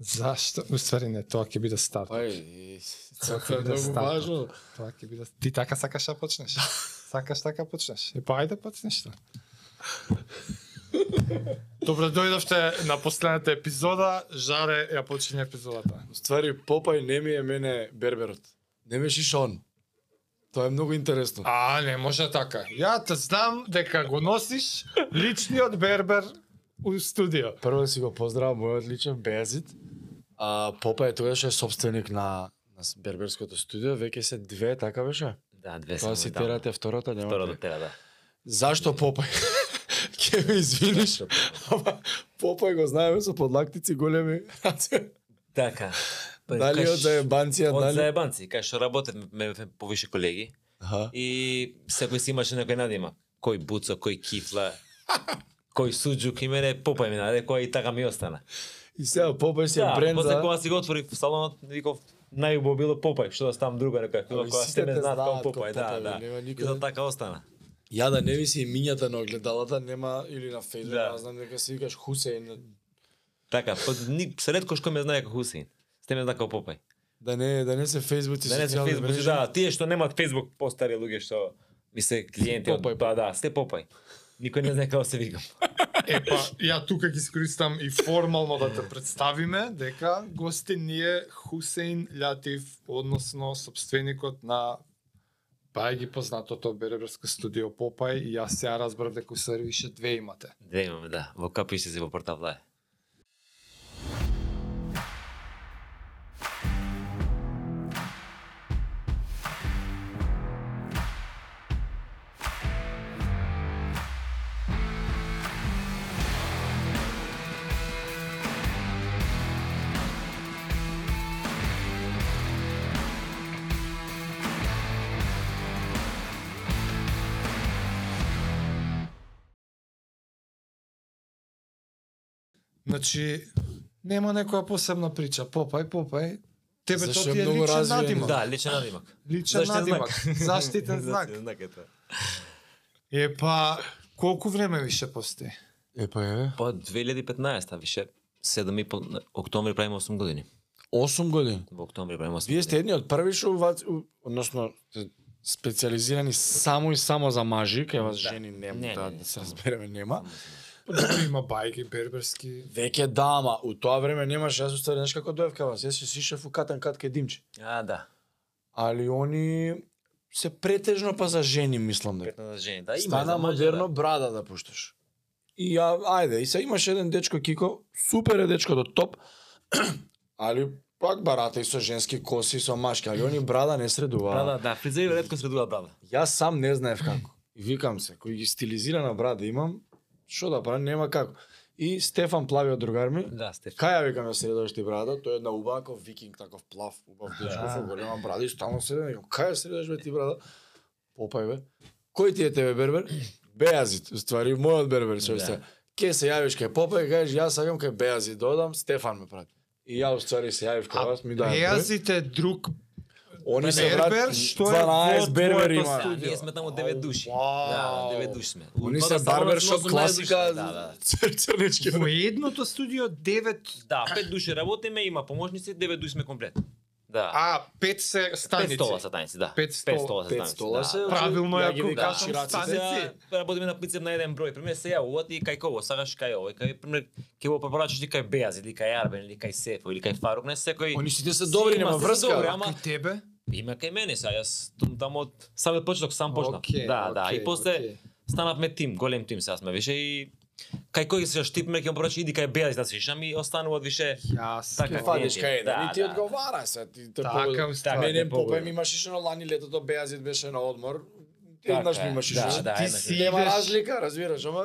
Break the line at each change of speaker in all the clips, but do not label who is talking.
Зашто? Уствари не, тоа ќе биде старт.
Ај,
Тоа
Па тоа Значи, е
да
многу
стане.
важно.
Тоа ќе биде. Ти така сакаш да почнеш. Сакаш така почнеш. Е па ајде почнеш тоа. Добре дојдовте на последната епизода. Жаре ја почине епизодата.
Ствари Попај не ми е мене берберот. Не ме Шишон. Тоа е многу интересно.
А, не може така. Ја те знам дека го носиш личниот бербер у студио.
Прво да си го поздравам мојот личен Безит. А Попај тој што е собственик на на с- берберското студио, веќе се две, така беше?
Да, две
Тоа
само
си
да дам.
терате втората, нема.
Втората
пред.
тера, да.
Зашто Попај? Ке ме извиниш, ама Попај го знаеме со подлактици големи.
Така. Па,
Дали
кажеш,
од заебанција,
Од
дали?
заебанци, кај што работат ме ме повише колеги
Аха.
и секој си имаше некој надима. Кој буцо, кој кифла, кој суџук и мене попај ми наде кој и така ми остана.
И сега Попај си е
да,
бренд
после
за...
кога си го отвори салонот, виков најубо било попај, што да ставам друга река,
Ами,
кога кога
сите
сте ме
те
знаат
знаат
како
како
попај, да,
Попај,
да.
нема
И
никој-
за така остана.
Ја да не виси имињата на огледалата, нема или на Facebook,
Да.
да. знам дека се викаш Хусеин,
Така, под ни средко што ме знае како Хусин. Сте ме знае како попај.
да не да не се Facebook и
Да не се
социјални
Facebook,
мрежи.
да, тие што немаат Facebook постари луѓе што ми се клиенти од
Попај,
па да, сте попај. Никој не знае како се викам.
Е па, ја тука ги искористам и формално да те представиме дека гости ни е Хусеин Латиф, односно собственикот на бајги познатото Береберско студио Попај и јас се разбрав дека у ствари више две имате.
Две имаме, да. Во капише се во да портавлае.
Значи, нема некоја посебна прича. Попај, попај. Тебе
Зашто
тоа
е
ти е
многу
личен
развиен?
надимак.
Да, личен надимак.
Личен надимак. Заштитен знак.
знак е тоа.
Е па, колку време више постои?
Е па е.
Па 2015-та више 7 и пол октомври правиме 8 години.
8 години.
Во октомври правиме 8
Вие сте едни од први што у вас- у- односно специализирани само и само за мажи, кај вас жени нема,
Не,
да,
не,
да се разбереме нема.
Добро има бајги берберски.
Веќе да, ама у тоа време немаше јас устарен, знаеш како доев кај вас, јас си сишев у катан кат кај Димче.
А, да.
Али они се претежно па за жени мислам дека.
15 жени. Да, има.
Стана
за мажа,
модерно
да.
брада да пушташ. И ја, ајде, и се имаш еден дечко Кико, супер е дечкото топ, али пак барата и со женски коси, и со машки, али они брада не средува.
Да, да, да, фризери ретко средува брада.
Јас сам не знаев како. И Викам се, кој ги стилизирана брада имам, што да правам, нема како. И Стефан Плавиот другар ми,
Да, сте.
Кај ја викам ја средаш ти брада, тој е една убаков викинг таков плав, убав
Да.
дечко со голема брада и стално седен, ја кај ја средаш бе ти брада? Попај бе. Кој ти е тебе бербер? Беазит, уствари мојот бербер што
Да.
се. Ке се јавиш кај Попај, кажеш јас сакам кај Беазит да одам, Стефан ме прати. И ја уствари се јавив кај вас, ми дај.
Јазите друг
Они се
Бербер,
брат,
што е
12
во
бербер
твоето
има.
Да, ние сме таму 9 души.
Вау.
Да, 9 души сме. У
Они
тоа
се
да станува
барбершоп
18
класика,
души, Да, да.
црнички.
во едното студио 9
Да, пет души работиме, има помошници, девет души сме комплет. Да.
А, пет се станици.
Пет стола са таници, да.
Пет стола.
са
Пет
таници,
стола
да.
се, значи,
Да.
Правилно
Ја
е
ги
ако
викам
кажам
шираците.
станици.
Сега работиме на принцип на еден број. Пример се јавува ти кај кого, сакаш кај овој, кај пример ќе го препорачаш ти кај Беаз или кај Арбен или кај Сефо или кај Фарук, не секој.
Они сите се
Си
добри,
има,
нема
се
врска.
добри,
бе.
ама-
И тебе?
Има кај мене сега, јас тум таму од самиот почеток сам почнав.
Океј,
да, да,
океј,
и после
океј.
станавме тим, голем тим сега сме више и кај кој се штипме ќе му препорачаш иди кај Беаз да се шам и остануваат више
Јас.
Така,
Ке
Кај
фадиш
клиенти.
Па, кај еден
Да,
и ти
да.
одговара се. Ти те
Така,
погоди.
устава,
Мене Попај
те погоди.
ми имаш ишено лани летото, Беазит беше на одмор.
Така
Еднаш ми
е,
имаш
да,
ишено.
да,
ти
еднаш.
си нема
Идеш-
разлика, разбираш, ама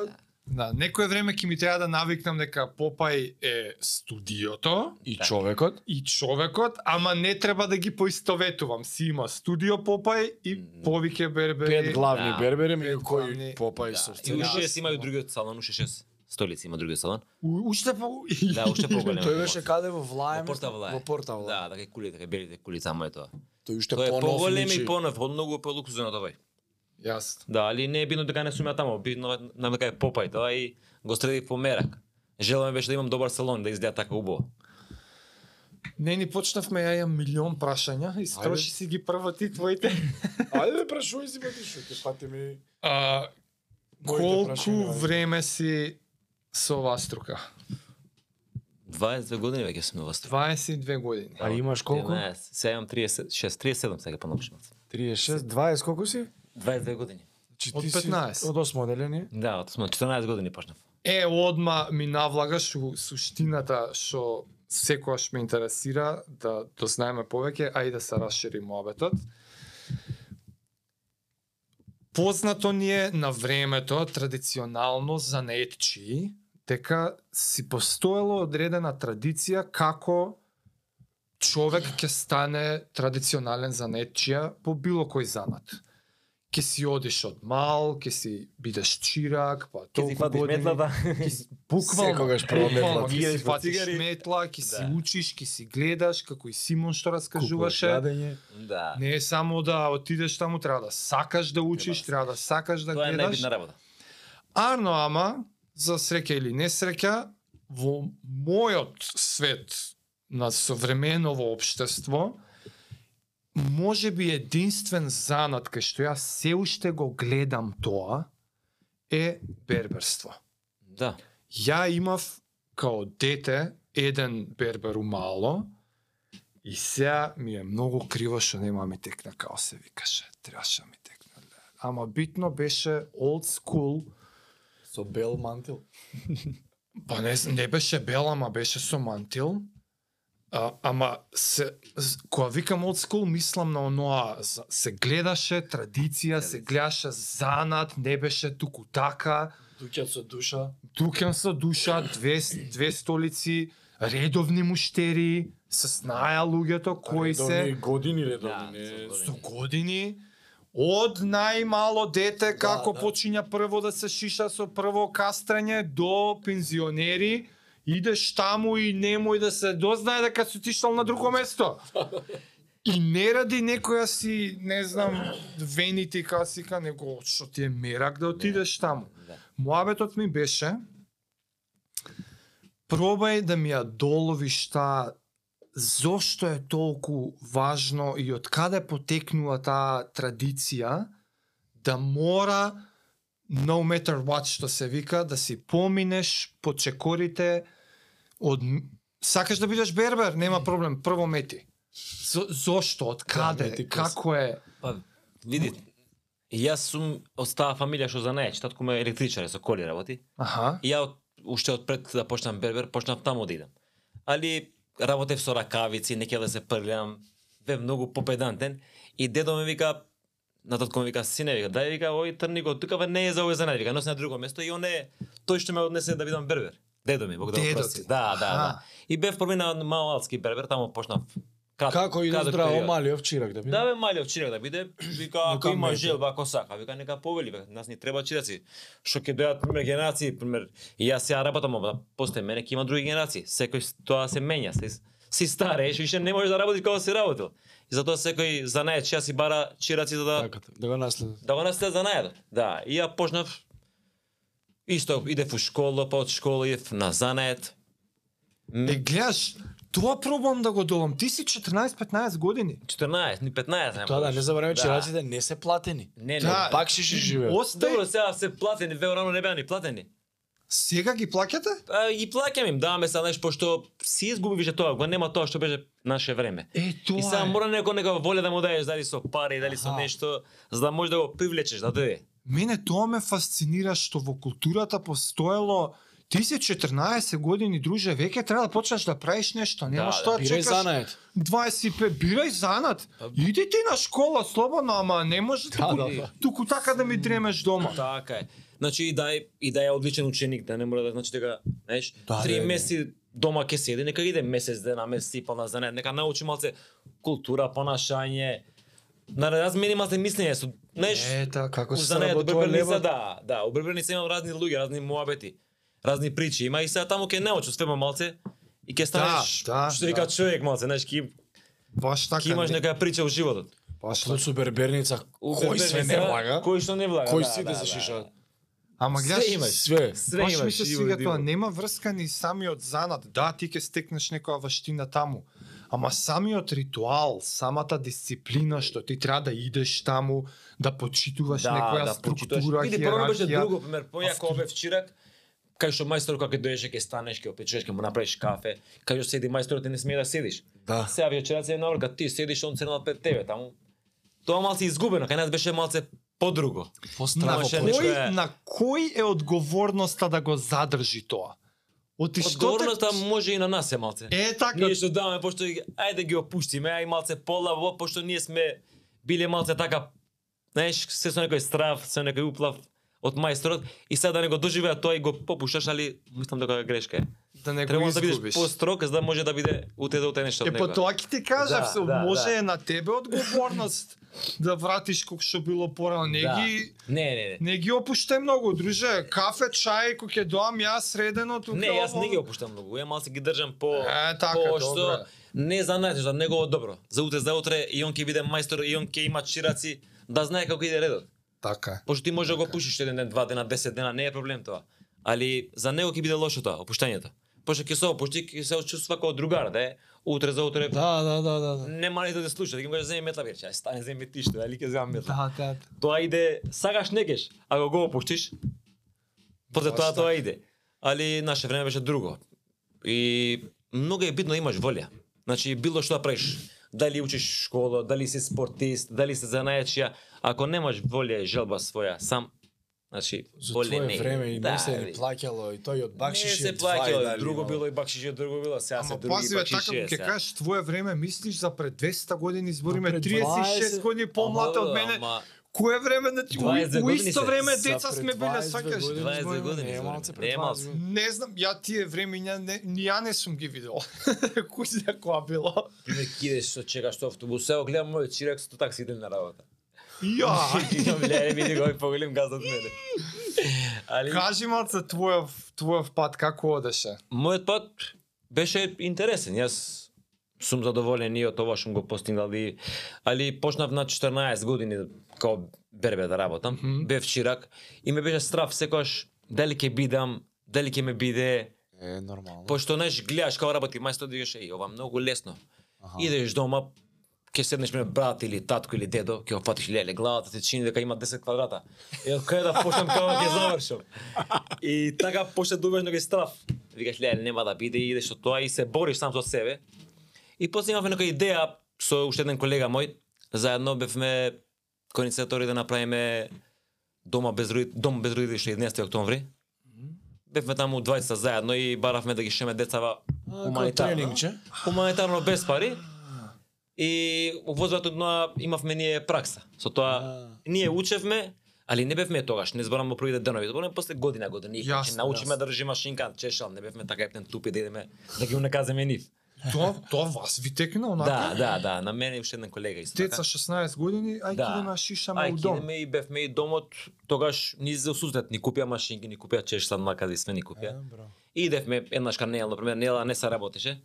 Да, некое време ќе ми треба да навикнам дека Попај е студиото
и
Така.
човекот
и човекот, ама не треба да ги поистоветувам. Си има студио Попај и повеќе бербери.
пет главни
Да.
бербери меѓу
Пет главни,
кои Попај со
и уште
јас
си имају другиот салон, уште шест столици има другиот салон.
У- Уште по...
Да, уште поголем.
Тој беше каде во Влаја?
во Порта Влај.
Во Порта Влај.
Да, така и кулите, така белите кули само е тоа.
Тој уште
Тоа е
понов значи-
поголем и
личи.
понов, од многу е полукузен од овој.
Јасно.
Да, али не е битно дека не сумеа таму, битно е нам дека е попај тоа и го средив по мерак. Желаме беше да имам добар салон, да изгледа така убаво.
Не, ни почнавме ја имам милион прашања и строши си ги прва ти твоите.
Ајде бе, прашувај си бати што ќе фатиме.
А,
Моите
колку
прашања, ајде.
време си со оваа струка?
22 години веќе сум на вас.
22 години.
А имаш колку?
11, Сега имам 36, 37 сега понапишам.
36, 20 колку си?
22 години.
Чи
Од
ти си
15.
Од 8 одделение.
Да, од сме 14 години почнав.
Е, одма ми навлагаш у суштината што секојаш ме интересира да дознаеме повеќе, а и да се расшири мобетот. Познато ни е на времето, традиционално за неетчи, дека си постоело одредена традиција како човек ќе стане традиционален за нечија по било кој занат. Ке си одиш од мал, ке си бидеш чирак, па
Ке
толку
си фатиш
години.
метлата.
Ки си- Буквално.
Секогаш значи, прво метла.
буквално, Ки
Гијаш
си
по
фатиш
цигари.
метла, ки си
Да.
учиш, ки си гледаш, како и Симон што
Купуваш
раскажуваше.
јадење.
Да.
Не е само да отидеш таму, треба да сакаш да учиш,
да
треба да сакаш да
Тоа е
гледаш.
најбитна работа.
Арно ама, за среќа или несреќа, во мојот свет на современово општество, може би единствен занат кај што јас се уште го гледам тоа, е берберство.
Да.
Ја имав као дете еден бербер у мало и сега ми е многу криво што нема ми текна као се викаше. Требаше да ми текна. Ама битно беше old school
Со бел мантил.
Па не, зн- не беше бел, ама беше со мантил. А, ама се, з- кога викам old school, мислам на оноа, за- се гледаше традиција, се гледаше занат, не беше туку така,
Дуќат со душа.
дуќан со душа, две, с- две столици, редовни муштери, се знаја луѓето кои се
Редовни Години
Да,
редовни. не-
со
со години, од најмало дете како
да.
почиња прво да се шиша со прво кастрање до пензионери, идеш таму и немој да се дознае дека си отишол на друго место. И не ради некоја си, не знам, вените и касика, него што ти е мерак да отидеш таму.
Да.
Муабетот ми беше пробај да ми ја доловиш таа зошто е толку важно и од каде потекнува таа традиција да мора no matter what што се вика да си поминеш по чекорите од сакаш да бидеш бербер нема проблем прво мети Зо, зошто од
Да,
каде
мети
како е
Па, види, и јас сум од таа фамилија што за неја, татко ме електричар е, со коли работи.
аха
И ја од, уште од пред да почнам бербер, почнав таму да идам. Али работев со ракавици, не ќе да се прљам, бе многу попедантен. И дедо ми вика, на татко ми вика, сине, вика, дај вика, ој трни го, тука бе, не е за овој занат, вика, носи на друго место. И он е, тој што ме однесе да бидам бербер. Дедо ми, Бог да го
Дедо
прости.
ти.
Да, да,
Аха.
да. И бев први на малалски бербер, таму почнав. Кратко,
Како иде
краток
здраво
период.
малиов чирак да биде?
Да бе малиот чирак да биде, вика ако
Нека да.
има
мета.
желба, ако сака, вика нека повели, вика нас ни треба чираци. Што ќе дојат пример генерации, пример и јас ја работам, ама да, после мене ќе има други генерации. Секој с- тоа се менја, се си старееш, више не можеш да работиш како си работил. И затоа секој занаед ќе си бара чираци за да
Така, да го наследат.
да го наследи занаедот. Да, и ја почнав исто идев у школа, па од школа идев на занает.
Е, гледаш, тоа пробам да го долам. Ти си 14-15 години.
14, ни 15, не
Тоа да, не забравяме,
Да.
чираците не се платени.
Не, не.
Да.
Бакшиши живеат.
Остај,
Добро, сега се платени, веќе рано не беа ни платени.
сега ги плаќате?
А, ги плаќам им, даваме се, знаеш, пошто си изгуби више тоа, го нема тоа што беше наше време.
Е,
И
тоа
сега
е.
мора некој нека волја да му даеш дали со пари, дали со
Аха.
нешто, за да можеш да го привлечеш да дојде.
Мене тоа ме фасцинира што во културата постоело Ти си 14 години, друже, веќе треба да почнеш да правиш нешто, нема
Да,
што да
Бирај
чекаш
занаед.
25, бирај занат. Иди ти на школа слободно, ама не може туку,
да, да.
туку така да ми дремеш дома.
Така е. Значи и да е и да е одличен ученик, да не мора да значи дека, знаеш,
Да,
три
да, да.
месеци дома ќе седи, нека иде месец дена, месец и пол на занет, нека научи малце култура, понашање, на размени малце мислење со, знаеш,
Ета, како
за неја од Брберница, да, да, у Брберница имам разни луѓе, разни муабети, разни причи, има и сега таму ќе научиш свема малце и ќе станеш,
Да, да,
што вика
да.
човек малце, знаеш, ќе
Баш така.
ќе имаш
не-
некоја прича во животот.
Баш
Плюс у Берберница,
У
кој све не
Брберница,
влага?
да. Кој што не влага,
Кој
да,
сите
да,
се
да,
шишаат?
Ама
Све
гледаш,
имаш.
Све.
Све
Баш ми
имаш
се
живо и да
свига тоа,
диво.
нема врска ни самиот занат. Да, ти ќе стекнеш некоја ваштина таму. Ама самиот ритуал, самата дисциплина што ти треба да идеш таму, да почитуваш да, некоја да, структура,
Види, прво беше
хиерархија.
друго, пример, појако ове вчерак, кај што мајсторот кога ќе доеше ќе станеш, ќе опечеш, ќе му направиш кафе, кај што седи мајсторот ти не смее да седиш.
Да.
Сега вечерата е наврка, ти седиш, он седнал пред тебе таму. Тоа малце изгубено, кај нас беше малце подруго.
На
Имаше
кој,
некоја-
на кој е одговорноста да го задржи тоа? Оти што те...
Одговорноста може и на нас е малце.
Е така,
Ние што даваме, пошто ги- ајде да ги опуштиме, ај малце полаво, пошто ние сме биле малце така, знаеш, се со некој страв, со некој уплав од мајсторот и сега да не го доживеа тоа и го попушташ, али мислам дека е грешка е.
да не го
Треба да бидеш
изгубиш.
построг за да може да биде утре да утенеш од
Е, па
него.
тоа ќе ти кажам,
Да,
се,
да,
може
да.
е на тебе одговорност да вратиш колку што било порано. Не
Да.
ги
Не, не, не.
не ги опуштај многу, друже. Кафе, чај, кој ќе доам јас редено тука.
Не, јас
ово-
не ги опуштам многу. Ја малце ги држам по
Е, така, добре.
што не знаеш за негово добро. За утре за утре и он ќе биде мајстор и он ќе има чираци да знае како иде редот.
Така.
Пошто ти може да го пушиш еден ден, два дена, 10 дена, не е проблем тоа. Али за него ќе биде лошо тоа, опуштањето. Пошто ќе се опушти, ќе се чувства како другар, да е. Утре за утре
Да, да, да, да. да.
нема ни да те слуша, да ќе му кажеш земе метла вече, ај стани земе ти што, али ќе земам метла.
Да, да.
Тоа иде, сагаш некеш, ако го опуштиш, после тоа
Баш
тоа иде. Али наше време беше друго. И многу е битно да имаш волја. Значи било што да правиш, дали учиш школа, дали си спортист, дали си занаечија, ако немаш волја и желба своја сам, значи
За
боле
твое
не.
време и не се ни
види.
плакало и тој од бакшиш
не
и
се
од
плаќало,
вајдали,
друго
ма.
било и бакшиш, и друго било, сега се
Ама
други
пази бе,
бакшиш.
така ќе
сега.
кажеш, твое време мислиш за пред 200 години избориме
пред
36
20
години помлада
Ама,
од мене.
ама,
Кое време на ти? У,
20
у
години
исто
се.
време
За
деца
пред
сме биле,
20
сакаш.
години да
20
збориме,
години
не е
збориме.
малце пред
Не е
20
малце.
години.
Не знам, ја тие времиња не, ни ја не сум ги видел. Кој знае која било.
Не кидеш со чекаш со автобус, сега гледам мојот чирак со такси идем на работа.
Ја.
Викам, леле, види го, поголем газ од мене. Али,
Кажи малце твојов твојов пат како одеше.
мојот пат беше интересен. Јас сум задоволен и од ова што сум го постигнал и али почнав на 14 години као бербе да работам.
Мгм.
Бев чирак и ме беше страв секогаш дали ќе бидам, дали ќе ме биде,
Е, нормално.
пошто знаеш гледаш како работи мајстор двигаш и ова многу лесно. Идеш дома, ќе седнеш ме брат или татко или дедо, ќе опатиш леле главата, ти чини дека има 10 квадрата. Е, од кај да почнам како ќе завршам. И така почна да убеш некој страв. Викаш леле нема да биде, и идеш со тоа и се бориш сам со себе. И после имавме некоја идеја со уште еден колега мој, заедно бевме коинициатори да направиме дома без роди- дом без родители 11 октомври. Бевме таму двајца заедно и баравме да ги шеме децава
Хуманитарно.
хуманитарно хуманитарно без пари. И возвратно имавме ние пракса. Со тоа ние учевме, али не бевме тогаш, не зборам во првите денови, зборам после година, година и
Јасно,
ќе научиме да држиме шинкан, чешал, не бевме така ептен тупи да идеме да ги унаказаме нив.
Тоа тоа вас ви текна
Да,
онака.
да, да, на мене и уште еден колега исто. така.
Деца 16 години, ај
Да.
ќе на шишаме
Ај,
у дом.
кидеме и бевме и домот, тогаш ни за сусрет ни купија машинки, ни купија чешсан, макар да и све ни купија. И идевме еднаш кај Нела, например, Нела не се работеше.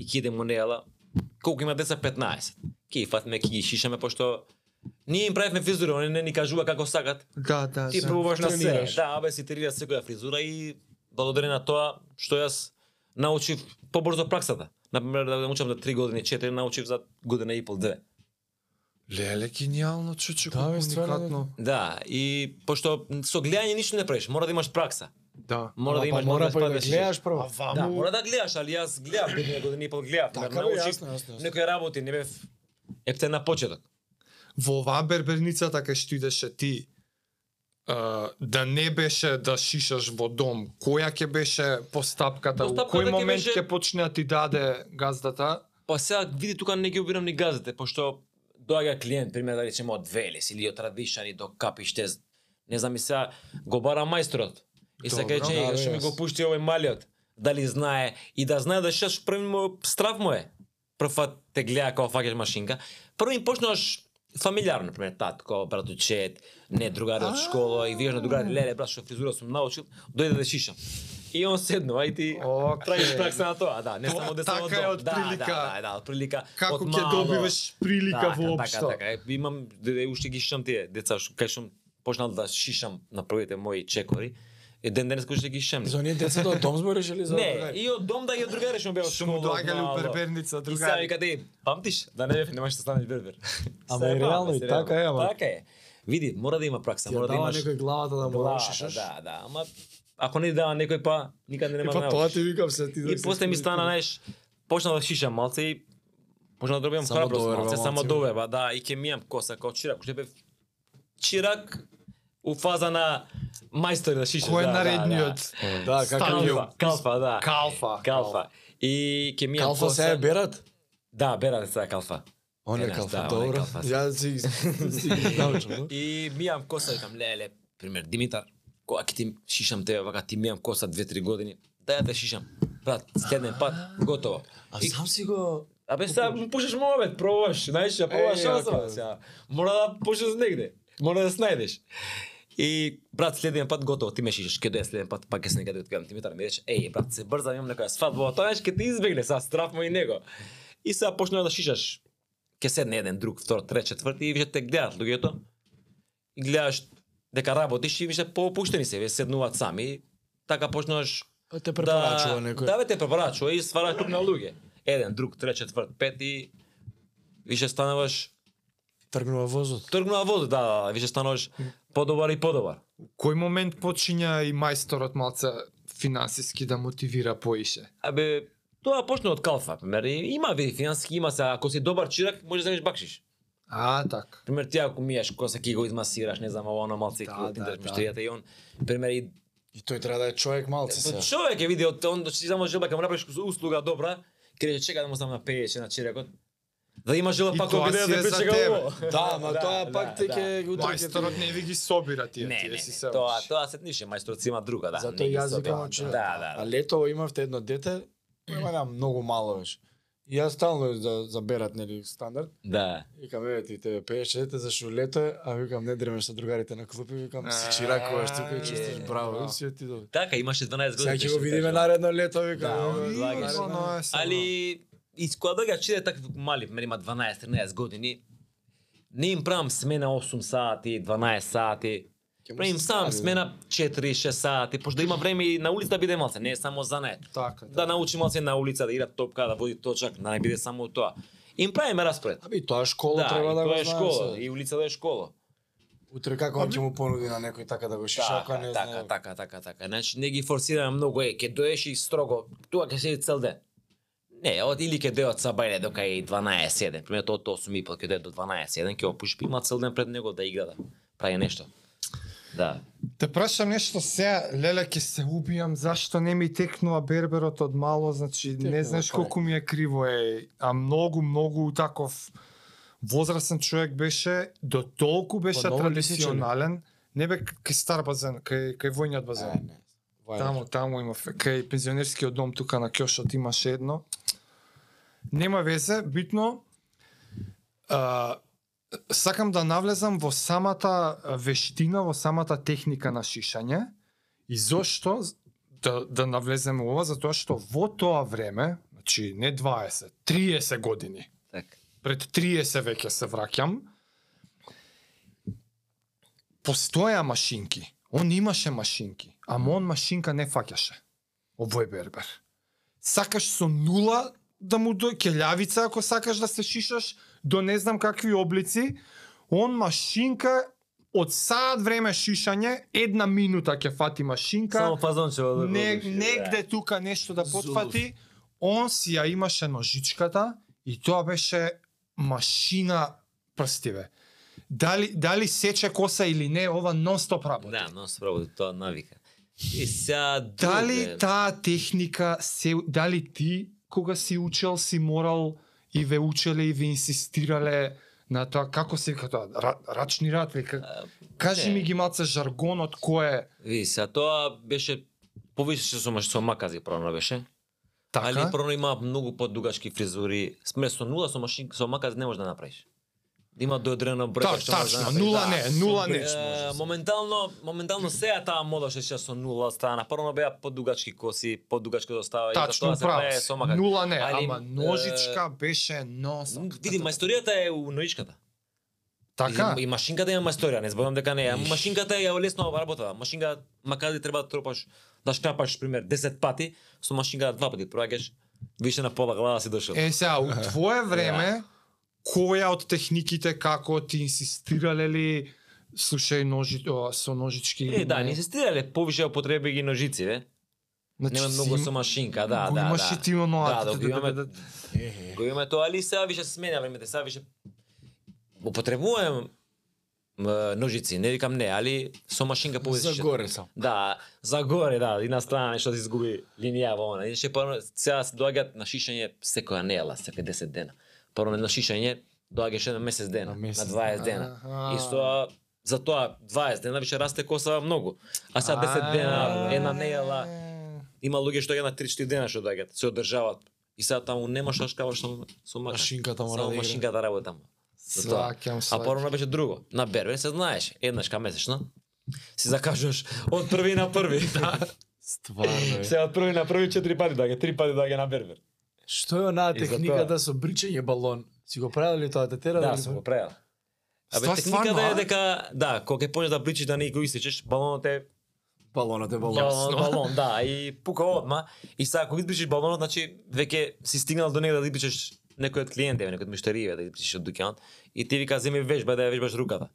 И ќе идеме у Нела. Колку има деца 15. Ке ги фатиме, ке ги шишаме пошто ние им правевме фризури, они не ни кажува како сакат.
Да, да.
Ти
да.
пробуваш на се.
тренираш.
Да, абе си тренира секоја фризура и благодарение на тоа што јас научив побрзо праксата. Например, да научам за 3 години, 4 научив за година и пол, две.
Леле гениално чуче,
Да,
да,
бе, стварно,
уникатно.
Да, и пошто со гледање ништо не правиш, мора да имаш пракса.
Да.
Мора да имаш
мора
да
па и да
спаднеш.
гледаш
А
прво.
ваму
Да, мора да гледаш, али јас гледав година година и пол гледав.
Така,
Така,
бе,
научив
јасно, јасно, јасно.
некои работи, не бев епте на почеток.
во оваа берберницата кај што идеше ти, а, да не беше да шишаш во дом, која ќе беше постапката, во
Постапката
кој
ќе
момент
беше-
ќе почне да ти даде газдата?
Па сега види тука не ги убирам ни газите, пошто доаѓа клиент, пример да речеме од Велес или од Радишани до Капиштез. Не знам и сега го бара мајсторот. И се
Добро,
кај
да,
че што
бе,
ми
јас.
го пушти овој малиот, дали знае и да знае да шаш први му страв му е. Прв фат те гледа како фаќаш машинка. Прво им почнаш фамилиарно, например, татко, братучет, не другари од школа и викаш на другари, леле, брат, што фризура сум научил, дојде да шишам. И он седнува и ти
Океј.
правиш пракса на тоа, да, не
Тоа
само да само
така е
дом.
од
Да,
прилика.
Да, да, да, од прилика.
Како
од
ќе
мало.
добиваш прилика
така,
воопшто?
Така, така, Е, имам де- де, уште ги шишам тие деца што кај што почнал да шишам на првите мои чекори. И ден денес кој ще ги шемни.
За оние децата од дом сме решили за
Не, и од дом да и од другари што беа
Што му доаѓали у Берберница,
И сега
другари.
вика ти, памтиш да не бев немаш да станеш бербер.
Ама
Се
и реално,
памте,
и
се
така е, ама.
Така е. Види, мора да има пракса,
Ти ја
мора да
дава
имаш
некој главата да му
глава,
рушиш.
да, да, ама ако не ти дава некој па никаде
И
нема
па
да
тоа
научиш.
ти викам се ти.
И после ми стана, знаеш, почна да шишам малце и почна да добивам
Само
храброст
доверба
малце, само
малце,
доверба, да, и ќе мијам коса како чирак, уште бев чирак у фаза на мајстори да шишаш.
Кој е
да, да, да.
наредниот?
Да, како
Стана.
ќе-
Калфа, калфа, да.
Калфа.
Калфа. И ќе мијам
Калфа се
коса.
ја берат?
Да, бера се калфа.
Он е
Е,
калфа,
да, он е
добро.
калфа.
Ја си си ги научам. да.
И мијам коса, викам, леле, пример, Димитар, кога ќе ти шишам тебе, вака ти мијам коса 2-3 години, да ја те шишам. Брат, следен пат, готово.
А
И-
сам си го
Абе сега му пушаш мобет, пробаш, знаеш, ја пробаш
Е,
шанса,
ако-
бе, сега. Мора да пушаш негде, мора да снајдеш. И брат, следен пат готово, ти ме шишаш, ке доја следен пат, пак ќе се некаде откажам ти Митар, ми рече, еј брат, се брзам, имам некоја свадба, тоа знаеш, ке те избегне, сега страф му и него. И сега почнува да шишаш, ке седне еден, друг, втор, трет, четврти и више те гледаат луѓето. И гледаш дека работиш и више поопуштени се, вие седнуваат сами. и Така почнуваш
Па те препорачува
да,
некој.
Да, бе, те препорачува и ствара куп на луѓе. Еден, друг, трет, четврт, пет и више стануваш
Тргнува возот.
тргнува воз, да, да, да, више стануваш подобар и подобар.
Кој момент почиња и мајсторот малца финансиски да мотивира поише?
Абе, тоа почна од калфа, пример, и има види финански, има се, ако си добар чирак, може да земеш бакшиш.
А, така.
Пример, ти ако миеш коса, ки го измасираш, не знам, ова, оно, малце,
Да,
да, да,
да,
да,
да.
миштеријата и он, пример, и
И тој треба да е човек малци се.
Па човек е види од он да си само жела кога му направиш услуга добра, ќе рече чека да му знам на 50 на чиракот. Да има жела
И
пак
тоа
обиде
си е
да
за
пече
тебе.
го.
Да, ма тоа пак ти
да.
ќе го
Мајсторот не ви ги собира тие,
Не, не,
тие
не,
си се.
тоа, тоа се тнише, мајсторци има друга, да.
Затоа
не ги
јас
собира.
викам очи.
Да, да,
А
да.
летово имавте едно дете, има нам многу мало беше. И јас стално да заберат нели стандард.
Да.
Викам, еве ти тебе пееш дете зашо лето е, а викам не дремеш со другарите на клупи, викам
А,
се чиракуваш тука и чистиш
е,
браво,
браво.
и си е ти добро.
Така, имаше 12
Сега
години.
ќе го видиме наредно лето, викам.
Да,
еве,
он
видиме
влагаш.
наредно да. лето.
Оно е само-
Али и кога доаѓа чиде такви мали, мене има 12-13 години, не им правам смена 8 сати, 12 сати.
Ќе му
Правим
се
сам
стави,
смена 4-6 сати, пошто да има време и на улица да биде малце, не е само занет.
Така,
да научи малце на улица да игра топка, да води точак, да не биде само тоа. Им правиме распред.
Аби тоа школа
Да,
треба
и
да го
тоа е
знае
школа,
се.
и улица да е школа.
Утре како ќе му понуди на некој така да го шиша, ако не
Така, така,
знае.
така, така, така. Значи не ги форсираме многу, е, ќе доеш и строго, тоа ќе седи цел ден. Не, од или ќе дое од сабајле дока е 12:00, пример од 8:30 ќе дое до 12:00, ќе опуши има цел ден пред него да игра да прави нешто. Да.
Те прашам нешто се, леле ќе се убијам зашто не ми текнува берберот од мало, значи
Текнува,
не знаеш
па е.
колку ми е криво е, а многу многу таков возрастен човек беше, до толку беше
Па, много
традиционален, не бе к- кај стар базен, кај кај војниот базен.
Е, не. Вајде.
Таму, таму има, кај пензионерскиот дом тука на Кјошот имаше едно. Нема везе, битно, а, сакам да навлезам во самата вештина, во самата техника на шишање. И зошто да, да навлеземе во ова? Затоа што во тоа време, значи не 20, 30 години,
Така.
пред 30 веќе се враќам, постоја машинки. Он имаше машинки, ама он машинка не фаќаше. Овој бербер. Сакаш со нула да му до келјавица ако сакаш да се шишаш до не знам какви облици, он машинка од саат време шишање, една минута ќе фати машинка
Само фазонче да го
не,
души,
негде
да.
тука нешто да потфати, он си ја имаше ножичката и тоа беше машина прстиве. Дали, дали сече коса или не, ова нон-стоп работи.
Да, но справо тоа навика. И сега
Дали
друге-
таа техника, се, дали ти кога си учел си морал и ве учеле и ве инсистирале на тоа како се вика тоа ра- рачни ратви как...
А,
кажи
не.
ми ги малце жаргонот кој е
Види, сега тоа беше повише со маш- со макази прано беше.
така
Али прано има многу подугачки фризури. Сме со нула со машин со маказ не можеш да направиш. Да Има до одредено брега
Та-
што можеш
тачно,
да направиш.
нула
Да.
не, нула не.
Е, моментално, моментално сега таа мода што се со нула стана. Прво беа подугачки коси, подугачки достава и за
Тачно,
тоа се
право.
прави
си.
со маказ.
Нула не,
Али,
ама
е,
ножичка беше нос.
Види, мајсторијата е у ноичката.
Така?
И, и машинката има историја, не зборам дека не е. Машинката е лесно работа. Машинка, макар да треба да тропаш, да шкапаш пример 10 пати, со машинката два пати да проаѓаш, више на пола глава си дошол.
Е, сега, у твое време, која од техниките како ти инсистирале ли слушај ножи, о, со ножички?
Е,
или
да,
не?
не се стигале повише употреби ги ножици, ве.
Значи,
Нема
си
многу
им-
со машинка, да,
го
да,
имаш
да.
и ти оноа,
Да, да,
ти-
го
ти-
имаме,
ти- ти-
го имаме тоа, али сега више смена времето, сега више употребувам м, ножици, не викам не, али со машинка повеќе.
За горе сам.
Да, за горе, да, една страна нешто да се изгуби линија во она. Иначе прво сега се доаѓаат на шишање секоја недела, секој 10 дена. Прво на шишање доаѓаше на месец дена,
На
на,
месец,
20 дена.
Аха.
И тоа за тоа 20 дена више расте коса многу. А сега 10 дена,
А.
една недела, има луѓе што доаѓаат на 3-4 дена што доаѓаат, се одржаваат. И сега таму нема што шкаваш со со мака.
Машинката мора
Само
да игра.
машинката работи таму. За тоа.
Сваќам,
А
сваќам.
порано беше друго. На Бербер се знаеш, еднашка месечно си закажуваш од први на први.
Стварно е.
Се од први на први четири пати доаѓа, три пати доаѓа на Бербер.
Што е онаа
И за
техника
тоа.
да со бричење балон? Си го правил ли тоа тетера?
Да, сум го правил. Абе,
Ствар-
техника
стварно,
да
а?
е дека, да, кога ќе почнеш да бричиш да не го исечеш, балонот е
Балонот е балон.
балон, балон, да, и пука одма. И сега кога избришиш балонот, значи веќе си стигнал до некаде да избришеш некој од клиентите, некој од миштериите да избришеш од дуќанот и ти вика земи вежба да ја вежбаш руката.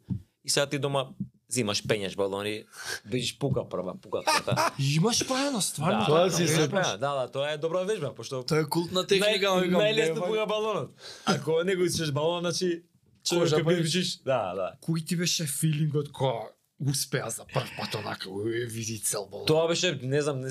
И сега ти дома земаш пењаш балони, бичиш пука прва, пука трета.
Имаш правено, стварно.
Да,
Па, тоа
да,
си
да,
запаш.
Да, да, тоа е добра вежба, пошто
Тоа е култна
Нај-
техника, ама викам,
Најлесно
нема-
пука балонот. Ако не го исчеш балонот, значи
Кожа
човека
па-
би бичиш. Да, да.
Кој ти беше филингот кога успеа за прв пат онака, уе, види цел балон?
Тоа беше, не знам, не,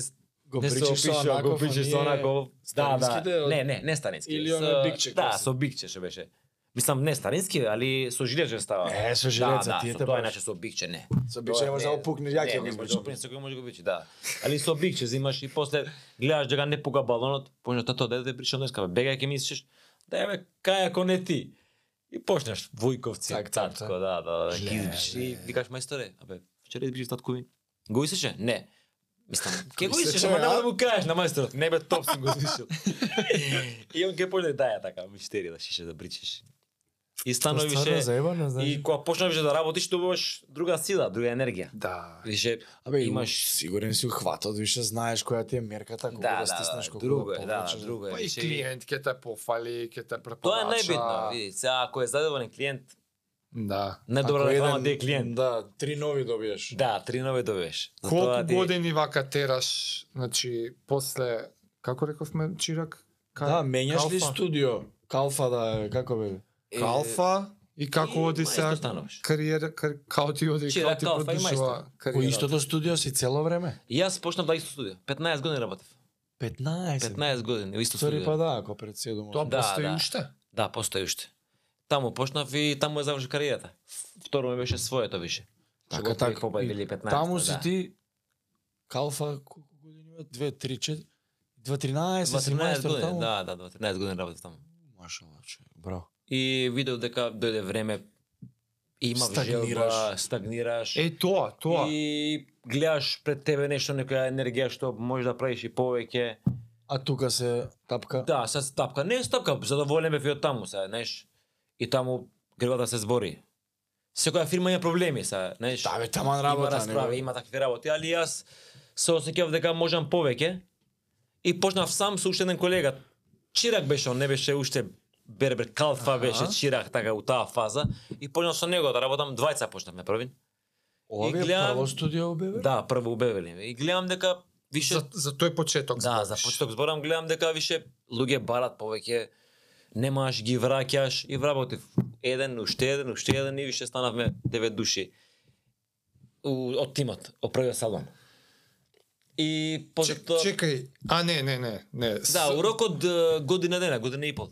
Го
не се
бричиш со
опишува,
онаков,
го бичиш
а
со
ние-
онако. Да,
старинските
да.
од-
Не, не, не старински.
Или
со-
оној бикче кој
Да,
се-
со бикче ше беше. Мислам, не старински, али со жилеџе става.
Е, со жилеца,
да,
тие
да,
те
со тоа
баш.
иначе со бикче не.
Со биче не може да го пукнеш, јаке го
го
избричиш.
Со принцип кој може го бичи, да. Али со бикче зимаш и после гледаш дека не пука балонот, почнеш тато дете бричам деска, бегај ќе мислиш, да бе, кај ако не ти. И почнеш Вујковци,
Так,
так,
так,
татко, да, да, да,
Ле,
ги избиш и викаш мајсторе, абе, вчера избиш татко ми. Го исеше? Не. Мислам, ке го исеше,
Исече,
ама нема
а?
да му кажеш на мајсторот. Не бе, топ сум го измислил. и он ке почне да ја така, мистери да шише да бричиш. И
Тоа
станови
стварно е
више,
заебано, знаеш.
и кога почнеш да работиш, добиваш друга сила, друга енергија.
Да.
Више,
Абе,
имаш-
имаш сигурен си ухватот, више знаеш која ти е мерката, колку да,
да,
стиснеш,
да,
колку
друго
да
е, да,
повлечеш.
друго е.
Па и
Више,
клиент ќе те пофали, ќе те препорача.
Тоа е најбитно, види, сега ако е задоволен клиент,
Да.
најдобра
Ако
реклама
еден-
ти е клиент.
Да, три нови добиеш.
Да, три нови добиеш. За тоа
Колку
ти-
години вака тераш, значи, после, како рековме, Чирак? Ка-
Да, менјаш ли
Калфа?
студио? Калфа да е, како бе?
Е,
Калфа? И
и
како оди
мајстор
сега?
стануваш.
Кариера, кар, као ти оди, као
Чирак,
ти
Калфа и
продолжува
мајстор.
По
кариера.
истото студио си цело време?
И Јас почнав да исто студио. 15 години работев.
15.
15 години во исто
Сори па
студио.
да, ако пред 7.
Тоа
Да,
постои
да.
уште?
Да, постои уште. Таму почнав и таму ја завршив кариерата. Второ ми беше своето више. Што
Така,
го
така.
попа били 15.
Таму си
да.
ти Калфа колку години има? 2 3 4 2 13
12
17
години,
таму.
да, да, 13 години работев таму.
Машала, човек, браво.
И видов дека дојде време и имав
Стагнираш.
желба, стагнираш.
Е, тоа, тоа.
И гледаш пред тебе нешто, некоја енергија што можеш да правиш и повеќе.
А тука се тапка.
Да, се стапка. Не е стапка, задоволен бев и од таму, сега, знаеш. И таму гревата се збори. Секоја фирма има проблеми, сега, знаеш.
Да, бе, таман
има
работа,
расправи, има такви работи, али јас се осеќав дека можам повеќе. И почнав сам со уште еден колега. Чирак беше, он не беше уште Бербер Калфа беше Чирак така у таа фаза и почнав со него да работам двајца почнавме првин.
Ова
И
ви е
гледам-
прво студио у ББ?
Да, прво у Бевелин. И гледам дека више
За, за тој почеток.
Да, за
збориш.
почеток зборам, гледам дека више луѓе барат повеќе, немаш, ги враќаш и вработив. Еден, уште еден, уште еден и више станавме девет души у, од тимот, од првиот салон. И после
Чек,
тоа...
чекај, а не, не, не, не.
Да, у рок од е, година дена, година и пол.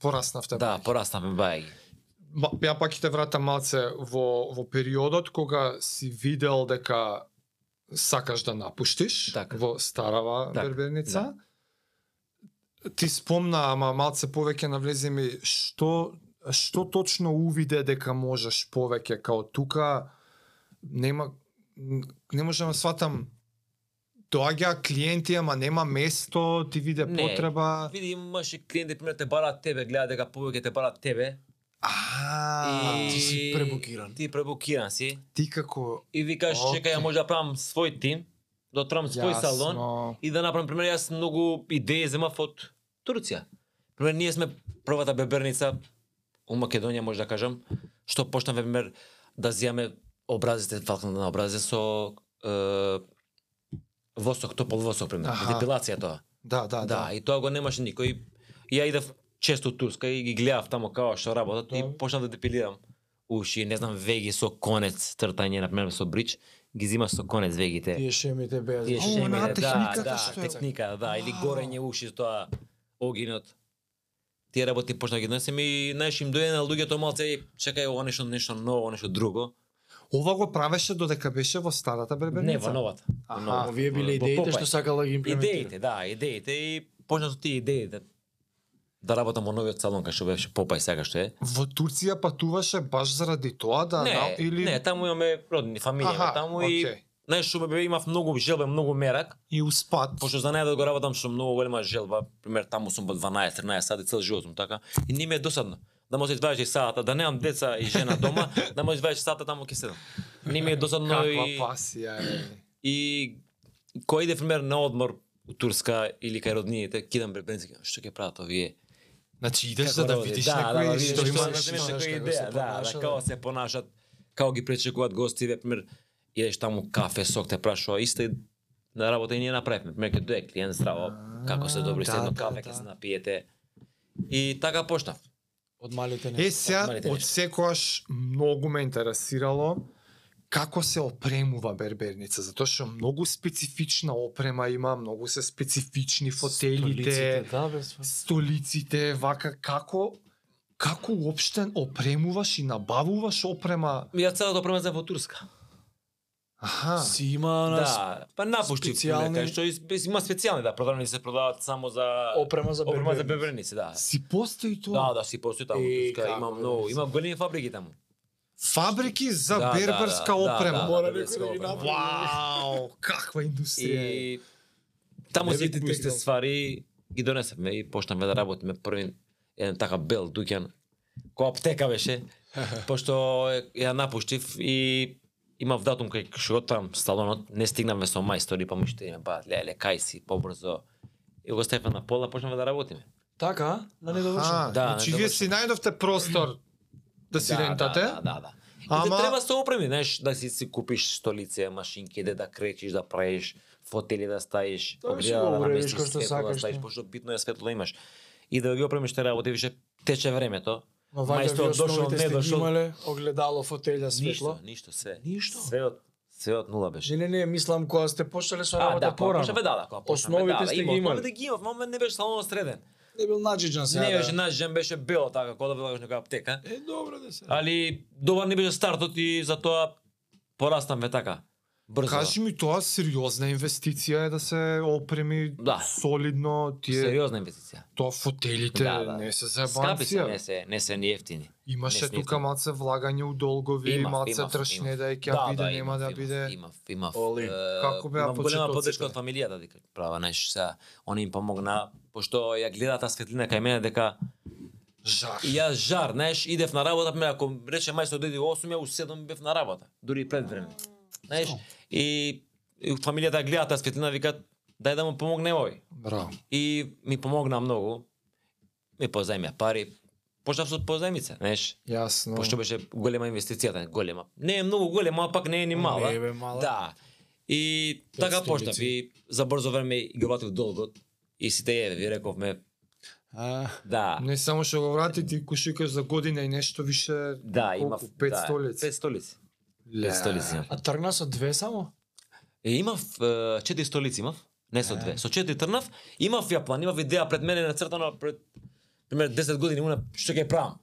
пораснавте.
Да, пораснавме бајаги.
Ма, ја пак ќе те вратам малце во, во периодот кога си видел дека сакаш да напуштиш
Така.
во старава
Така, да.
берберница. Ти спомна, ама малце повеќе навлеземе, што, што точно увиде дека можеш повеќе, као тука нема, не можам да сватам, доаѓа клиенти, ама нема место, ти виде
Не.
потреба.
Види, имаш и клиенти, пример, те барат тебе, гледа дека повеќе те барат тебе.
А,
И-
Ти си пребукиран.
Ти пребукиран си
ти како...
и викаш
Океј.
чекај, ја може да правам свој тим, да отворам свој салон
Јасно.
и да направам пример јас многу идеи земав од Турција. Пример ние сме првата беберница у Македонија може да кажам, што почнавме пример да зијаме образите, фалкната на образе со е, восок, топол восок пример,
Аха.
депилација тоа.
Да, да,
Да,
да.
и тоа го немаше никој. И Ја идев често у Турска и ги гледав тамо како што работат и
Да.
почнав да депилирам уши, не знам, веги со конец тртање, например, со брич, ги зимаш со конец вегите.
Тие шемите без.
Тие
О,
шемите,
онаа
да,
техниката
да,
што е. така?
техника, да, или
Вау.
горење уши со тоа огинот. Тие работи почнав ги донесем и знаеш им дојде на луѓето малце и чекај ова нешто нешто ново, нешто друго.
Ова го правеше додека беше во старата бребеница.
Не во новата. во
Аха.
новата.
Овие биле
Во
идеите
Попај.
што сакал да ги имплементира.
па, Идеите, да, идеите и почнав со тие идеи да да работам во новиот салон кај што беше Попај сега што е.
Во Турција патуваше баш заради тоа да
не,
на- или
не, таму имаме родни фамилија
Аха,
Аха, таму и
окей.
знаеш што бе имав многу желба, многу мерак,
и успат.
пошто за најдо го работам што многу голема желба, пример таму сум во 12-13 сати цел живот сум така и не ми е досадно. Да може 20 сата, да немам деца и жена дома, да може 20 сата таму ќе седам. Не ми е досадно
Каква
и
пасија е.
И кој иде пример на одмор у Турска или кај роднините, кидам бребенци, кажам, што ќе прават овие?
Значи идеш
Како
за да
работи?
видиш
да, да, да,
некој
видиш
што
што
има
имаш,
имаш
имаш,
некоја
како се
идеја, да, да,
понашат,
како
да.
се понашат, како ги пречекуваат гостите, пример, идеш таму кафе, сок те прашува, исто и на работа и ние направивме, пример, ќе дое клиент здраво, како се добри,
Да,
седно
да,
кафе ќе
да.
се напиете. И така почнав.
Од малите
Е,
не.
сега,
Малите
од
нешта.
секојаш многу ме интересирало како се опремува берберница, затоа што многу специфична опрема има, многу се специфични фотелите,
Столиците, да, без.
столиците, вака како како уопште опремуваш и набавуваш опрема?
Ја целото време за во Турска.
Аха.
Си има на
Да, па напушти, пример,
специјални-
кај што и- има специјални да продавници се продаваат само за
опрема за
опрема
бебе.
за беберници, да.
Си постои тоа.
Да, да, си постои таму,
И
Турска,
како
има
бе,
многу,
мислам.
има големи фабрики таму.
Фабрики да за
Да, да,
берберска
да, да,
опрема.
да,
Мора
беберска
некој да ги
опрема.
направи.
Вау, каква индустрија. е.
И таму
Не
се
би ти
пусти
текнал.
ствари ги донесевме и почнавме да работиме први еден така бел дуќан која аптека беше, пошто е- ја напуштив и имав датум кај што там салонот, не стигнавме со мајстори, па мушти ме баат, леле, кај си, побрзо. И го стефа на пола, почнавме да работиме.
Така, на недовршено.
Аха,
Да,
значи
не
вие
довршено.
си најдовте простор да си рентате.
Да, да, да. да. И
Ама-
Ама... треба со опреми, знаеш, да си, си купиш столице, машинки, де да кречиш, да правиш, фотели да ставиш,
Тоа беше
огријала
го
да
уредиш
наместиш,
кој што
светло да
сакаш,
ставиш,
да.
пошто битно е светло да имаш. И да ги опремиш те работи, више тече времето.
Но вака
Мајстор
вие
дошол,
основите
не
сте ги
дошол.
имале, огледало, фотелја, светло.
Ништо, ништо, се.
Ништо?
Се од, се од нула беше.
Же не, не, мислам кога сте почнале со
А,
работа
да,
порано.
почна ведала, кога почна
Основите
ведала.
сте
Има,
ги имали.
основите ги имав, мама не беше салонот среден.
Не бил наџиџан сега.
Не
да.
беше наш жен, беше бело така, кога да влагаш некоја аптека.
Е, добро да се.
Али добар не беше стартот и затоа пораставме така. Брзо.
Кажи ми тоа сериозна инвестиција е да се опреми
Да.
солидно тие
Сериозна инвестиција.
тоа фотелите
Да, да.
не се
Скапи се, не
заебанција.
се, не се ни ефтини.
Имаше
не се
тука
ниту.
маце влагање у долгови,
Имав,
маце
имав,
тршне
имав.
да ќе биде, нема
имав,
да
имав,
биде.
Имав, имав.
Оли,
е,
како беа
имам голема
почетоците?
поддршка од фамилијата дека права, знаеш, сега они им помогна пошто ја гледа таа светлина кај мене дека
Жар.
и јас жар, знаеш, идев на работа, ме ако рече мајстор дојде во 8, ја у 7 бев на работа, дури и пред време. Знаеш, и, и фамилијата ја гледа таа светлина, викат дај да му помогне овој.
Браво.
И ми помогна многу. Ми позајмија пари. Почнав со позајмица, знаеш.
Јасно.
Пошто беше голема инвестицијата, голема. Не е многу голема, а пак не е ни мала.
Не бе мала.
Да. И така
стотици.
почнав и за брзо време ги вратив долгот и сите е, ви рековме,
А,
да.
Не само што го врати ти кушикаш за година и нешто више
Да,
колку,
имав
пет
да,
столици.
Пет столици. Пет столици имав.
а тргна со две само?
Е, имав е, четири столици имав, не со две. Со четири трнав, имав ја план, имав идеја пред мене нацртана пред пример 10 години уна што ќе правам.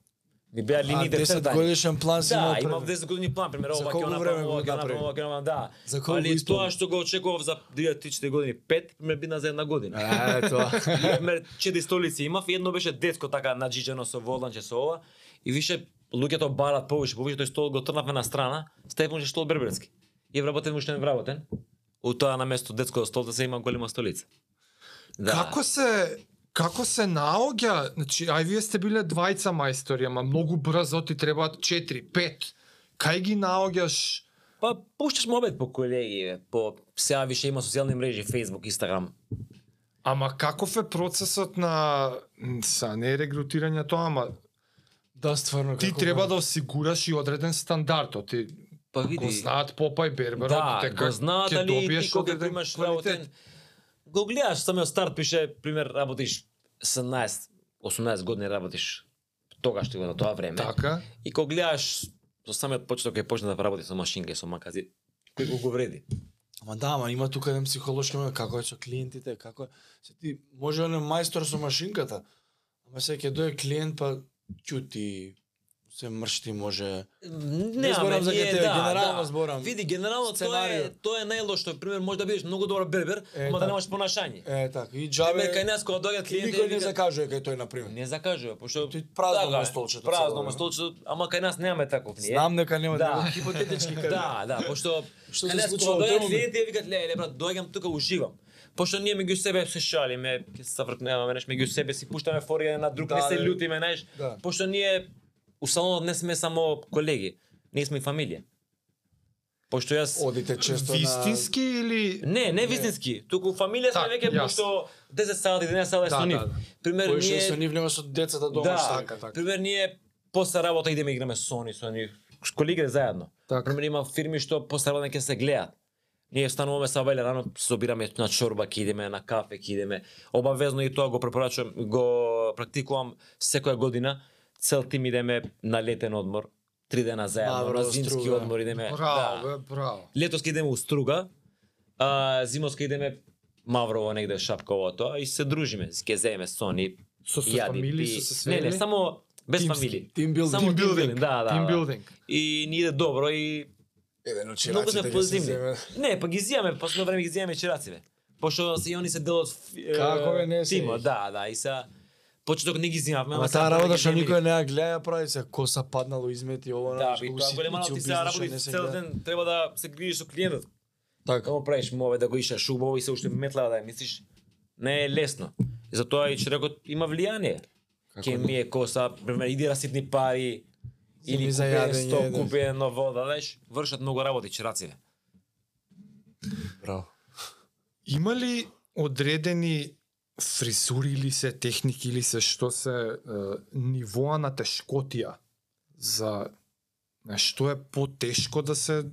Ми беа
А
линиите
10
цртани.
годишен план си
Да,
имал
имав
пред-
10 години план, пример,
За
ова ќе
колку време
направам,
го
ова ќе
направи?
направам, ова ќе направам, да.
За колку
Али
исполни?
тоа што го очекував за 2004 години, 5, ме бина за една година.
А, е, тоа.
Пример, 4 столици имав, и едно беше детско така наџиџено со воланче со ова, и више луѓето барат повише, повише, тој стол го трнавме на страна, степен стол берберски. И вработен мушен вработен. У тоа на место детското стол да се има голема столица. Да.
Како се како се наоѓа, значи ај вие сте биле двајца мајстори, ама многу брзо ти требаат 4, 5. Кај ги наоѓаш?
Па пушташ мобет по колеги, бе, по сега више има социјални мрежи, Facebook, Instagram.
Ама каков е процесот на м, са не е регрутирање тоа, ама
Да, стварно.
ти
како
треба
го-
да осигураш и одреден стандард, оти
Па
го
види,
знаат Попај Берберот,
да,
дека
го знаат,
ќе
али
добиеш
ти кога
одреден
имаш
квалитет.
работен, го гледаш самиот старт, пише, пример, работиш 17, 18 години работиш тогаш што го на тоа време.
Така.
И кога гледаш со самиот почеток кога почна да работи со машинка и со макази, кој го го вреди.
Ама да, ама има тука еден психолошки момент како е со клиентите, како е. Се ти може он е мајстор со машинката. Ама се ќе дое клиент па ќути се мршти може.
Не,
зборам
ама
за
ние,
ГТВ,
да,
генерално
да.
зборам.
Види, генерално тоа
Сценарио.
е, тоа е најлошо. Пример, може да бидеш многу добар бербер,
Е,
ама да
да.
немаш понашање.
Е така, и
Абе, кај
џабе.
нас кога доаѓаат
и
клиенти,
Никој не
викаат,
закажува кај тој на пример.
не закажува, пошто
Ти Да, празно
Така е,
му е да. столчето
Празно
цело
му
време.
столчето, ама кај нас немаме таков ние.
Знам дека нема
Да.
да хипотетички кажам.
Да, да, пошто
Што
кај
се
нас
случува во
кога
тој
доаѓаат
момент?
клиенти и викаат, леле брат, доаѓам тука уживам. Пошто ние меѓу себе се шалиме, ќе се вркнеме, неш меѓу себе си пуштаме фори еден на друг,
Да,
не се
бе.
лутиме, знаеш.
Да.
Пошто ние у салонот не сме само колеги, ние сме и фамилија. Пошто јас
Одите често на
Вистински или
Не, не вистински. Туку фамилија сме
Так,
веќе
јас.
пошто 10 сати, 11
Да,
сати со
да,
нив.
да.
Пример
Поише
ние
со нив него со децата дома
да,
така така.
пример ние после работа идеме играме со нив, со нив, с колегите заедно.
Така.
Пример има фирми што после работа ќе се гледаат. Ние стануваме са веле рано, се собираме на чорба, ќе идеме на кафе, ќе идеме. Обавезно и тоа го препорачувам, го практикувам секоја година. Цел тим идеме на летен одмор, три дена заедно,
Мавро,
на зимски
Струга.
одмор идеме.
браво,
Да.
бе, браво.
Летоска идеме у Струга, а зимоска идеме Маврово негде Шапково тоа и се дружиме, ќе земеме сони,
Со со
јади,
фамилии,
пи.
со се
Не, не,
свели?
само без
Тимски.
фамилии.
Тим билдинг.
Само тим билдинг, да, да,
Тим
да.
билдинг.
И ни иде добро и
Еден од
многу
чираците
сме
ќе се
позитивни.
земе.
Не, па ги зијаме, последно време ги зијаме чираците. Пошто се и они се делот ф- е,
Како бе, не се
тимо,
иш.
да, да, и са почеток не ги зијавме,
Ама таа работа што никој не ја гледа ја прави се коса паднало измети ово
Да,
знаеш,
би
колку
тоа
ситници
голема работа,
у
ти сега
бизнисот
работи
не се
цел
гледа.
ден, треба да се грижиш со клиентот.
Така.
Како правиш мове да го ишаш убаво и се уште метлава да ја мислиш? Не е лесно. И затоа и чиракот има влијание. Ке ми е коса, пример, иди раситни пари, или
да? Земи за
купи еден
јадење,
стоп,
да.
купи едно вода, знаеш, вршат многу работи чираците.
Браво.
Има ли одредени фризури или се техники или се што се е, нивоа на тешкотија за на што е потешко да се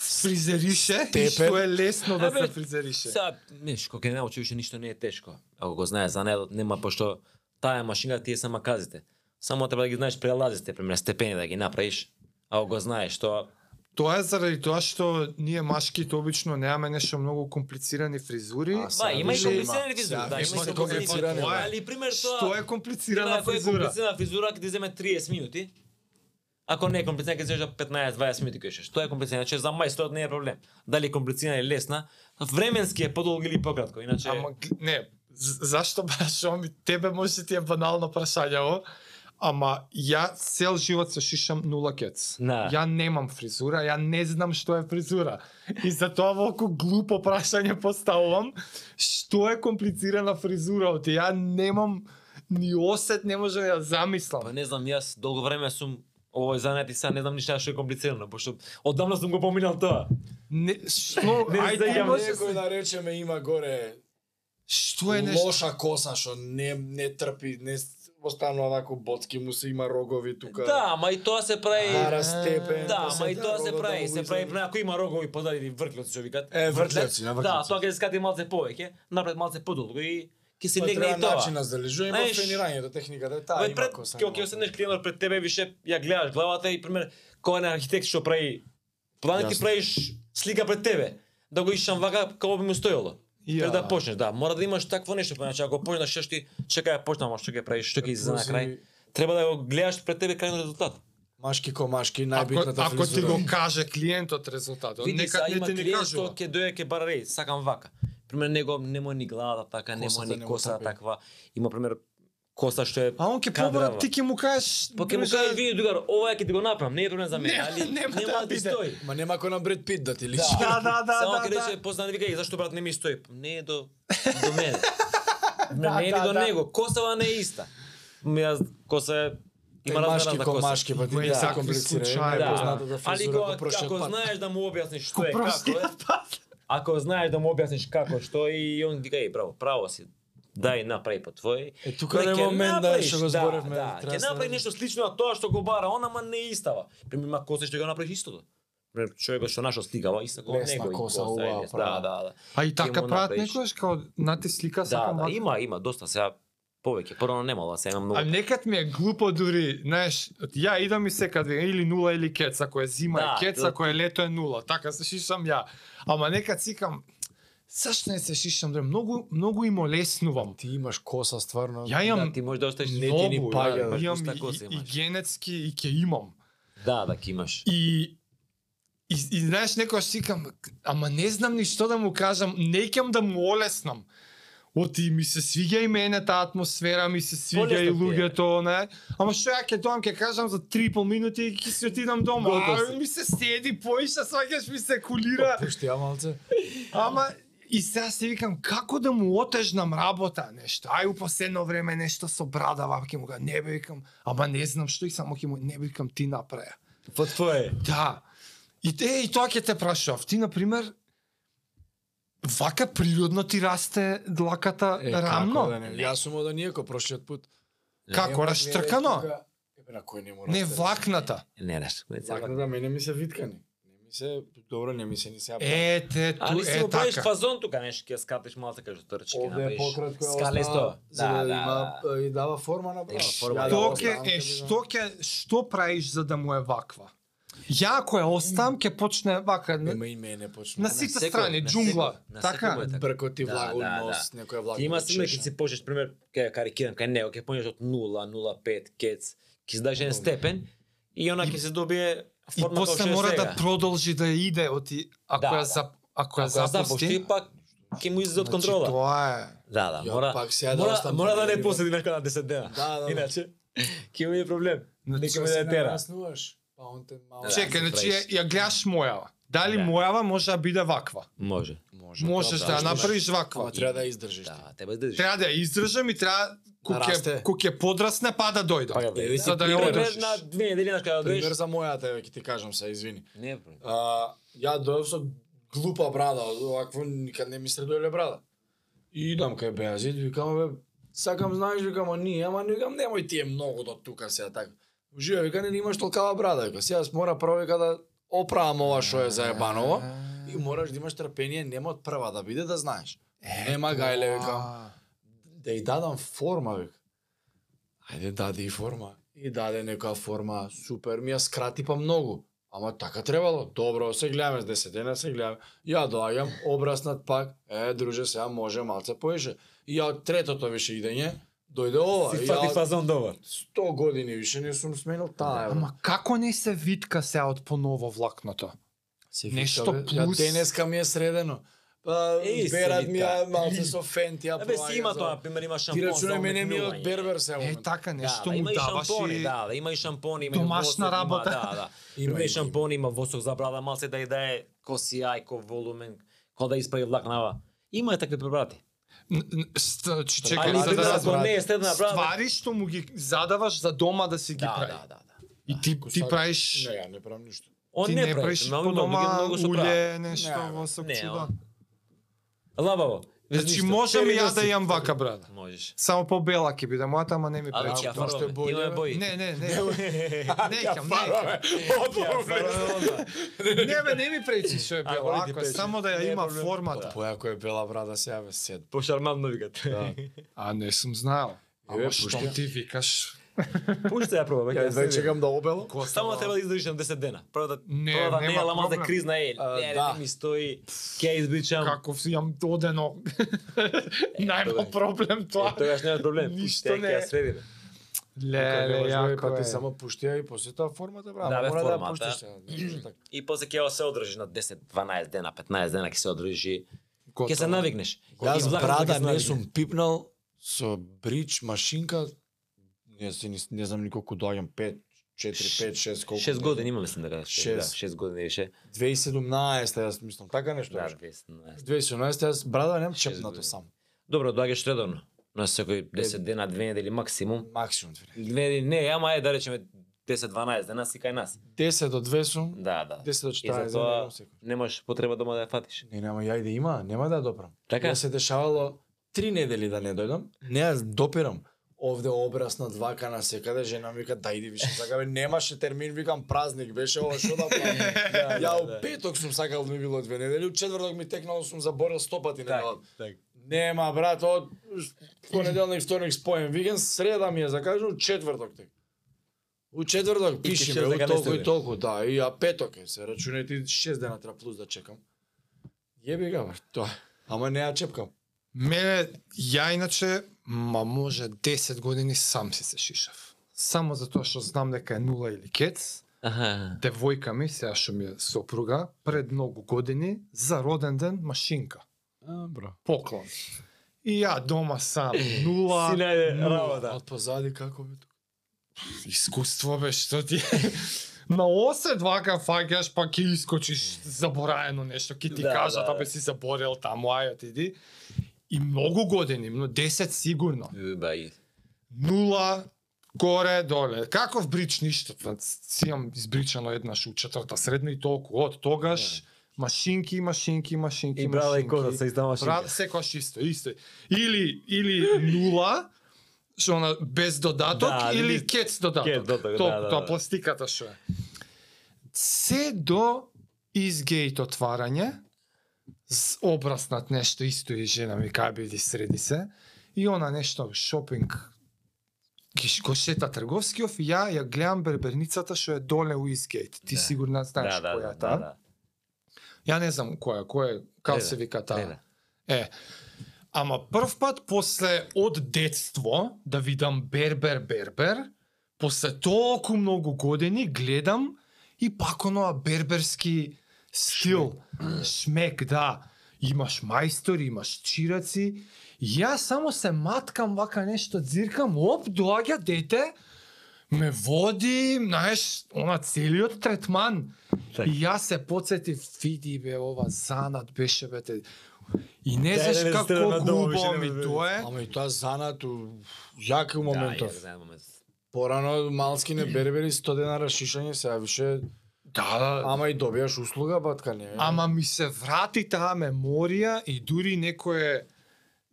фризерише и
Степен.
што е лесно да
Абе,
се фризерише.
Сега, неш, кога не научи више ништо не е тешко. Ако го знае за недот, нема пошто таа машинка тие се маказите. Само треба да ги знаеш прелазите, пример степени да ги направиш. Ако го знаеш, тоа
Тоа е заради тоа што ние машките обично немаме нешто многу комплицирани фризури.
А,
Ба,
Сега
има и
више има.
комплицирани фризури.
Сега
Да,
више
има
се
и комплицирани.
комплицирани,
фризури.
бе.
Али пример тоа
Што е
Гледај,
комплицирана
ако е
фризура?
комплицирана фризура, ќе ти земе 30 минути. Ако не е комплицирана, ќе ти земе 15-20 минути кај што е комплицирана, значи за мајсторот не е проблем. Дали е комплицирана или лесна, временски е подолго или пократко, иначе
Ама г- не, з- зашто баш ми тебе може да ти е банално прашање ово, ама ја цел живот се шишам нула кец.
Да.
Ја немам фризура, ја не знам што е фризура. И затоа волку глупо прашање поставувам, што е комплицирана фризура, оти ја немам ни осет, не можам да ја
па
замислам.
не знам, јас долго време сум овој занет и сега не знам ништо што е комплицирано, пошто одамна сум го поминал тоа.
Не, што,
Не
ај ти
знам,
може...
Некој да речеме има горе
Што е нешто?
лоша коса што не не трпи, не с- останува онаку боцки му се има рогови тука.
Да, ама и тоа се прави.
Ара степен.
Да,
се
ама и тоа се
рогот да
прави,
му
се
го
прави
издаде.
пример, ако има рогови подади врклоци што викат.
Е, вртлеци, на
Да,
вртлеци.
тоа ќе се скати малце повеќе, напред малце подолго и ќе се
Тоа
легне
треба
и тоа.
начин да залежува, има
Знаеш,
тренирањето, техниката е таа,
Бе,
има
пред,
коса.
ќе ќе седнеш клиентот пред тебе више ја гледаш главата и пример кој на архитект што прави план ти
Јасно.
правиш слика пред тебе да го ишам вака како би му стоело.
Ја.
Пред да почнеш, да, мора да имаш такво нешто, поначе ако почнеш што ти чекај ја почнам, а што ќе правиш, што ќе излезе на крај. Треба да го гледаш пред тебе крајниот резултат.
Машки ко машки,
Ако,
најбитната
ако ти
фризура.
го каже клиентот резултатот,
Види
нека
са
не
има
ти не
клиент
кажува.
што ќе дојде ќе бара реј, сакам вака. Пример него нема ни главата така, нема
Косата
ни
не му
коса
трпи.
таква. Има пример коса што е
А он ќе
кадрава.
побрат, ти ќе му кажеш...
Па ќе му
друже,
каже вие другар, ова ќе ти го направам, не е проблем за мене,
Не,
али
нема да
нема да ти
биде.
стои.
Ма нема кој на Бред Пит да ти личи.
Да, да, да,
Само
да,
ќе
да.
Па, рече познат вика, «Е, зашто брат не ми стои? Не е до до мене. не,
да,
не е ни
да,
до
да.
него. Косава не е иста. Ми аз коса е... Има
машки
размера на
кон
коса.
машки, па ти
Има и
да,
всакви
комплицирано.
случаи,
Има
бе.
Да,
познатата
али
фразура,
го,
по прошен
ако
пат.
знаеш да му објасниш што е,
Простиот
како е, ако знаеш да му објасниш како, што е, и он вика, е, браво, право си, дај направи по твој.
Е, тука
Ле,
не
ќе
момент да
направиш,
што го зборевме.
Да,
треба
ќе
да се
направи
најде.
нешто слично на тоа што го бара он, ама не истава. Пример, има коса што го направиш истото. Пример, човекот што нашо стигава, иста го
Лесна
него. и
коса,
е,
убава,
лесна.
права.
Да, да, да.
А и
Ќе
така
му
прават
направиш.
некојаш како на те слика
Да,
сакам.
да,
а-
има, има, доста сега повеќе. Прво немало, сега има многу.
А некад ми е глупо дури, знаеш, ја идам и секад ве, или нула или кец, ако е зима
Да,
е кец,
тоа-
ако е лето е нула, така се шишам ја. Ама некад сикам, зашто не се шишам, дури, многу, многу им олеснувам.
Ти имаш коса стварно.
Ја
Да,
имам
ти може да оставиш
многу,
ти ни
ја,
паѓа,
да,
имам
пуста коса
и, и, и
имаш.
генетски и ќе имам.
Да, да, ќе имаш.
И И, и знаеш, некојаш сикам, ама не знам ни што да му кажам, неќам да му олеснам. Оти ми се свиѓа и мене таа атмосфера, ми се свиѓа и
Полесно ти е.
луѓето, не? Ама што ја ќе доам, ќе кажам за три и пол минути и ќе си отидам дома.
Готов си.
А, ми се седи, поиша, сваќаш ми се кулира.
Пушти ја малце.
Ама и сега се викам како да му отежнам работа нешто. Ај у последно време нешто со брадава, ќе му кажам, не бе викам, ама не знам што и само ќе му не бе викам ти направи.
Во твое.
Да. И те и тоа ќе те прашав. Ти на пример вака природно ти расте длаката
Е,
рамно.
како да не? Јас сум од оние прошиот пут.
Како
Нема
раштркано?
две тука. Ебе, на кој не мора.
Не влакната.
Не, раш. не, сега.
Влакната да мене ми се виткани. Не ми се добро, не ми се ни сега.
Е, те, ту,
Али си
е
го правиш па-
така.
фазон тука, нешто ќе скатиш малце како што трчки,
Овде е
направиш.
пократко е
Скалесто.
остава, за
Да,
да,
да.
има и дава форма на
Има
право.
форма,
Ја
да.
Што
да
ќе
оставам,
е,
ќе
што ќе што правиш за да му е ваква? Ја ако ја оставам ќе почне вака.
бидам. Ема и мене почна.
На
На
сите
секој,
страни
на
џунгла,
секој, на секој
така?
му е
Брко ти
Да,
влагу
да,
нос, некоја влага.
Ќе има
да
сигурно ќе
чеша.
си почнеш пример ке карикирам кај него, ќе понеш од 0, 0,5 кец, ќе си дадеш еден степен и она ќе се добие
И
форма како
после
што е
мора
сега.
да продолжи да иде оти ако
Да,
ја
да.
зап ако ја
Ако ја
запусти.
запушти, пак ќе му излезе од
значи,
па- контрола.
Тоа е.
Да, да,
Ја
мора.
пак сега да
мора,
оставам
мора да
на
не
ниво.
посети на кана 10 дена.
Да, да, да.
Иначе ќе има проблем.
Значи,
Нека ме да
Се
е тера.
нараснуваш, Па он те мало.
Да,
Чекај,
се
значи
правиш.
ја, ја гледаш мојава. Дали
Да.
мојава може да биде ваква?
Може.
Може.
Можеш да ја
да,
направиш
Ама
ваква.
треба да ја издржиш. ти.
Да, тебе држиш.
Треба да ја издржам и треба куќе
расте.
куќе подрасне па да дојдам.
Па ја
Еве
видиш.
си
За да ја
пример.
одржиш.
Пример на две недели на кога
Пример
дојдеш.
за мојата, еве ќе ти кажам се, извини.
Не е проблем.
А, ја дојдов со глупа брада, овакво никад не ми средоеле брада. И идам кај Беазид, викам, бе, сакам, знаеш, викам, а ние, ама викам, немој ти е многу до тука сега така. Ужива, вика, не, имаш толкава брада, вика, сега мора прво, вика, да оправам ова што е заебаново. И мораш да имаш трпение, нема од прва да биде, да знаеш. Нема гајле, викам, да ѝ дадам форма, вика. Ајде, даде и форма. И даде некоја форма, супер, ми ја скрати па многу. Ама така требало. Добро, се гледаме с 10 дена, се гледаме. Ја доаѓам, обраснат пак. Е, друже, сега може малце поише. И ја од третото више идење, дојде ова.
Си
И
фати
ја од
фазон добар.
100 години више не сум сменил таа. еве.
Ама како не се витка сега од поново влакното?
Се
Нешто
вика, бе,
плюс.
Ја денеска ми е средено. Па,
Е, се
берат ми ја
вика.
малце со фенти, ја
Абе си има
проаѓа за-
тоа, пример има шампон.
Ти
за
рачунај мене ми е од
умекнување.
бербер се.
Е така нешто
да,
му
има и
даваш
шампони,
и
да, да, има и шампони, има
Домашна
и восок,
работа.
Има, да, да.
Има,
Има,
има,
и шампони, има восок за брада, мал се да и дае коси ајко волумен, кога да исправи влакнава. Има е такви препарати.
Н- н- ст- Значи чекај,
Али така,
за
ти
да
да
ако
разберам.
разберам.
не е следна брада.
Ствари што му ги задаваш за дома да си ги
Да,
прави.
да, да, да.
И ти
Ако
ти
сакаш-
правиш
Не, ја не правам ништо.
Он
ти
не,
не правиш
но
по
многу ги
дома
многу се прави.
уле, нешто
Не,
во сок
не,
чуда.
Лабаво. без
Значи
ништо.
можам и
Пери
ја да
си.
имам вака брада.
Можеш.
Само побела ќе биде мојата, ама не ми
Але
пречи.
ќе ја
тоа што е
фарбаме.
боље,
Имаме
бе.
бои.
Не, не, не. Некам, некам. Не, бе, не ми пречи што е
А,
било.
боли ти
Ако е
пречи.
само да
Не е
ја има
проблем.
формата.
Појако е бела брада сега ве сед.
Пошармавно викат.
Да. А не сум знаел.
Еве,
Ама што
пушти.
ти викаш?
Пушта ја пробам.
Ја да чекам да обело.
Само треба да издржам 10 дена. Прво да
Не,
прво да не е
нема
лама за
проблем.
кризна е.
А,
Не,
да.
да ми стои. Ќе ја избличам.
Каков си јам одено. Најма
добре.
проблем
Тоа
тоа.
тогаш нема проблем.
Ништо
Пуште,
не
ќе
е.
ја средиме.
Леле, јако
па ти
е.
само пушти ја и после тоа формата брада.
Да, бе,
Мора да ја
формата.
пуштиш. сега, нешто така.
И после ќе се одржи на 10, 12 дена, 15 дена ќе се одржи. Ќе се навикнеш.
Јас
И влакот ќе
брада
се
не
навикне.
сум пипнал со брич машинка. Не се ни- не знам ни колку доаѓам 5 4 5 6 колку.
6 години имам мислам да дека.
Шест.
6 години беше.
2017 јас мислам така нешто.
Да,
беше.
20.
2017 јас брада немам
Шест
чепнато
години.
сам.
Добро, доаѓаш редовно. на секој 10 дена, две недели максимум.
Максимум две.
Две недели, не, ама е да речеме 10-12 дена си кај нас.
10 до 2 сум,
Да, да.
10 до 14
И за
за
тоа
едно секој.
немаш потреба дома да ја фатиш.
Не, нема, ја и да има, нема да ја допрам.
Така?
Ја се дешавало три недели да не дојдам, не ја допирам. Овде образ на двака на секаде, жена ми вика, дајди више, сака бе, немаше термин, викам празник, беше ова што да правам.
Да,
Ја
да,
у
да.
петок сум сакал да ми било две недели, у четврток ми текнало сум заборил сто пати
Так,
неделата.
так.
Нема брат, од понеделник, вторник споен викенд, среда ми е закажано, четврток тек. У четврток
И ќе
пишеме,
шест
у
дека не
толку
сте
и
бе.
толку, да, и а петок е, се рачунајте 6 дена треба плюс да чекам. Јеби га, брат, тоа. е. Ама не ја чепкам.
Мене, ја иначе, ма може 10 години сам си се шишав. Само затоа што знам дека е нула или кец,
Аха.
девојка ми, сега што ми е сопруга, пред многу години, за роден ден, машинка.
А, бро.
Поклон. И ја дома сам, нула,
Си најде
нула.
работа.
Да. Од позади како бе тука?
Искуство бе, што ти е? На осет вака фаќаш, па ќе искочиш забораено нешто, ќе ти
Да,
кажат,
да,
абе
да.
си заборел таму, ајот иди. И многу години, но 10 сигурно.
Да, и
нула, горе, доле. Каков брич ништо? Та, Си имам избричано еднаш у четврта средна и толку. Од тогаш машинки, машинки, машинки,
и брала и
машинки.
коза се издава
Брат,
машинка.
секогаш исто, исто. Или, или нула, што на без додаток,
Да,
или
или
кец додаток.
кец додаток,
То,
да, да,
тоа
да.
пластиката што е. Се до изгейт отварање, с обраснат нешто исто и жена ми кај биди среди се, и она нешто шопинг ги ш- го шета Трговскиов и ја ја гледам берберницата што е доле у изгейт. Ти
Да.
сигурно знаеш
Да, да,
која
да,
е таа.
да, да.
Ја не знам која, која, како
Леда,
се вика таа.
Леда.
Е, ама прв пат после од детство да видам Бербер Бербер, после толку многу години гледам и пак оноа берберски стил, шмек, да. Имаш мајстори, имаш чираци. Ја само се маткам вака нешто, дзиркам, оп, доаѓа дете, ме води, знаеш, она целиот третман.
Так.
И јас се подсетив, види бе, ова занат беше бе, те. и не
Да, да,
знаеш
да, сте
како
на дома,
губо
више не
ми
бе, бе.
тоа е.
Ама и тоа занат у јак
Да,
моментов.
ја знаам моментов.
Порано малски не бербери 100 денара шишање, сега више
Да, да.
ама и добиваш услуга батка не.
Ама ми се врати таа меморија и дури некое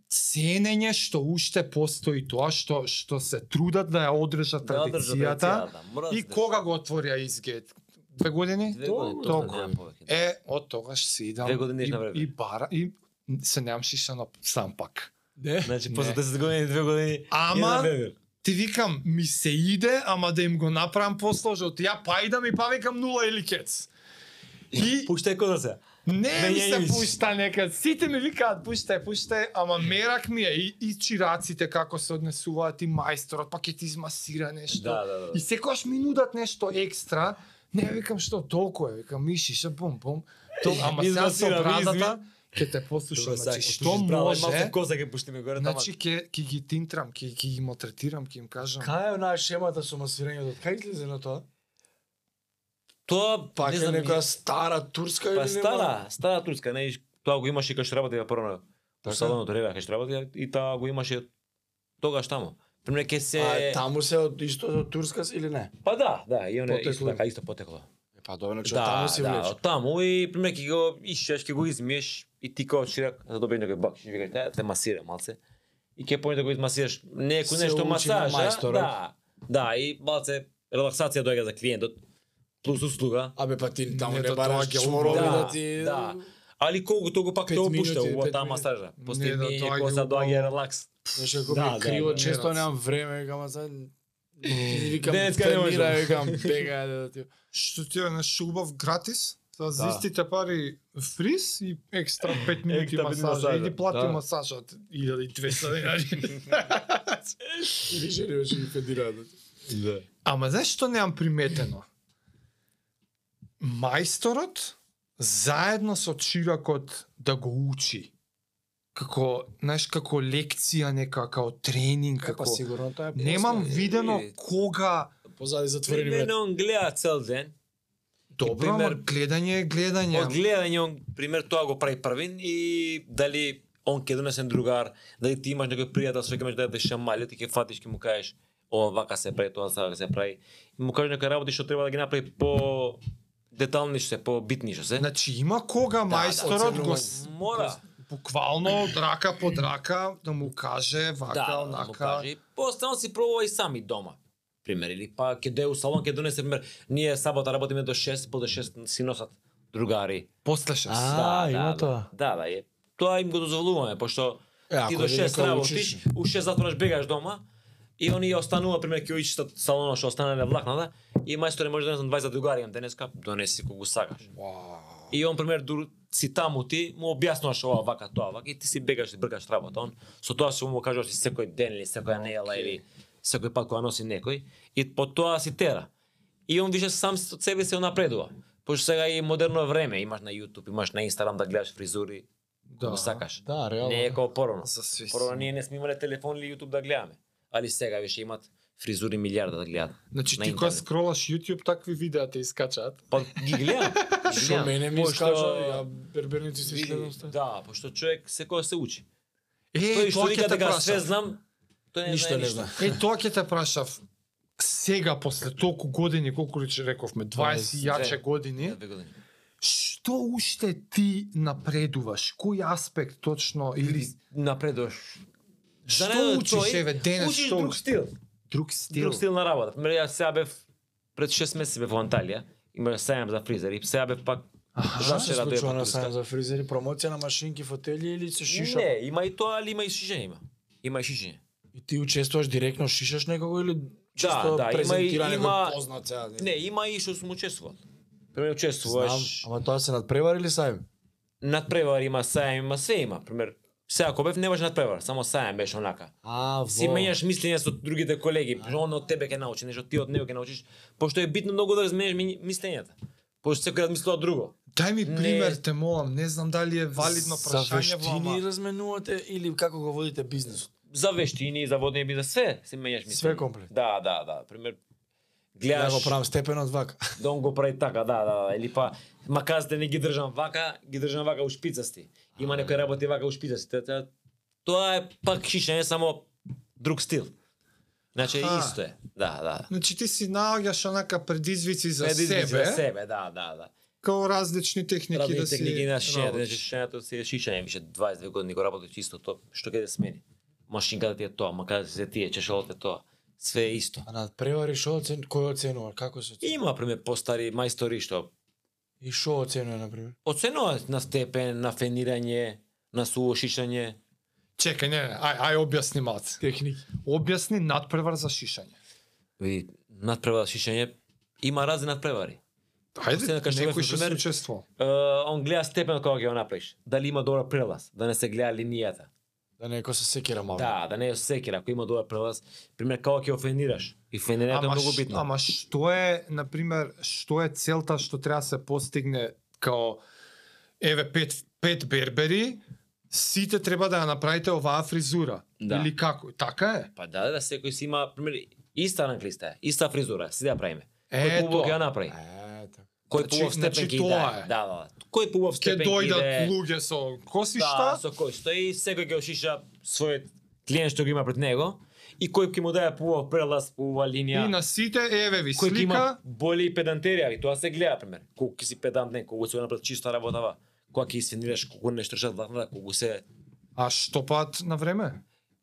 ценење што уште постои тоа што што се трудат да ја одржат
Да, одржа
традицијата.
традицијата, мора да
И
се
кога го отворија изгет? Две години?
Две години,
Толку.
да, толку, нема повеќе.
Е, од тогаш си идам
Две години
и,
на време.
и бара и се немам шишано сам пак.
не.
Значи,
Не.
после 10 години, 2 години,
Ама-
еден бебер.
ти викам, ми се иде, ама да им го направам посложот. Ја па идам и па викам нула или кец. И
Пуште коза се.
не ми
Мене
се
и вис.
пушта некад. Сите ми викаат пуште, пуште, ама мерак ми е. И, и чираците како се однесуваат, и мајсторот, па ќе ти измасира нешто.
Да, да, да.
И секогаш ми нудат нешто екстра. Не викам што толку е, викам миши ше бум бум. То, ама сега со
Измасира,
брадата ќе те послушам.
Добро, сега,
Значи
ако
што
слушаш брава, малку
може,
коза ќе пуштиме горе, тамак.
значи ќе ќе ги тинтрам, ќе ќе ги мотретирам, ќе им кажам.
Кај е онаа шемата со масирањето? Од кај излезе на тоа?
Тоа,
Пак
не
е
знам,
Па, некоја стара турска
Па
или
стара, стара турска, не, и тоа го имаше кај што работеа прво во
Така?
салонот рева кај што работеа и таа го имаше тогаш таму. При мене ке се
А таму се од исто од турска или не?
Па да, да, и оне исто
Потекло е.
така исто потекло.
Е, па добро, значи од
Да,
таму си
да,
влече.
од таму и при мене ке го ишеш, ке го измиеш и ти као чирак, за добиеш некој бак, ќе викаш, да, те масира малце. И ке помни да го измасираш неко
Се
нешто
учи на
масажа,
мајсторот.
да. Да, и малце релаксација доаѓа за клиентот плюс услуга.
Абе па ти таму
Не,
не
тоа
бараш
ќе
чворови
умре.
да ти
да. Али колку тоа пак
Пет
тоа
минути,
пушта во
пет
таа
минути.
масажа. После
Не, да,
ми
тоа ги
коса
убаво.
доаѓа релакс.
Знаеш како
Да,
Значи, ми е
да,
криво
да.
често
Мерац.
немам време, викам а за викам
Денеска не можам.
тренира, викам бега да ти.
што ти е на шубав гратис, за да.
Да.
истите пари фриз и екстра 5 минути
Екстра пет
масажа.
масажа,
Иди плати
да.
масажот 1200 денари.
Или жени беше ми федира да ти.
Да.
Ама знаеш што немам приметено? Мајсторот заедно со чиракот да го учи. Како, знаеш, како лекција нека, како тренинг, како...
Па сигурно тоа е.
Немам
Е,
видено
е.
кога
позади затворени
Примерно
врата.
он гледа цел ден.
добро, ама
пример-
гледање е гледање.
Од гледање он пример тоа го прави првин и дали он ке донесен другар, дали ти имаш некој пријател со кој имаш да те шамали, ти ке фатиш ке му кажеш ова вака се прави, тоа така се прави. И му кажеш некои работи што треба да ги направи по детални што се, по битни што се.
Значи има
Да,
кога мајсторот го с-
мора.
буквално драка по драка да му каже вака,
да, да му
онака.
каже. И Постојано си пробува и сами дома. Пример, или па ќе дое у салон, ќе донесе пример. Ние сабота работиме до 6, по до 6 си носат другари.
После шест.
А, има
да,
тоа.
Да, да, е. Тоа им го дозволуваме, пошто
Е, ако
ти до
види
6
некој
работиш,
учиш.
у 6 затвораш бегаш дома, и они останува, пример, ќе уичи салона што останале влакната, и мајстор може да донесам 20 другари, имам денеска, донеси кога го сакаш. И он пример дур си таму ти, му објаснуваш ова вака тоа вака и ти си бегаш и бркаш работа. Он со тоа што му кажуваш и секој ден или секоја недела или секој пат кога носи некој и по тоа си тера. И он више сам од себе се напредува. Пошто сега е модерно време, имаш на YouTube, имаш на Instagram да гледаш фризури, да. го сакаш.
Да, реално.
Не е како порано.
За све си.
Порано ние не сме имале телефон или YouTube да гледаме. Али сега више имат фризури милиарда да гледаат.
Значи
на
ти кога
интернет.
скролаш YouTube такви видеа те искачаат.
Па ги гледам. ги
Што
гледам.
мене ми
Пошто-
искажа, ја берберници се следам ста.
Да, пошто човек секоја се учи.
Е,
Тој што вика дека све знам, тој не
Ништо
знае
не
ништо.
знам.
Е, тоа ќе те прашав. Сега, после толку години, колку рече рековме, 20 и јаче
Две.
години,
Две години.
што уште ти напредуваш? Кој аспект точно или
Напредуваш.
Што
Да не,
учиш,
тој,
еве, денес,
Учиш
што
друг
учиш?
стил.
друг стил?
Друг стил на работа. Пример, јас сега бев пред 6 месеци бев во Анталија, имаше сајам за фризери, сега бев пак
Што се па,
вчера
случува
дојде
на
тука.
сајм за фризери? Промоција на машинки, фотели или се шиша?
Не, има и тоа, али има и шишење има. Има и шишење.
И ти учествуваш директно, шишаш некого или
Да,
чисто
да,
презентира
има
некој
и- има-
познат сега?
Не, има и што му учествуваат. Пример,
Знам,
учествуваш.
ама тоа се надпреварили сајм?
Надпревар има, сајам има, све има. Пример, сега ако бев не беше надпревар, само сајам беше онака.
А, во. Да.
си менјаш мислење со другите колеги, пошто он од тебе ќе научи нешто, ти од него ќе научиш, пошто е битно многу да разменеш ми- мислењата. Пошто секој размислува друго.
Дај ми
Не.
пример, те молам, не знам дали е валидно
За
прашање во ама.
вештини разменувате или како го водите бизнисот?
За вештини, за водни би за све, си менјаш мислење.
Све комплет.
Да, да, да. Пример
Ја
гледаш
го правам степенот вака.
да он го прави така, да, да, да, или па маказите не ги држам вака, ги држам вака у шпицасти. Има некои работи вака у шпицасти. Та- та- Тоа е пак шишење само друг стил. Значи
Аха.
исто е. Да, да.
Значи ти си наоѓаш онака предизвици за
Предизвици
себе,
за себе, да, да, да.
као различни техники
Радни
да си
техники на шењето,
работиш.
значи шењето си е шишање, више 22 години го работиш исто тоа, што ќе те смени. Машинката ти е тоа, макар се тие, чешалот е тоа, све е исто.
А надпревари што оцен... кој оценува? Како се оценува?
Има пример постари мајстори што
И што оценува на пример?
оценуваат на степен, на фенирање, на суво шишање.
Чекај, не, не, ај, ај објасни малце.
Техники.
Објасни надпревар за шишање.
Види, надпревар шишање има разни надпревари.
Ајде,
Освен ако
Така
што
некој
бев
што се
пример-
учество.
Е, он гледа степен кога ќе го направиш, дали има добар прелаз, да не се гледа линијата.
Да некој се секира малку.
Да, да не е секира, ако има добар прелаз, пример кога ќе офенираш. И фенирањето е многу
ш-
битно.
Ама што е, на пример, што е целта што треба да се постигне као еве пет пет бербери, сите треба да ја направите оваа фризура.
Да.
Или како? Така е.
Па да, да, секој си има, пример, иста ранглиста е, иста фризура, си да ја правиме. Кој
Е,
побог
тоа.
ја направи?
Е, така.
Кој
Значи-
побог степен
значи
ќе
тоа
даде?
е.
Да, да, да. Кој побог
Ке
степен ќе
дојдат
даде?
луѓе со
Да,
косишта,
со кој стои, секој ќе ошиша својот клиент што го има пред него и кој ќе му даде побог прелаз, убава линија.
и на сите, еве ви
кој ќе има
слика,
боли и педантерија, и тоа се гледа пример. Колку ќе си педантен, колку ќе направи чиста работава, кога ќе исфинираш, колку не штрчат вакната, колку се
а што пат на време?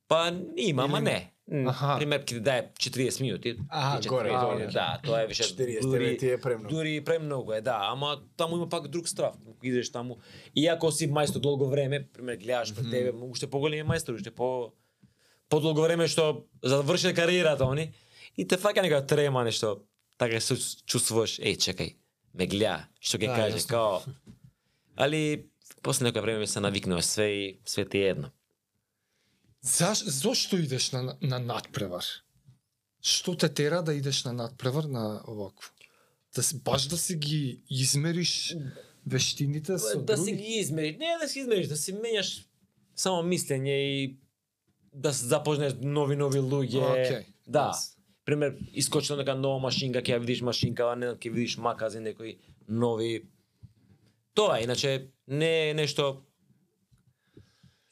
Па има, ама не.
Аха.
Пример ќе ти дае 40 минути.
Аха,
40
горе,
минути,
горе.
Да, тоа е више
40
дури-
ти е премногу.
Дури и премногу е, да, ама таму има пак друг страв. Кога Идеш таму, иако си мајстор долго време, пример гледаш пред тебе, уште поголеми мајстор, уште по по долго време што завршиле кариерата они и те фаќа некоја трема нешто, така се чувствуваш, еј чекај, ме гледа, што ќе
Да,
каже,
јасно.
као. Али после некој време се навикнуваш све и све ти е едно.
Заш, зошто идеш на, на надпревар? Што те тера да идеш на надпревар на овакво? Да си, баш да си ги измериш вештините со
да
други?
си ги измериш. Не да си измериш, да си менјаш само мислење и да се запознеш нови нови луѓе.
Океј,
Да.
јас.
Пример, искочила нека нова машинка, ќе ја видиш машинка, а не знам, ќе видиш макази некои нови. Тоа е, иначе не е нешто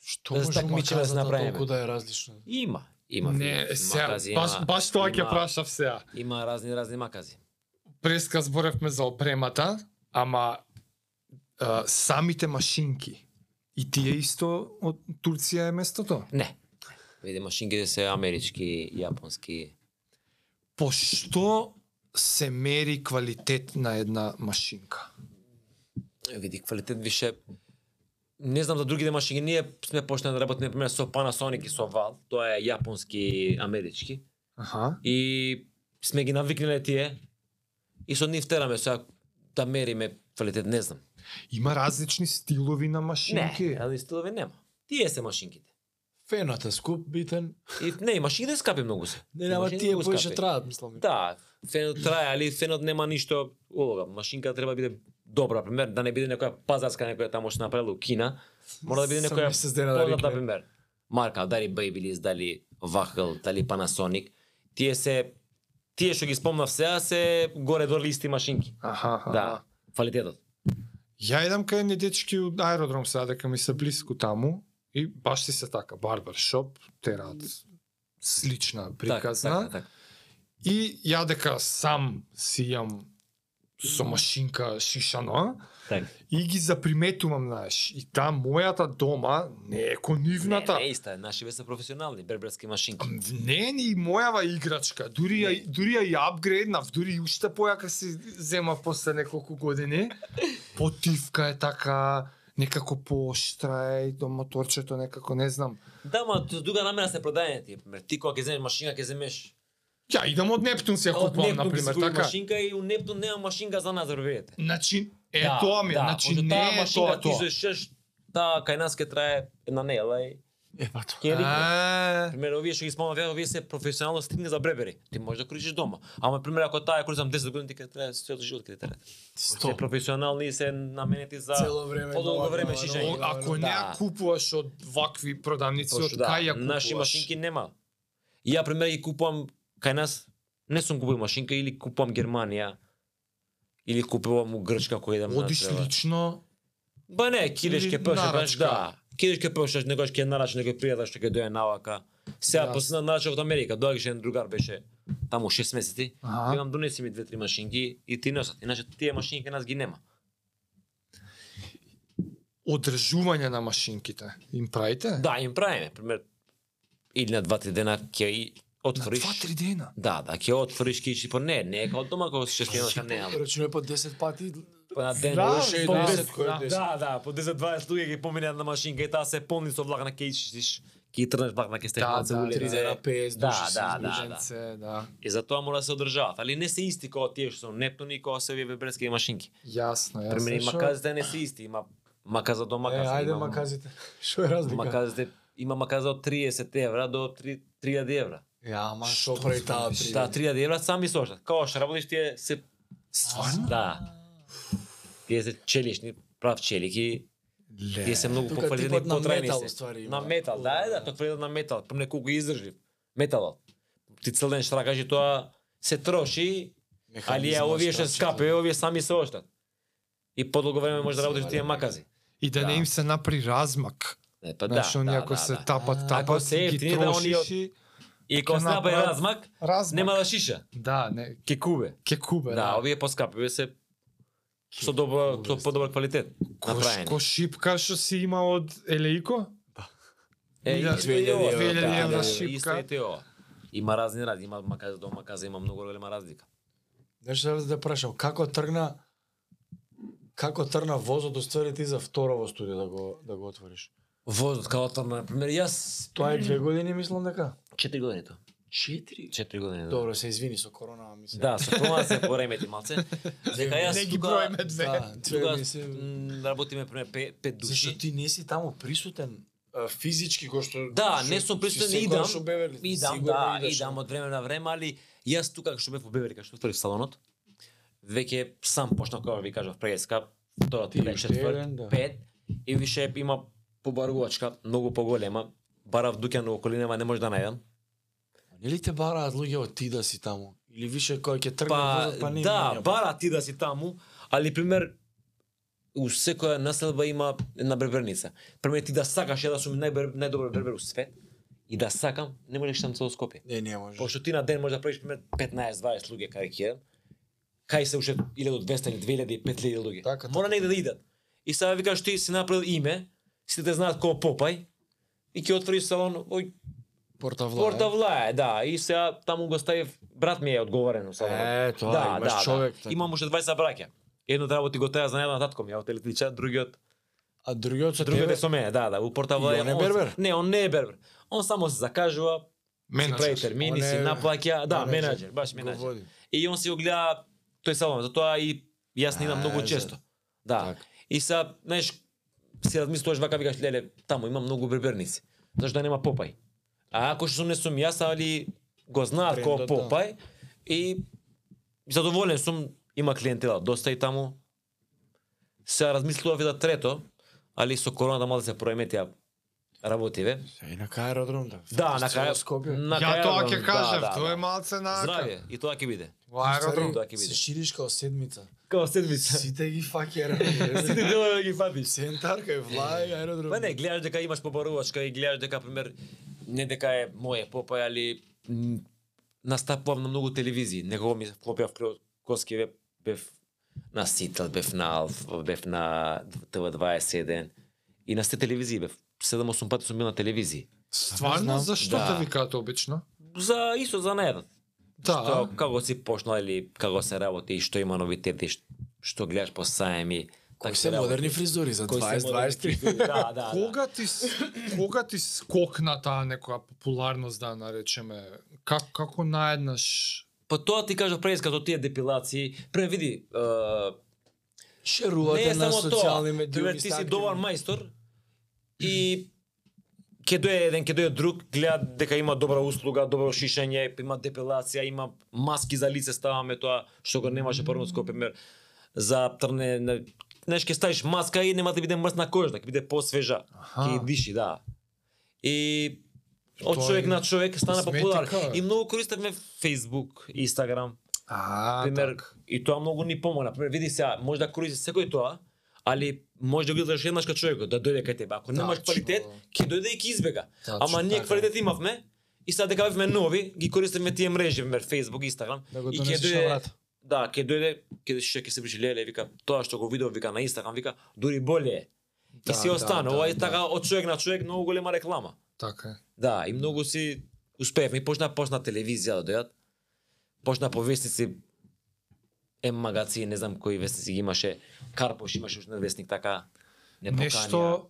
Што
Да
може
стапмиче да се
маказата
направиме.
толку да е различна?
Има. Има.
Не, сега,
макази,
баш,
има-
баш тоа ќе
има-
прашав сега.
Има разни, разни макази.
Преска зборевме за опремата, ама а, самите машинки. И тие исто од Турција е местото.
Не. Види, машинките се амерички, јапонски.
По што се мери квалитет на една машинка?
Види, квалитет више... Не знам за другите машини, ние сме почнали да работиме, например, со Panasonic и со Val, тоа е јапонски, амерички.
Аха.
И сме ги навикнале тие. И со нив тераме сега да мериме квалитет, не знам.
Има различни стилови на машинки.
Не, разни стилови нема. Тие се машинките.
Фенот е скуп, битен.
И не, и машинките скапи многу се.
Не, нема
Машините
тие
многу
поише
скапи.
траат, мислам. ми.
Да, фенот трае, али фенот нема ништо улога. Машинка треба да биде добра, пример, да не биде некоја пазарска некоја таму што направила у Кина. Мора да биде
Со
некоја
месец дена да
позната,
рикне.
пример. Марка, дали Babyliss, дали Вахл, дали Panasonic. Тие се тие што ги спомнав сега се горе до листи машинки.
Аха, аха.
Да, квалитетот.
Ја едам кај едни дечки од аеродром сега дека ми се близко таму и баш си се така барбершоп, терат слична приказна.
Така, така, така.
И ја дека сам си јам со машинка шишано,
така.
и ги заприметувам, знаеш, и та мојата дома не е кон нивната.
Не, не иста, е, нашиве се професионални берберски машинки.
Не, не и мојава играчка, дури ја, дури ја и апгрейднав, дури и уште појака се зема после неколку години. Потивка е така, некако поштра е, до моторчето некако, не знам.
Да, ма с друга намера се продајање ти, пример. Ти кога ќе земеш машина, ќе земеш
Ја идам од Нептун се ја
од
купувам,
Нептун ќе си
например,
купи
така.
машинка и у Нептун нема машинка за нас, верувате.
Значи, е тоа ми, е, значи
пошто
не
Да, таа
е
машина
тоа
Ти
тоа.
што шеш, таа кај нас ќе трае една нела и
Е, па тоа.
ќе рикне.
А,
Пример, овие што ги спомнав, ја, овие се професионално стигне за бребери. Ти можеш да корistиш дома. Ама пример ако таа ја користам 10 години, ти ќе трае целиот живот ќе ти трае. Се
Стоп.
професионални и се наменети за
Цело време. да,
подолго
нова,
Да. време
нова,
шишење.
О,
нова,
ако
нова.
не ја
Да.
купуваш од вакви продавници, од
Точно, да.
кај ја купуваш?
Наши машинки нема. И ја пример ги купувам кај нас не сум купил машинка или купувам Германија или купувам у Грчка кој едам на
Одиш
треба.
лично,
Ба не, кидеш
Или
ќе пешаш,
нарачка.
да. Кидеш ќе пешаш, некој ќе нараш некој пријател што ќе дојде навака. Сега
Јас.
после нарачав од Америка, доаѓаше еден другар беше таму 6 месеци.
Аха.
Викам донеси ми две-три машинки и ти носат. Иначе тие машинки кај нас ги нема.
одржување на машинките им правите?
Да, им правиме, пример или на 2-3 дена ќе и
На
отвориш.
два-три дена.
Да, да, ќе отвориш кичи, па не, не е као дома кога се ќе имаш не, ама
Рачуне по 10 пати.
па на ден.
Да,
Беше и
по
10,
десет,
кој
да.
е 10.
Да, да, по 10-20 луѓе ќе поминат на машинка и таа се полни со влак на ќе ичиш, ќе и трнеш влак на ќе стеќе
Да,
малце
да,
уле.
три
30 на 50
Да,
души се
да,
изближат.
да, да.
Женце, да.
И затоа мора да се одржаваат, али не се исти како тие што се нептуни и кога се овие веберски машинки.
Јасно, јасно.
Пример, и
Да, шо?
маказите не се исти, има маказа до
Е,
маказа.
ајде
има
маказите. Што е разлика?
Маказите има маказа од 30 евра до 3 3000 евра.
Ја, ма
Што
што
прави таа
знаеш?
Три
Да, 3000 евра сами се оштат. Као што работиш тие се
Стварно?
Да. Тие се челишни, прав челики. Тие се многу
Тука
поквалитетни и
типот на
потрајни
метал,
се.
уствари, има.
На метал, да, е, да, тоа квалитет на метал, прем неколку издржлив. Металот. Ти цел ден штракаш и тоа се троши, али ја овие што скапе, овие сами се оштат. И подолго време може да работиш тие макази.
И да,
Да.
не им се направи размак.
Е, па да,
Значи,
Знаеш, они
да,
ако
да,
се
да.
тапат,
Ако
тапат,
се
ги
ефтини, да,
трошиш
они
и...
И кога
ќе
се направи
направат
размак,
Размак.
нема да шиша.
Да, не,
Ке кубе.
ке кубе,
Да,
да.
овие поскапи, овие се со добро, со подобар квалитет.
Кош,
направени.
кошипка што си има од Елеико?
Е,
Да,
и исто и ова,
2000
да,
евра
да,
шипка.
исто и те ова. Има разни ради, има маказа до маказа, има многу голема разлика.
Знаеш што да те прашам, како тргна како тргна возот оствари ти за второ во студио да го да го отвориш?
Возот како тоа, например, јас
Тоа е две години мислам дека.
4 години тоа. 4? 4 години. да.
Добро, се извини со корона, мислам.
Да, со тоа се поремети малце. Дека јас
не ги
тука,
бројме две.
да,
тука
тука, се...
м, работиме пример 5
Зашто
души.
ти не си таму присутен а, физички кој што
Да,
што
не сум
си
присутен,
секогаш
идам,
во Беверли,
Идам,
сигурно
да,
идаш.
идам од време на време, али јас тука што бев во Беберика, што отворив салонот, веќе сам почнав како ви кажав преска, второт
Ти
ден,
уште
четврт,
еден, да.
пет и више има побарувачка, многу поголема, барав дуќан во околинава не може да најдам.
Нели те бараат луѓе од ти да си таму? Или више кој ќе тргне
Па,
возот, па не
да,
менја, па.
бара ти да си таму, али пример у секоја населба има една берберница. Преме ти да сакаш ја да сум најбер, најдобар бербер у свет и да сакам, не можеш сам цело Скопје.
Не, не може.
Пошто ти на ден можеш да правиш пример 15-20 луѓе карикирам. Кај се уште 1200 или 2000 или 5000 луѓе.
Така,
Мора негде да идат. И сега викаш ти си направил име, сите те знаат кој Попај и ќе отвориш салон, ој,
Порта Влае.
Порта Влае, да, и сега таму го ставив брат ми е одговорен у салонот.
Е, тоа, имаш човек, така.
Да, Имам уште 20 браќа. Едно работи го таа за најава на татко ми, а од електричар, другиот
А другиот со
другиот
тебе?
е со мене, да, да, у Порта
И
Влае.
он е
он се-
бербер?
Не, он не е бербер. Он само се закажува, си прави
Менеджер.
термини,
Он
си
е
наплаќа, да,
менеджер.
менаџер, баш
Го
менаџер.
води.
И он си го гледа тој салон, затоа и јас не имам
А,
многу
за-
често. Да.
Така.
И са, знаеш, си размислуваш вака викаш леле, таму има многу берберници. Зашто да нема Попај? А ако што сум не сум јас, али го знаат кој
Брендот, да.
Попај и задоволен сум, има клиентела доста и таму. Се размислував и да трето, али со короната мал да се проеметија работиве.
Се, И на кај аеродром, да.
Да, на
Цела
крај.
Скопје.
на
Ја
крај
тоа
аеродром,
ќе
да,
кажев,
да,
тоа е
да.
малце на
Здравје, и тоа ќе биде.
Во аеродром.
да ќе биде.
Се шириш као седмица.
Као седмица.
Сите ги факера.
Сите дела да ги фатиш.
Центар кај Влае, аеродром.
Па не, гледаш дека имаш побарувачка и гледаш дека пример не дека е мое попај, али м, настапувам на многу телевизии. Некога ми се вклопиа вклю- коски бев, бев на Сител, бев на Алф, бев на ТВ27 и на сте телевизии бев. 7-8 пати сум бил на телевизии.
Стварно,
Знам.
зашто
Да.
те викаат обично?
За исто за најдат.
Да.
Што, како си почнал или како се работи и што има новитети, што, што гледаш по сајми.
Кои се модерни фризури за 20-23.
Да, да, да.
Кога ти с- кога ти скокна таа некоја популарност да наречеме? Как како наеднаш
Па тоа ти кажа пред като тие депилации, пре види, е, не
Шерувате
е
на
само тоа.
социјални медиуми.
Пример, ти си добар мајстор и ќе дое еден, ќе дое друг, гледа дека има добра услуга, добро шишење, има депилација, има маски за лице ставаме тоа што го немаше прво Скопје пример за трне на знаеш ќе ставиш маска и нема да биде мрсна кожа, ќе биде посвежа, ќе диши, да. И од
Тоа
човек
е
на човек стана
козметика,
популарен.
бе.
И многу користевме Facebook, Instagram,
А,
пример,
така.
и тоа многу ни помогна. Пример, види сега, може да користиш секој тоа, али може да го гледаш еднаш кај човекот, да дојде кај тебе. Ако немаш
Значи,
Тачно.
квалитет, ќе дојде и ќе избега.
Тачно,
Ама ние
така.
квалитет имавме, и сега дека бевме нови, ги користиме тие мрежи, пример, Facebook, Instagram,
Да го
и ќе
донесеш на
дојде
врата.
Да, ќе дојде, ќе ќе ќе се беше леле, вика, тоа што го видов, вика на Instagram, вика, дури боле. е». И
Да,
се
да,
останува
да,
и така од човек на човек многу голема реклама.
Така е.
Да, и многу си успеевме. И Почна почна телевизија да дојат. Почна по вестници М магазин, не знам кои вестници ги имаше. Карпош имаше уште еден вестник така не поканија.
Нешто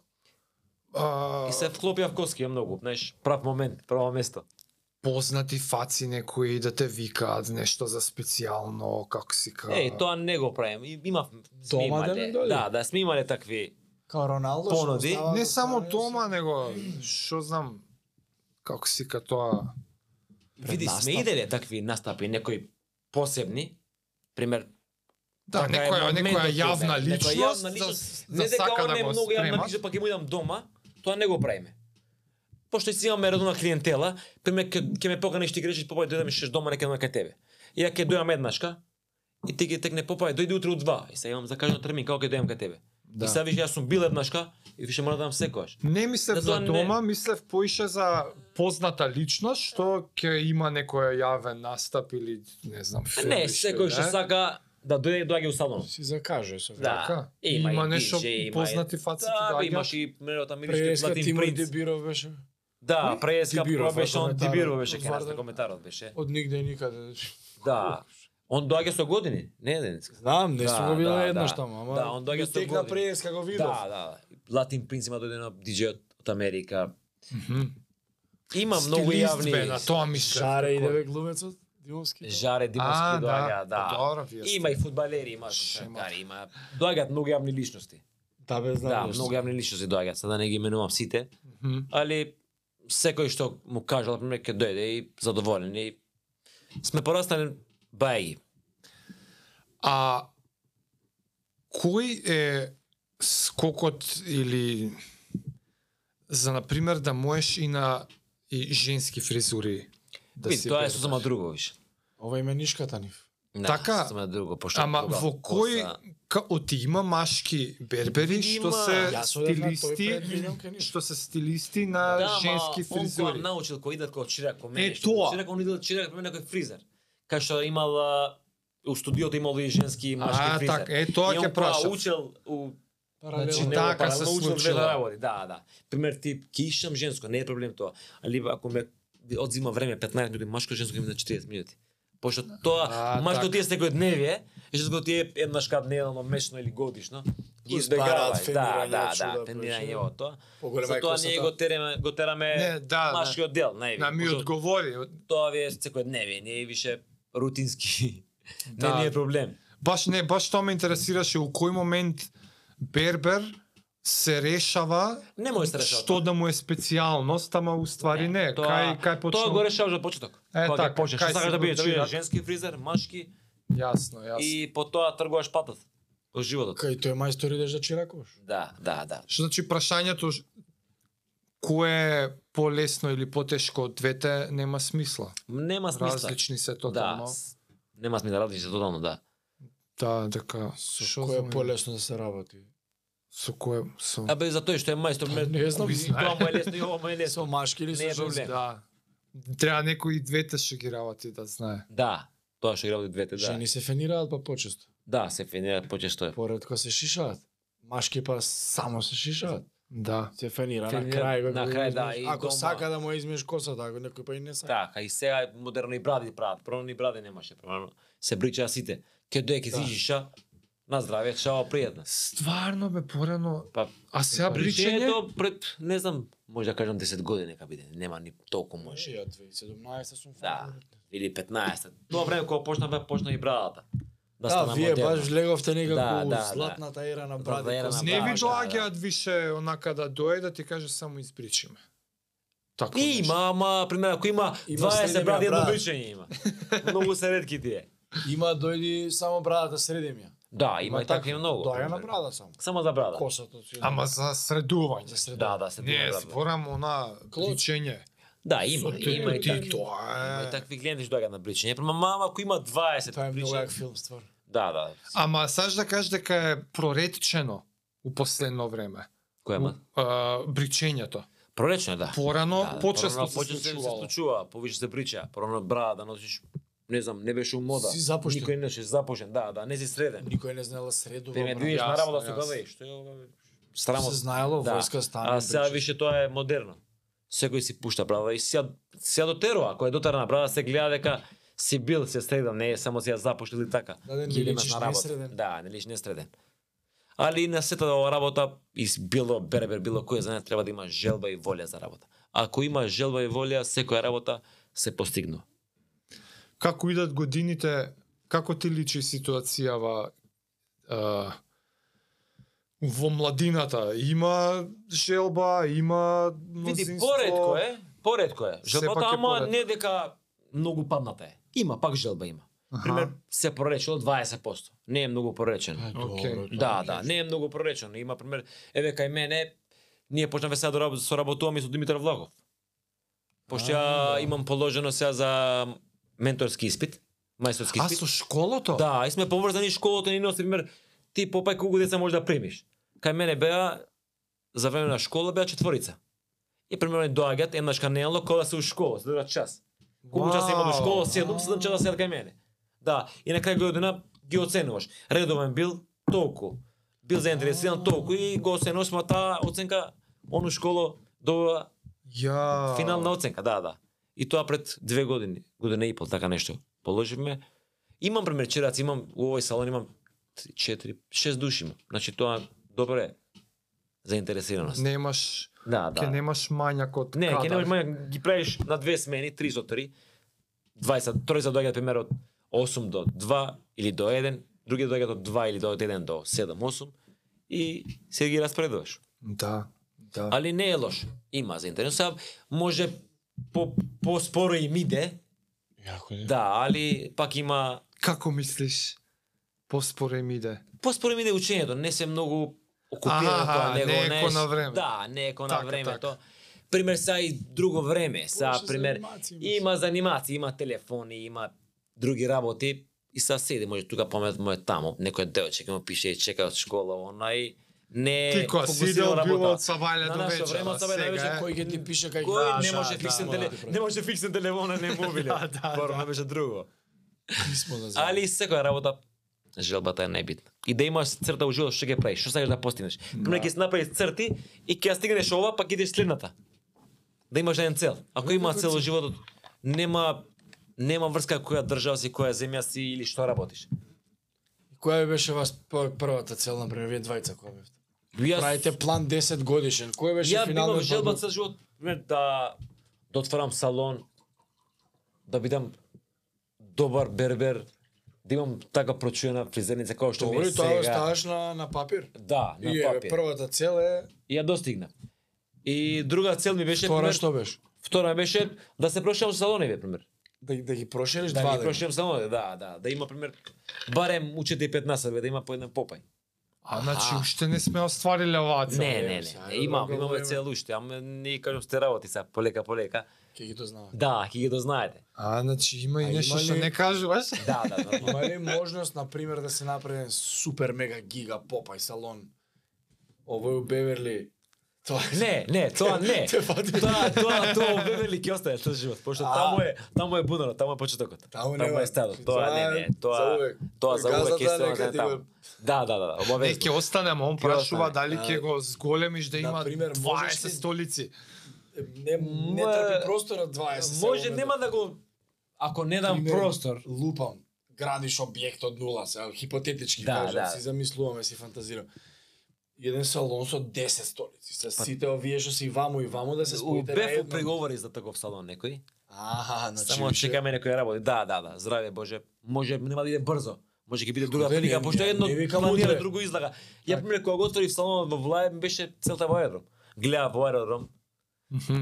а,
И се вклопија в коски е многу, знаеш, прав момент, право место.
познати фаци некои да те викаат нешто за специјално, како си ка.
Е, тоа не го правим. И Има сме
Да. Дома да
имале.
не дојде?
Да, да, сме имале такви.
Као Роналдо. што
Понуди.
остава
не
да
само
стане
дома, него што знам како си ка тоа.
Пред
Види, сме
настап.
иделе такви настапи, некои посебни. Пример,
Да,
Така е
некоја
моментот
некоја
кај
јавна
мене. Некоја
личност,
јавна
за,
личност.
за
не дека
сака
он
да
е
го
многу јавна
спрема.
личност, па ќе му идам дома, тоа не го правиме. Пошто си имаме редовна клиентела, пример ке, ке ме поканиш ти грешиш, попај дојдам и шеш дома нека дојдам кај тебе. И ја ќе дојам еднашка и ти ќе текне попај дојди утре у 2 и сега имам закажан термин како ќе дојдам кај тебе.
Да.
И сега виж јас сум бил еднашка и више мора да дам секогаш.
Не мислев
Затоа
за
Да не-
дома, мислев поише за позната личност што ќе има некоја јавен настап или не знам филм
Не,
или што
секој
и
што
да е.
сака да дојде доаѓа у салонот.
Си закаже со
Да.
Така.
Има,
Има
и
нешто
DJ, има и-
познати фаци
Да,
ти
бе,
доаѓаат.
имаш и мерота ми
Преска
Латин
Тимур
принц.
Дебиров беше.
Да,
Кој?
преска
Дибиров
прва
е
беше он
коментарот.
Дибиров беше кај
Вардар.
нас на коментарот беше.
Од нигде и никаде. значи.
Да. Он доаѓа со години, не еден.
Знам, не сум
Да,
го видел
да,
еднаш
да.
таму, ама.
Да, он доаѓа
ми
со
текна
години.
преска го
Да,
видов.
да. Латин принц има дојден диџеј од Америка.
Мгм.
Има многу
Стилист
јавни
бе, на тоа мислев.
Шаре и
како-
деве глумецот, Димовски.
жаре
А, па
Димовски доаѓа, да.
Добро, вие сте.
Има и фудбалери, има шаркари, има. Доаѓаат многу јавни личности.
Да, бе, знам.
Да,
нешто.
многу јавни личности доаѓаат, сега да не ги именувам сите,
Мгм.
али секој што му кажа, например, ќе дојде и задоволен и сме пораснали бајги.
А кој е скокот или за например да можеш и на и женски фризури да
Види, тоа е
береш?
сосема друго више.
Ова име нишката нив.
Не,
Така,
сме друго, пошто
Ама
друга
во кој
коса.
ка, оти има машки бербери што
Има.
се
Јас одев на тој пред
стилисти
Милјан Кенис.
што се стилисти на
да,
женски
ама, Он
фризури.
кој научил кој идат кој чирак кој мене.
Е,
што кој
тоа.
Чирак, он идат чирак кој мене кој фризер. Кај што имала у студиото имало и женски и машки
А,
фризер.
така, е, тоа ќе
И он тоа
прашам.
учел у
Значи,
него
така
паралелно
се
учел две
случила.
работи. Да, да. Пример ти кишам женско, не е проблем тоа. Али па, ако ме одзима време 15 минути, машко женско ми на 40 минути. Пошто тоа
А,
машко
така.
ти е секојдневие, женско ти е еднаш кадневно, месечно или годишно.
Ги
Избегавај.
изпарат,
Да,
фенирање,
да, да,
чуда,
па
фенирање
прашање.
во тоа.
Поголема
За
е
тоа ние
косата.
го тераме, го тераме
Не, да,
машкиот дел, највише.
На ми одговори.
Тоа ви е секојдневие, не е више рутински.
Да.
Не ни е проблем.
Баш не, баш тоа ме интересираше у кој момент бербер се решава
Не може да се решава.
што да му е специјалност, ама уствари не, кај кај
Тоа го
почнува.
решаваш од почеток.
Е,
Кога
така,
ќе почнеш,
кај
што сакаш
си
да бидеш, да бидеш
починак.
женски фризер, машки
Јасно, јасно.
и по тоа тргуваш патот во животот.
Кај тој мајстор идеш да чиракуваш.
Да, да, да.
Што значи прашањето ж- кое е полесно или потешко од двете нема смисла.
Нема смисла.
Различни се
Да.
тотално.
с- Нема смисла, различни се тотално, да.
Да, дека
Со
што
кое
знам,
е полесно да се работи?
со кое со
Абе за тој што е мајстор, ме-
Па Не знам,
и
знае.
тоа му е лесно и ова му е лесно.
Со машки или
Не
со
е
женски?
проблем.
да. Треба некој и двете што ги работи да знае.
Да, тоа што играле двете, да.
Жени се фенираат па почесто.
Да, се фенираат почесто е.
Поредко се шишаат. Машки па само се шишаат.
Да.
Се фенира на
Фенира,
крај. бе,
на
кога
крај,
измеш-
да, и
Ако
дома.
сака да му ја измеш косата, ако некој па и не сака.
Така, и сега модерно и бради прават. Прво ни бради немаше, прво се бричаа сите. Ке дое ке
Да.
си жиша, на здраве, шао пријатно.
Стварно бе порано.
Па,
А сега бричење?
Бричењето пред, не знам, може да кажам 10 години нека биде, нема ни толку
Може,
може.
ја 2017 сум
Да,
фенирал.
или 15. Тоа време кога почна бе, почна и брадата. Да,
Да,
стана
вие
модерна.
баш влеговте
Да,
некако
да,
да,
да.
златната ера на
Златната
бради.
ера
коса.
на
Не
Да,
ви
да,
доаѓаат више онака да дое да ти каже само избричиме. Тако
И
нешто.
Има, ама, пример, ако има
Има
20
следи
бради,
ме,
едно
брат.
бричење има. Многу се редки тие.
Има дојди само брадата средемија.
Да, има и така и многу.
Доја на
пример. Да.
брада само.
Само за брада.
Косата си.
Ама за средување.
за средемија.
Да, да, се
Не,
дума за брада.
зборам она
Клоч.
бричење.
Да, има,
Со
има и
ти-
така. Има и
тоа е.
такви клиенти што доаѓаат на бричење. Према мама, ако има 20
Тоа е многу
бричења-
јак филм ствар.
Да, да.
Ама саш да кажеш дека е проретичено у последно време.
Кој има?
А, бричењето.
Проречно е, да.
Порано
Да,
почесто
порано
се
почесто се
случувало.
случува, повише се прича, порано брада да носиш, не знам, не беше у мода.
Си запушен.
Никој не беше запушен, да, да, не си среден.
Никој не знаел да средува.
Ти ме
брат.
движиш на
јасно,
работа со
јасно.
каве, што е ова? бе?
Се
Срамот.
знаело,
Да.
војска стана.
А сега
бричаш.
више тоа е модерно. Секој си пушта брада и сега сега дотерува, ако е дотера на брада се гледа дека си бил се среден, не е само си ја запушил и така.
Да, да, не
Ги имаш
личиш
на работа.
несреден.
Да, не личиш несреден. Али и на сета да ова работа, из било бербер, било кој за не треба да има желба и волја за работа. Ако има желба и волја, секоја работа се постигнува.
Како идат годините, како ти личи ситуацијава а, во младината? Има желба, има
Види,
мнозинство.
поредко е, поредко е.
Сепак
Желбата,
е
ама
поредко.
не дека многу падната е. Има, пак желба има.
Аха.
Пример, се проречено 20%. Не е многу проречено.
Е,
Океј.
добро, тоа
Да,
е
да,
нешто.
не е многу проречено. Има пример, еве кај мене ние почнавме сега да раб- соработуваме и со Димитар Влагов. Пошто
А,
ја
да.
имам положено сега за менторски испит, мајсторски
А
испит.
со школото?
Да, и сме поврзани школото ни носи пример ти попај колку деца можеш да примиш. Кај мене беа за време на школа беа четворица. И примерно доаѓаат еднаш канело кола се у школа, за друга час. Колку часа има до
Вау.
школа, 7, 7 часа сед кај мене. Да, и на крај година ги оценуваш. Редовен бил толку. Бил заинтересиран толку и го оценуваш, ма таа оценка ону школо добива
Ја...
финална оценка, да, да. И тоа пред две години, година и пол, така нешто. Положивме. Имам примерчераци, имам у овој салон имам 4, 6 души имам. Значи тоа добре е. Заинтересираност.
Немаш,
да, да.
ќе немаш мањак од
Не, ќе
кадар.
немаш мања, ги правиш на две смени, 3 со 3. 20, трој за доаѓаат пример од 8 до 2 или до 1, други доаѓаат од 2 или до 1 до 7, 8 и се ги распредуваш.
Да, да.
Али не е лошо. Има за интерес. Сега може по поспоро им иде.
Јако е.
Да, али пак има
Како мислиш? Поспоре ми иде.
поспоро им иде учењето, не се многу окупирано
Аха,
тоа, него
не е
не
ко на време.
Да, не е ко на
Така,
време
така.
тоа. Пример са и друго време, са
Повеќе за
пример
анимации, мислам.
има занимаци, има телефони, има други работи И сега седи, може тука памет му е таму, некој девојче ќе му пише и чека од школа, она и не е
Ти кој си
фокусирал
идел било
работа.
од сабајле
На
до
нашо
вечер.
време
а
од сабајле до
сега
вечер
е-
Кој ќе ти пише кај
Да. Кој не
да,
може
да,
фиксен
да,
теле,
да,
не може фиксен телефона не мобиле.
Да, да,
Порно беше друго.
писмо да
Али секоја работа желбата е најбитна. И да имаш црта у живот што ќе правиш, што сакаш да постигнеш. Пример ќе си направиш црти и ќе ја стигнеш ова, па ќе идеш следната. Да имаш еден цел. Ако има цел у животот, нема нема врска која држава си, која земја си или што работиш.
Која ви беше вас п- првата цел, на пример, вие двајца која бевте?
Јас
Правите план 10 годишен. Кој беше
ја
финалниот
имам желба
продукт?
цел живот, пример да да отварам салон, да бидам добар бербер, да имам така прочуена фризерница како што ми
Добре,
е
тоа го
сега.
ставаш на, на папир.
Да, на
И е,
папир.
првата цел е...
И ја достигна. И друга цел ми беше
Втора
пример,
што беше?
втора беше да се прошам со салони, бе, пример.
Да, ги- да ги прошериш
Да
два
ги
дена.
прошам салони, да, да, да има пример барем учите и 15 бе, да има по еден попај.
А, значи, уште не сме оствариле оваа цел.
Не, не,
сега,
не,
ајде,
имам,
друго
имаме
време.
цел уште, ама не кажам сте работи сега, полека, полека.
Ке ги то знава.
Да, ќе ги дознаете.
А, значи, има
А,
и нешто
има
што
ли-
не кажуваш.
Да, да, нормално.
Има ли можност, на пример, да се направи еден супер мега гига попај салон? Овој у Беверли. Тоа е
Не, не, тоа не.
Те фати.
Тоа, тоа, тоа во Беверли ќе остане цел живот, пошто
А.
таму е, таму е бунаро, таму е почетокот.
Таму
Таму
нема.
е стадот. Тоа не, не,
за
тоа
увек.
тоа за увек ќе
Газата
се
нека
остане
ти
таму.
го-
Да, да, да, да,
Не,
обавезно.
ќе останем, он
Ќе
прашува
остане.
дали ќе го зголемиш да има
например, можеш
20
ли-
столици.
Не, не
Ма-
трпи простора 20.
Може
село,
нема да го ако не дам
Пример,
простор.
Лупам. Градиш објект од нула, сега хипотетички
Да,
кажам,
да.
си замислуваме, си фантазирам. Еден салон со 10 столици, со сите овие што си ваму и ваму да се
Па- У
споите на
Бефо
едно.
преговори за таков салон некој.
Аха, значи
Само
више-
чекаме некој работи. Да, да, да, здраве Боже. Може нема да иде брзо. Може ќе биде друга
Вели,
прилика,
не,
пошто едно
не викам
планира
утре.
друго излага. Ја пример кога го отворив салонот во Влај ми беше целта во аеродром. Гледа во аеродром.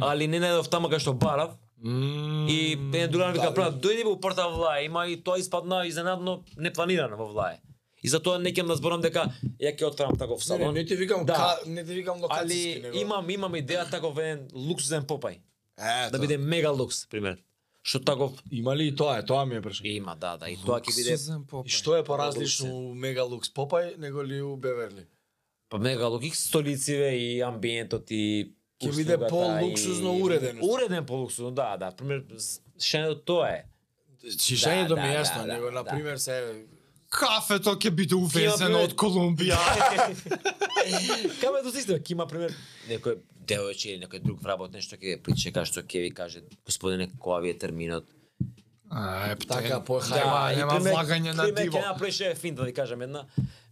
Али не најдов таму кај што барав и еден друга ми
да,
вика брат, дојди во порта Влај, има и тоа испадна изненадно непланирано во Влај. И затоа не ќе назборам дека ја ќе отворам таков
Не, не,
салон.
не ти викам,
Да.
ка, не ти викам локацијски,
Али
него.
имам имам идеја таков еден луксузен попај.
Ето.
Да биде мега лукс, пример. Што таков
Има ли и тоа е, тоа ми е прашање.
има, да, да, и тоа ќе биде
Сузен Попај.
И што е поразлично у Мега Лукс Попај него ли у Беверли?
па мега лукс, столициве и амбиентот и
Ќе биде
услугата,
по-луксузно
и-
уреден.
Уреден по-луксузно, да, да. Пример, шенето тоа е.
Чишањето
да,
ми е
да,
јасно,
да,
него
да.
на пример се
Кафето ќе биде увезено
Има,
од Колумбија.
Каме до система, ќе има пример некој девојче или некој друг вработен што ќе причека што ќе ви каже господине која ви е терминот.
А, е,
така
така,
по
Да.
хајма.
нема влагање на
Приме
диво.
ќе направиш е финт да ви кажам една.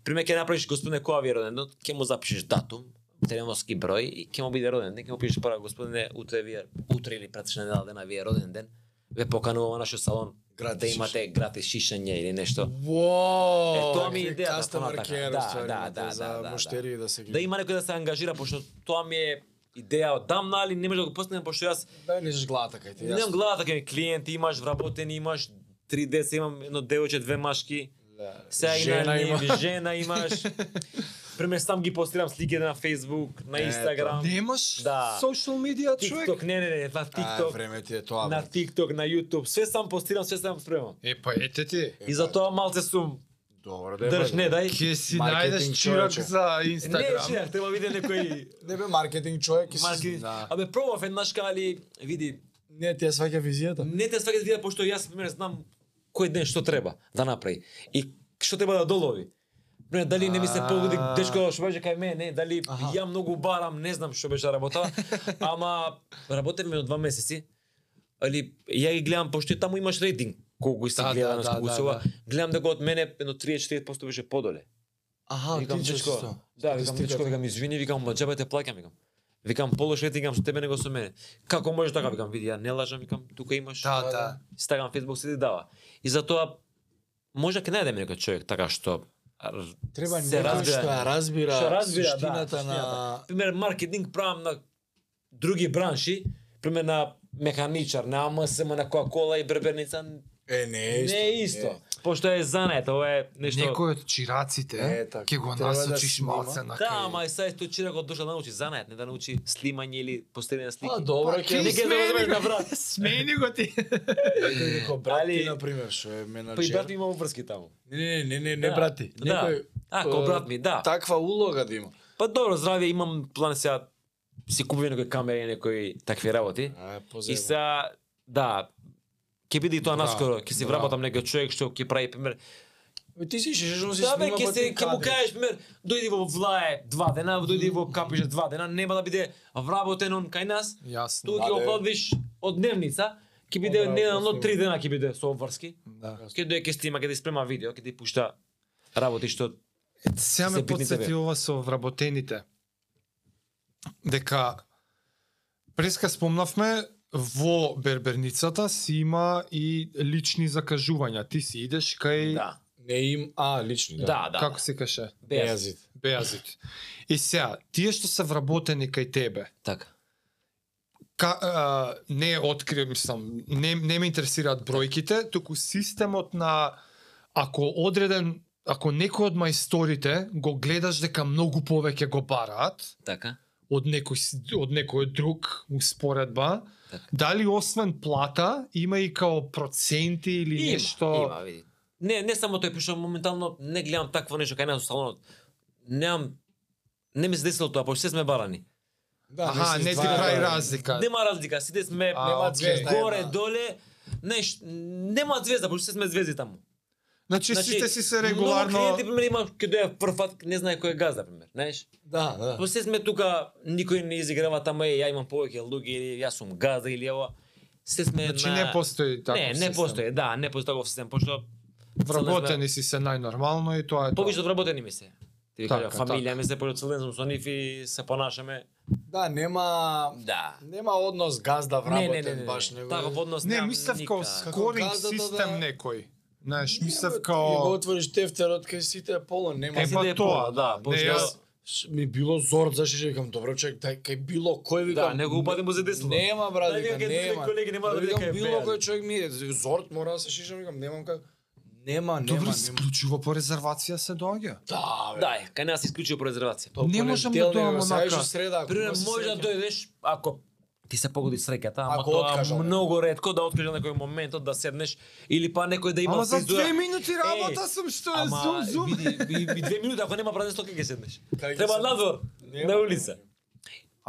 Приме ќе направиш господине која ви е родендот, ќе му запишеш датум, телефонски број и ќе му биде роден ден, ќе му пишеш пара господине утре ви е утре или претсна недела дена ви е роден ден. Ве поканувам во нашиот салон
Гратис
да имате гратис шишање или нешто.
Во!
Е, тоа ми е идејата
Кастомер
понатака.
care
Да, да, да, да,
за
да, да.
муштери да се ги.
Да има некој да се ангажира пошто тоа ми е идеја одамна, али не може да го постигнам пошто јас
да не жеш главата кај ти.
Немам
јасно.
главата кај клиенти, имаш вработени, имаш три деца, имам едно девојче, две машки.
Да.
Сега и
Жена
на
има.
нив, жена имаш. Пример сам ги постирам слики на Facebook, на
Ето.
Instagram,
Немаш
Да.
социјал медија, човек?
TikTok, не, не, не, на
А,
TikTok,
време ти е тоа.
на
брат.
TikTok, на YouTube, све сам постирам, све сам спремам.
Е, па ете ти.
И затоа малце сум
Добро да е,
држ
брат.
не дај.
Ке си најдеш
Маркетинг,
чирак
човече.
за
Не,
Инстаграм.
шеф, треба виде некој
Не бе маркетинг човек и си-
маркетинг.
Да.
Абе пробав еднаш али види,
Не ти ја сваќа визијата.
не те сваќа да видам пошто јас пример знам кој ден што треба да направи и што треба да долови. Пример, дали не ми се погоди
А.
дечко што беше кај мене, дали
Аха.
ја многу барам, не знам што беше работа, ама работевме од два месеци. Али ја ги гледам пошто и таму имаш рейтинг колку си
Да,
гледан,
да,
колку
да,
се
да,
ова. Гледам дека од мене едно 30-40% беше подоле.
Аха,
викам
ти
дечко.
што?
Да, викам дечко, викам извини, викам ма џабе те плакам, викам. Викам полош рейтинг имам со тебе него со мене. Како може така, викам, види, ја не лажам, викам, тука имаш.
Да, да.
Инстаграм, Facebook се ти дава. И затоа може ќе најдеме некој човек така што р-
Треба
се
некој
разбира.
што ја разбира,
Што разбира, да,
суштината на
суштината. пример маркетинг правам на други бранши, пример на механичар, на АМСМ, на Кока-кола и брберница,
Е, не е
не
исто.
е исто. пошто е занет, ова е нешто...
Некој од чираците
Е, така.
ќе го
Треба да
насочиш
снима.
малце на
Да, ама и сега тој чирак од душа да научи занет, не да научи слимање или постелење слики.
Па добро,
Па,
ќе
ќе
Не
нека
ќе да
смени
разбереш
го.
на брат.
Смени го ти.
некој брат ти
Али-
на пример што е
Па и брат
менаџер.
има врски таму.
Не, не, не, не, не
Да.
брати.
Да.
Некој
А, ко брат ми, да.
таква улога да има.
Па добро, здравје, имам план сега си купувам некои камери, некои такви работи.
А,
И
позема.
сега, да, ќе биде и тоа
Браво,
наскоро, ќе си
браво.
вработам некој човек што ќе прави пример.
Бе, Ти си шешно си
Да, бе,
снима,
ќе
па
се
ти
ќе му
кадри.
кажеш пример, дојди во Влае два дена, дојди во Капиже два дена, нема да биде вработен он кај нас.
Јасно.
Туѓу ќе
Да, бе.
оплатиш од дневница, ќе биде
Одработно
недално
снима.
три дена ќе биде со обврски.
Да.
Ќе дојде ќе снима, ќе ти спрема видео, ќе ти пушта работи што
Сега
Се
ме
битни
подсети
тебе.
ова со вработените. Дека преска спомнавме во Берберницата си има и лични закажувања. Ти си идеш кај
да.
Не им, а, лични, да.
Да, да.
како се каше?
Без.
Беазит.
Беазит. И сега, тие што се вработени кај тебе,
Така.
ка, а, не открив, мислам, не, не ме интересираат бројките, туку системот на ако одреден, ако некој од мајсторите го гледаш дека многу повеќе го бараат
Така.
од некој с- од некој друг успоредба,
Така.
дали освен плата има и као проценти или
Има,
нешто
има, види. Не, не само тој, пишам моментално не гледам такво нешто кај нас во салонот. Немам не ми се десело тоа, пошто се сме барани.
Да,
Аха,
си
не ти
издваја,
прави
да.
разлика.
Нема разлика, сите сме
Па, А,
нема
окей.
звезда, горе,
Една.
доле, неш, нема звезда, пошто се сме звезди таму.
Значи,
Значи,
сите си се
Многу
регуларно
клиенти, пример, има ќе доја прват, не знае кој е газ, пример, знаеш?
Да, да.
Пошто се сме тука, никој не изиграва тама, е, ја имам повеќе луѓе, или јас сум газа, или ова. Се сме
Значи
на...
не постои таков
Не, не
систем. Да.
постои, да, не постои таков систем, пошто
Вработени си се најнормално и тоа е тоа.
Повише од вработени ми се. Ти ви кажа,
Така,
фамилија ми се, пошто цел ден сум со нив и се понашаме.
Да, нема
Да.
нема однос газда
Не, не,
вработен
не, Така, не,
баш
не.
него.
Таков однос
Не,
немам
мислев као
никад.
скоринг
Газата да-
систем некој. Знаеш, мислев
Ти го
као...
отвориш тефтерот кај сите е полон, нема.
Е,
Си
па
да е
тоа,
пола, да,
не,
пошто
јас-
Ш- Ми било зор за шише, викам, добро човек, дај кај било кој викам.
Да, него упади му за десло.
Нема брат,
Дај
викам,
викам, кај
нема.
други колеги, нема да
Викам,
биде кај
било кој
Беа, викам.
човек ми е зорт, мора да се шишам, викам, немам как. Нема, нема,
Добро,
нема.
исклучува по резервација се доаѓа.
Да, бе.
да, е, кај нас исклучи по резервација.
Тоа
Не можам да
понеделник,
доам
бе, сега
онака.
беше среда, ако
Пример,
не се
може да
сеќам.
дојдеш ако ти се погоди среќата, ама
Ако
тоа
откажа, бе.
многу ретко да откажа некој моментот да седнеш или па некој да има
Ама за
фризура.
две минути работа
Е,
сум што е
Ама
зум зум.
види, ви, ви две минути ако нема празен стока ќе седнеш.
Кај ќе
Треба
седнеш?
надвор,
Нема,
на улица.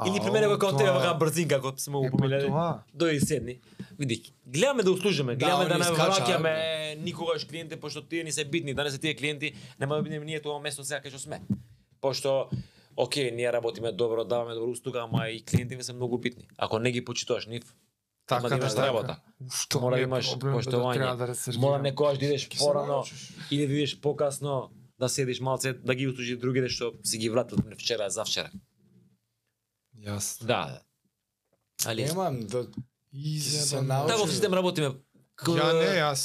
Или при мене како тебе вака брзинка како сме
Е, па
упоминале.
тоа.
Дој и седни. Види, гледаме да услужиме, гледаме
они
да не
скачаат,
враќаме никогаш клиенти пошто тие ни се битни, данес се тие клиенти нема да бидеме ние тоа место сега кај што сме. Пошто Океј, ние работиме добро, даваме добра услуга, ама и клиенти ми се многу битни. Ако не ги почитуваш нив,
Така
Ама да
да
имаш
така.
работа.
Уф, тоа
мора
ми
да
е
имаш
проблем, бе, да треба
поштовање.
да резервирам.
мора некогаш да идеш
Ќе се
порано
научиш.
или да идеш покасно, да седиш малце, да ги услужи другите што си ги вратил вчера, завчера.
Јасно.
Да, да. Али
Немам, да,
Изебано.
научи.
Таков систем работиме. К-
Ја не, јас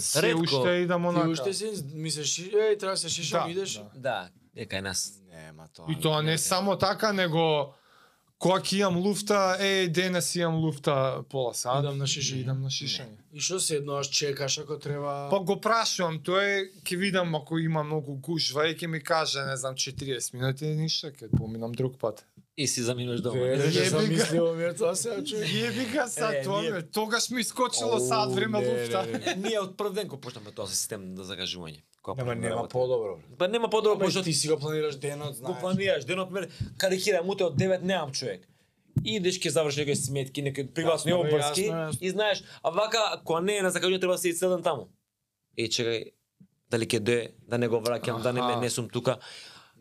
се
Ретко.
уште идам
Ти
онака.
уште си мислиш, еј, треба се шишам,
Да,
идеш.
да.
Да, е кај нас.
Нема тоа.
И тоа не само така, него кога ќе имам луфта, е, денес имам луфта пола сат.
Идам на шишање.
Идам на шишање.
И што се едноаш чекаш ако треба...
Па го прашувам, тој ќе видам ако има многу гужва и ќе ми каже, не знам, 40 минути и ништо, ќе поминам друг пат.
И си заминуваш дома.
Вере,
Јеби
што
га.
сам мислил ми е тоа се чуј.
Јеби га са
Е,
тоа,
ние-
бе, тогаш ми скочило сад време
Оу, не,
луфта.
не, не.
Ние од прв ден го почнаме тоа систем за закажување. Кога
Нема,
почнеме
нема
работа.
подобро. бе.
Па нема
Ама
подобро, пошто
и ти
ти
си го планираш денот,
го
знаеш.
планираш денот, пример, карикирам утре од 9 немам човек. Идеш ќе завршиш некои сметки, некои приватни
Јасно, бе,
обврски
јасно, јасно.
и знаеш, а вака кога не е на закажување треба да се седам таму. И чекај дали ќе дое, да не го враќам, да не ме
Аха.
не сум тука.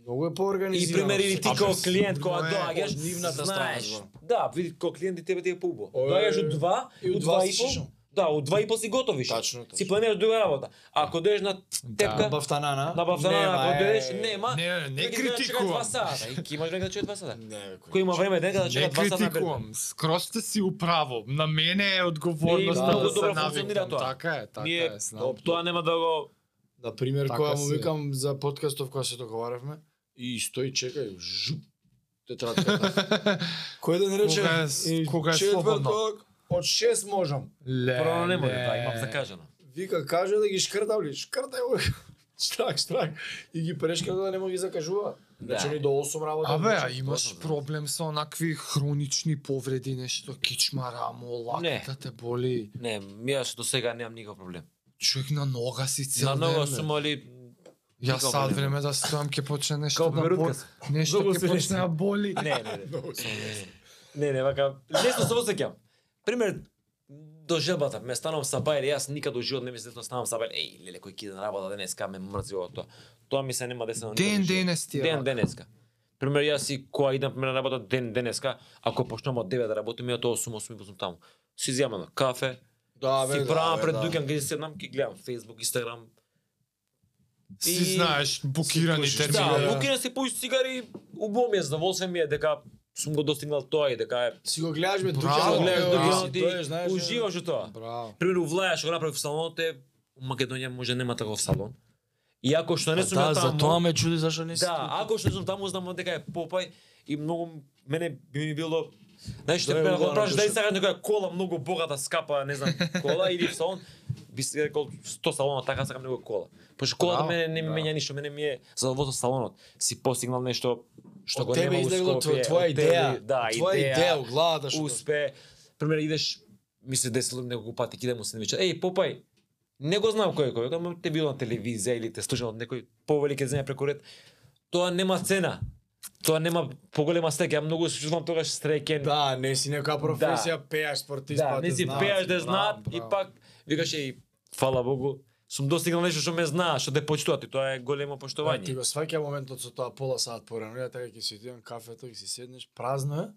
Многу е
И
поорганизирано.
пример или ти
А,
како
без-
клиент кога
но е
доаѓаш,
од нивната
знаеш.
страна,
Да, види како клиент и тебе ти е поубо.
Ое,
Доаѓаш од 2
и
и
од
од
два
2 и
си
пол.
шишам.
Да, од 2 и пол си готови.
Тачно, тачно.
Си планираш друга работа. А Ако доеш на
На
тепка,
бафтанана.
на бафтана,
нема,
ако
е.
доеш, нема.
Да. Не, не, не
тој ќе треба да чека
критикувам.
Два сата. И ќе имаш време да чека два сата.
Не, бе, кој.
Кој има време дека да чека
Не
два сата? на бер?
критикувам, скроз сте си управо. На мене е
И
одговорноста
многу
да се
добро функционира
навикам.
тоа.
Така е, така
Ние
е, знам.
топ, тоа нема да го
На пример,
Така
кога му
си е.
викам за подкастов кога се договаравме, и стои чекај, жуп, тетрадката. Кој да не рече,
Кога е-
и
кога е слободно.
четврток, од 6 можам.
Ле,
прво не
ле.
може, да, имам закажано.
вика, каже да ги шкрдам ли? Шкрдај го. Штрак, штрак. И ги прешка да не му ги закажува.
Да.
Значи ни до 8 работа.
Абе, а
значи,
имаш
точно, да.
проблем со онакви хронични повреди, нешто кичма, рамо,
Не.
лактата да те боли.
Не, ми јас до сега немам никаков проблем.
Човек на нога си
На
цел
многу
ден.
сум
бе.
моли
Ја
никаков
сад
проблем.
време да стојам ќе почне нешто
Као
да боли.
берутка сум.
Нешто
Многу
ќе
се
почне да боли.
Не, не, не. Не, не, вака, лесно се осеќам. Пример, до желбата, ме станам сабајле, јас никад у живот не мислев да станам сабајле. Еј, леле, кој кида на работа денеска, ме мрзи ова тоа. Тоа ми се нема десено. никад
Ден
у живот.
денес ти е
Ден
вака.
денеска. Пример, јас и која идам пример, на работа ден денеска, ако почнам од 9 да работам, ја тоа 8 8 сум таму. Си зјаме на кафе,
Да, бе,
си
да,
правам
бе,
пред
да.
дуќан, ги седнам, ги гледам Facebook, Instagram.
Си
И-
знаеш, букирани
пушиш. Да,
термини.
Да,
да.
лукина се пуши цигари, убо ми е, задоволствен ми е дека сум го достигнал тоа и дека е
Си го гледаш бе,
Браво,
дуќан,
гледаш
гледаш
дуќанот
дуќан,
и
тој да, знаеш.
да, уживаш во тоа.
Браво.
Примерно влајаш, го направи в салонот, е, у Македонија може нема таков салон. И ако што не сум
да,
ја таму,
за тоа ме чуди зашо не си.
да, ако што не сум таму, знам дека е Попај и многу мене би ми било Знаеш, што
Да,
пера го
угарно
праш
беше.
дали сакаш некоја кола многу богата, скапа, не знам, кола или в салон, би се рекол 100 салона така сакам некоја кола. Пошто колата
Браво,
мене не ми
да.
менја ништо, мене ми е задоволство салонот. Си постигнал нешто што
Што
го
од
нема
тебе
у
излегло
Скопје.
тво- твоја
од тебе,
идеја.
да,
твоја идеја, у глава да што.
успе. Пример, идеш, ми се десило неколку пати, кидам у сендвича, еј, попај, не го знам кој е кој, ама те било на телевизија или те слушам од некој повелик земја преку ред. Тоа нема цена. Тоа нема поголема стека, ја многу се чувствувам тогаш стрекен.
Да, не си некоја професија, пеаш спортист,
да
па
не
те
си
знаат.
пеаш да
браво,
знаат и
браво.
пак викаш еј, фала Богу, сум достигнал нешто што ме знаа, што те почитуваат и тоа е големо
Да, Ти
поштовање.
го сваќа моментот со тоа пола саат порано, ја така ќе си отидам кафето и си седнеш, празно е.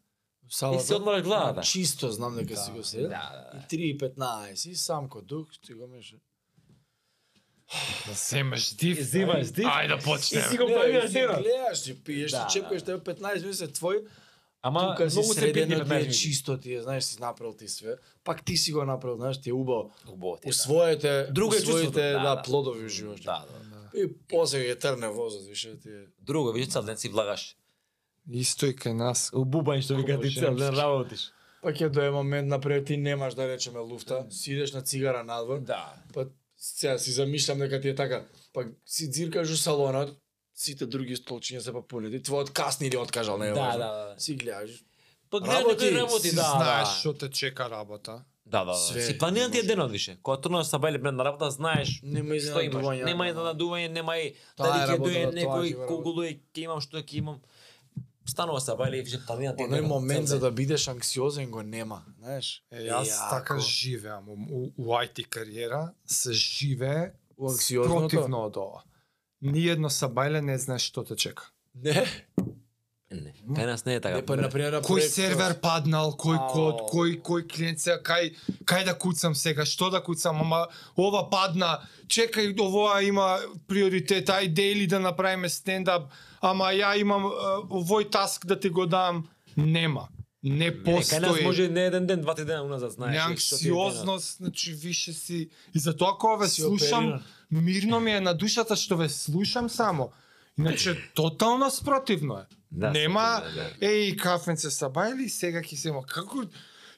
у Салата.
И се одмораш глава, да.
Чисто знам дека си го седел.
да,
И 3.15 и сам ко дух, ти го меше.
Да земеш див.
И земаш див.
Ајде да
И
почнеме.
си го правиш сериозно.
гледаш, ти пиеш, ти
Да,
чепкаш, тебе 15 минути се твој,
Ама
тука си
многу се битни
средено ти е
15 минути.
чисто ти е, знаеш, си направил ти све. Пак ти си го направил, знаеш, ти е убаво.
Убаво ти е, да.
Усвоите,
Друго е чувството,
усвоите,
да,
да,
да.
плодови уживаш.
Да, да.
И после ги трне возот, више ти е.
Друго, виќе цел ден си влагаш.
Исто и кај нас.
У бубањ што вика ти цел ден работиш.
Па ќе дое момент напред ти немаш да речеме луфта, си идеш на цигара надвор,
Да.
па сега си замишлям дека ти е така, па си дзиркаш у салонот, сите други столчиња се попунети, твојот касни или откажал, не е
Да,
важно.
да, да.
Си гледаш,
Па гледаш
Работи,
некој работи,
Си
да.
знаеш
да.
што те чека работа.
Да, да, да.
Све,
Си планиран ти е
може.
денот више. Кога тргнеш са бајле пред на работа, знаеш
нема
што имаш.
изненадување.
Нема и да надување, нема и
да, Таа
дали
е
ќе дое
работа, да, тоа
некој,
ќе ме
колку луѓе ќе имам, што ќе имам. Станува са бајле и више планиран ти е
Оној
денот,
момент
цел
за
ден.
да бидеш анксиозен го нема, знаеш?
Е, јас
Јако.
така живеам у, у, у IT кариера, се живее
У анксиозното.
противно од ова. Ниедно сабајле не знаеш што те чека.
Не,
Не, кај нас не е така.
да- не па на пример на
Кој
проект-
сервер паднал, кој
Ау.
код, кој кој клиент сега, кај кај да куцам сега, што да куцам, ама ова падна, чекај овоа има приоритет, ај дели да направиме стендап, ама ја имам е, овој таск да ти го дам, нема. Не
Е, кај нас
постои.
може не еден ден, два три дена уназад знаеш.
Не
што ти е денот.
анксиозност, значи више си и затоа кога ве
Си
слушам,
опериран.
мирно ми е на душата што ве слушам само. Иначе тотално спротивно е.
Да,
Нема
спротивно е,
еј кафенце сабајли сега ќе се има како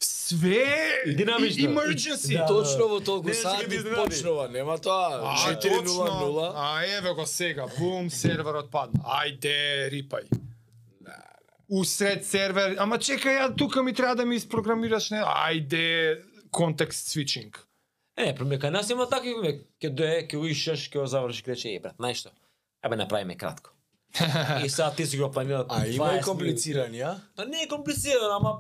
све
И динамично.
и- emergency.
Да, да.
Точно во толку
Не, сега ти
сати
изненади.
почнува, нема тоа.
А,
4:00.
точно. А, еве го сега, бум, серверот падна. Ајде, рипај.
Да,
Усред сервер, ама чекај, ја тука ми треба да ми isprogramираш, не, ајде, контекст switching.
да. Е, пример, кај нас има такви, бе, ќе дое, ќе го ишеш, ќе го завршиш, ќе рече, е, брат, знаеш што? Абе, направиме кратко. и сега ти си го планирал.
А има и
20
комплицирани, а?
минути. Па не е комплицирано, ама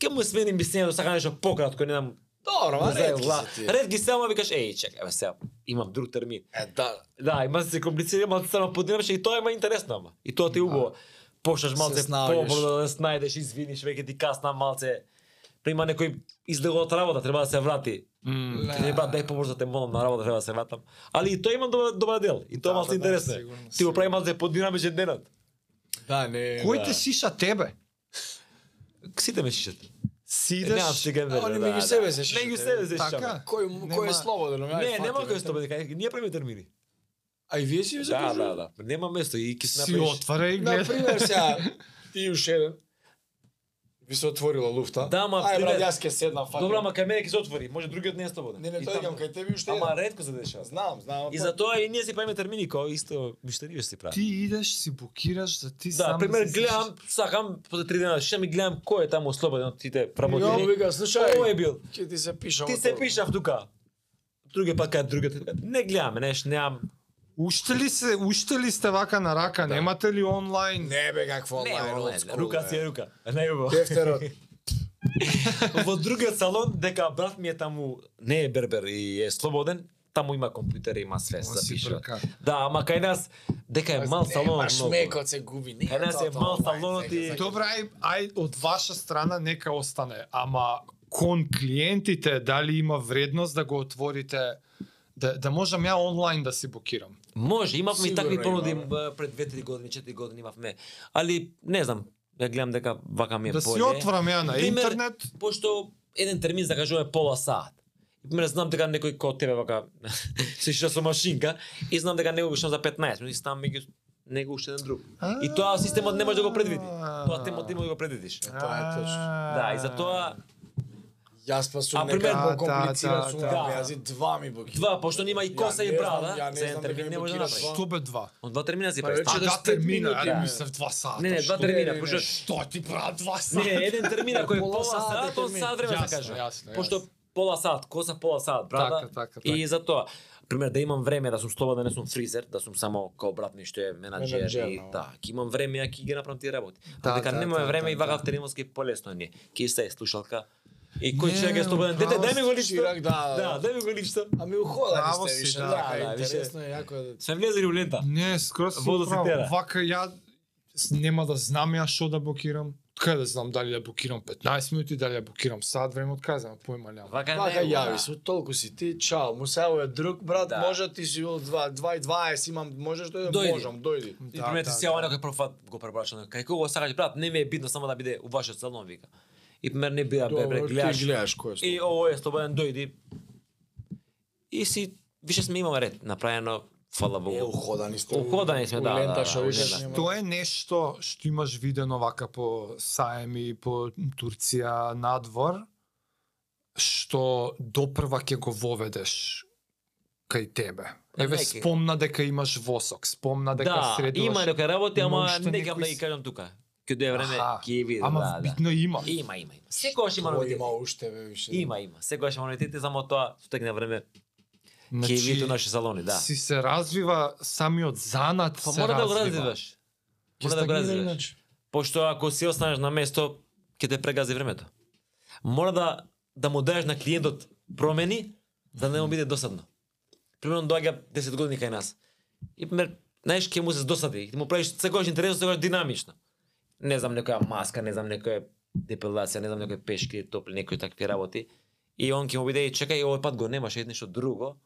ќе му смени мислењето, сака нешто пократко, не знам.
Добро,
Па,
не
ма
знам,
редки
гла-
се тие.
Редки се, ама викаш, еј, чекај, бе, сега имам друг термин.
Е, да.
Да, има се комплицира, малце само подинамше и тоа има интересно, ама. И тоа
Да.
ти е убаво. Почнаш малце
снаоѓаш.
побрзо да се снајдеш, извиниш, веќе ти касна малце. Па има некој излегол од работа, треба да се врати. Ке Не брат, дај побрзо те молам на работа, треба да се вратам. Али и тоа има добар, добар дел, и тоа
Да,
малку
да, да,
интересно. е.
сигурно,
Ти го
сигурно.
прави малку подинамичен денот.
Да, не.
Кој
да.
те сиша тебе?
Сите ме шишат.
Си
Е, Немам
идеш,
сега
А,
вере.
они
да,
меѓу
да.
себе се шишат,
Меѓу
е.
себе се
Така?
шишаме.
Кој кој
Нема.
е слободен? ама
Не,
ај,
нема
фати,
кој
бе.
што бе, кај- ние правиме термини.
А и вие си ви
Да,
закажувате?
да, да. Нема место и ќе се
си
направиш.
отвара и
На
гледа.
пример сега ти уш еден ви се отворила луфта.
Да, ма,
Ај, брат,
пример-
јас ке седнам, фаќам.
Добра, ама кај мене ќе се отвори, може другиот не е слободен.
Не, не,
И
тој
таму.
идам кај тебе и уште
Ама
еден.
ретко се дешава.
Знам, знам. па-
И затоа и ние си правиме термини кои исто миштерија си прави.
Ти идеш, си блокираш за ти сам.
Да, пример
си
гледам, сакам после три дена, шем и гледам кој е таму слободен од тите
Ја му
работени.
вика,
Ово е
слушај,
бил.
ќе ти се пишам.
Ти
од
се
ова.
пишав тука. Другиот пат кај другиот. Не гледаме, неш, немам.
Уште ли се, уште ли сте вака на рака, немате ли онлайн?
Не бе, какво
Не, бе,
онлайн,
онлайн,
олдскул,
рука
бе.
си е рука. Најубаво.
Тефтерот.
Па Во другиот салон, дека брат ми е таму, не е бербер и е слободен, таму има компјутер, има све,
Ова си
запишува.
брка.
Да, ама кај нас, дека е мал салон,
Баш
многу.
мекот се губи. Не,
Е, не, се
тоа,
мал
онлайн,
салонот и-
сега, сега.
Добра, ај, ај од ваша страна нека остане, ама кон клиентите дали има вредност да го отворите да, да можам ја онлайн да си блокирам.
Може, имавме и
Сигурно
такви
има,
понуди
бе.
б, пред 2-3 години, 4 години имавме. Али, не знам, ја гледам дека вака ми е
Да си
боле.
отворам ја на
Пример,
интернет,
Пошто еден термин за кажуваме пола саат. Пример, знам дека некој кој тебе вака се шиша со машинка и знам дека него го шам за 15 минути, ставам меѓу него уште еден друг. И тоа системот не може да го предвиди. Тоа темот не може да го предвидиш.
Тоа е точно.
Да, и затоа
Јас па сум
А, пример,
некако
да,
комплициран
да,
сум,
да.
бе, јас и два ми блокира.
два, пошто нема и коса
Ја
и
не
брада,
знам, ја не
за еден
знам
термин
дека
не може да
блокираш
направиш.
Што бе два?
Он два термина си
Па,
прави.
рече
А,
да
Два
45
термина,
минути,
ја
бе.
мислев два сата.
Не, не, два
што-
термина,
не,
пошто
Што ти права два сата?
Не, еден термин ако е
Пола
пола
саат е
саат, он
термин.
саат време
Јасно,
се кажува.
јасно,
Пошто
јасно.
пола саат, коса пола саат, брада.
Така, така, така.
И затоа, пример да имам време да сум слободен, не сум фризер, да сум само као брат ми што е менаџер
Менаџер,
и
да.
да, ќе имам време ја ќе ги направам тие работи.
Да,
А дека
да,
немаме
да,
време
да,
и вака термински полесно ни. Ќе се слушалка. И кој
Не,
човек е слободен? Дете,
право
дај ми го
си,
липсто.
Чирак, да, да.
Да, дај ми го липсто.
Ами ухода
Право
не сте
си,
више,
да,
да,
да,
е
више.
интересно е, јако е да...
Сме влезели у лента.
Не, скоро си
Водо да се
прав.
тера.
Вака ја с- нема да знам ја што да блокирам. Кај да знам дали ја блокирам 15 минути, дали ја блокирам сат време од кај знам, појма немам.
Вака
Вака
не.
јави се, толку си ти, чао, му се е друг брат,
Да.
може ти си од 2 2 имам, можеш дојде,
Дојди.
можам, дојди.
Да,
И пример ти си ова некој прв пат го пребрача на кај кого сакаш брат, не ми е битно само да биде у вашиот салон вика. И пример не бира бебре,
Добро,
гледаш
ти гледаш кој е
И
слободен.
ово е слободен дојди. И си више сме имаме ред направено фала
Е,
богу.
уходани сте.
Уходани сме,
у
да, да,
лента
да,
шо
у
више
лента.
нема.
Тоа е нешто што имаш видено вака по саеми, по Турција надвор, што допрва ќе го воведеш кај тебе. Еве
Неки.
спомна дека имаш восок, спомна дека
Да,
средуваш.
има некои работи,
Има
ама
уште
не гам
некои
да ги
с-
кажам тука. Ќе дое време
Аха,
ќе види.
Ама
да, да.
битно има.
Има, има, има. Секогаш има
Кој
новитет.
има уште, бе, више.
Има, има. Секогаш има новитети, само тоа сутекне време ќе
Значи,
види наши салони, да.
Си се развива самиот занат
Па
се
мора да го
развива.
развиваш.
Ќе
Мора да го
стагнира
развиваш.
иначе.
Пошто ако си останеш на место, ќе те прегази времето. Мора да да му даеш на клиентот промени за да не му биде досадно. Примерно доаѓа 10 години кај нас. И пример, знаеш ќе му се досади, ќе му правиш секогаш интересно, секогаш динамично. Не знам некоја маска, не знам некоја депилација, не знам некој пешки, топли, некои такви работи. И он ќе му биде и чекај, овој пат го немаше, ед нешто друго.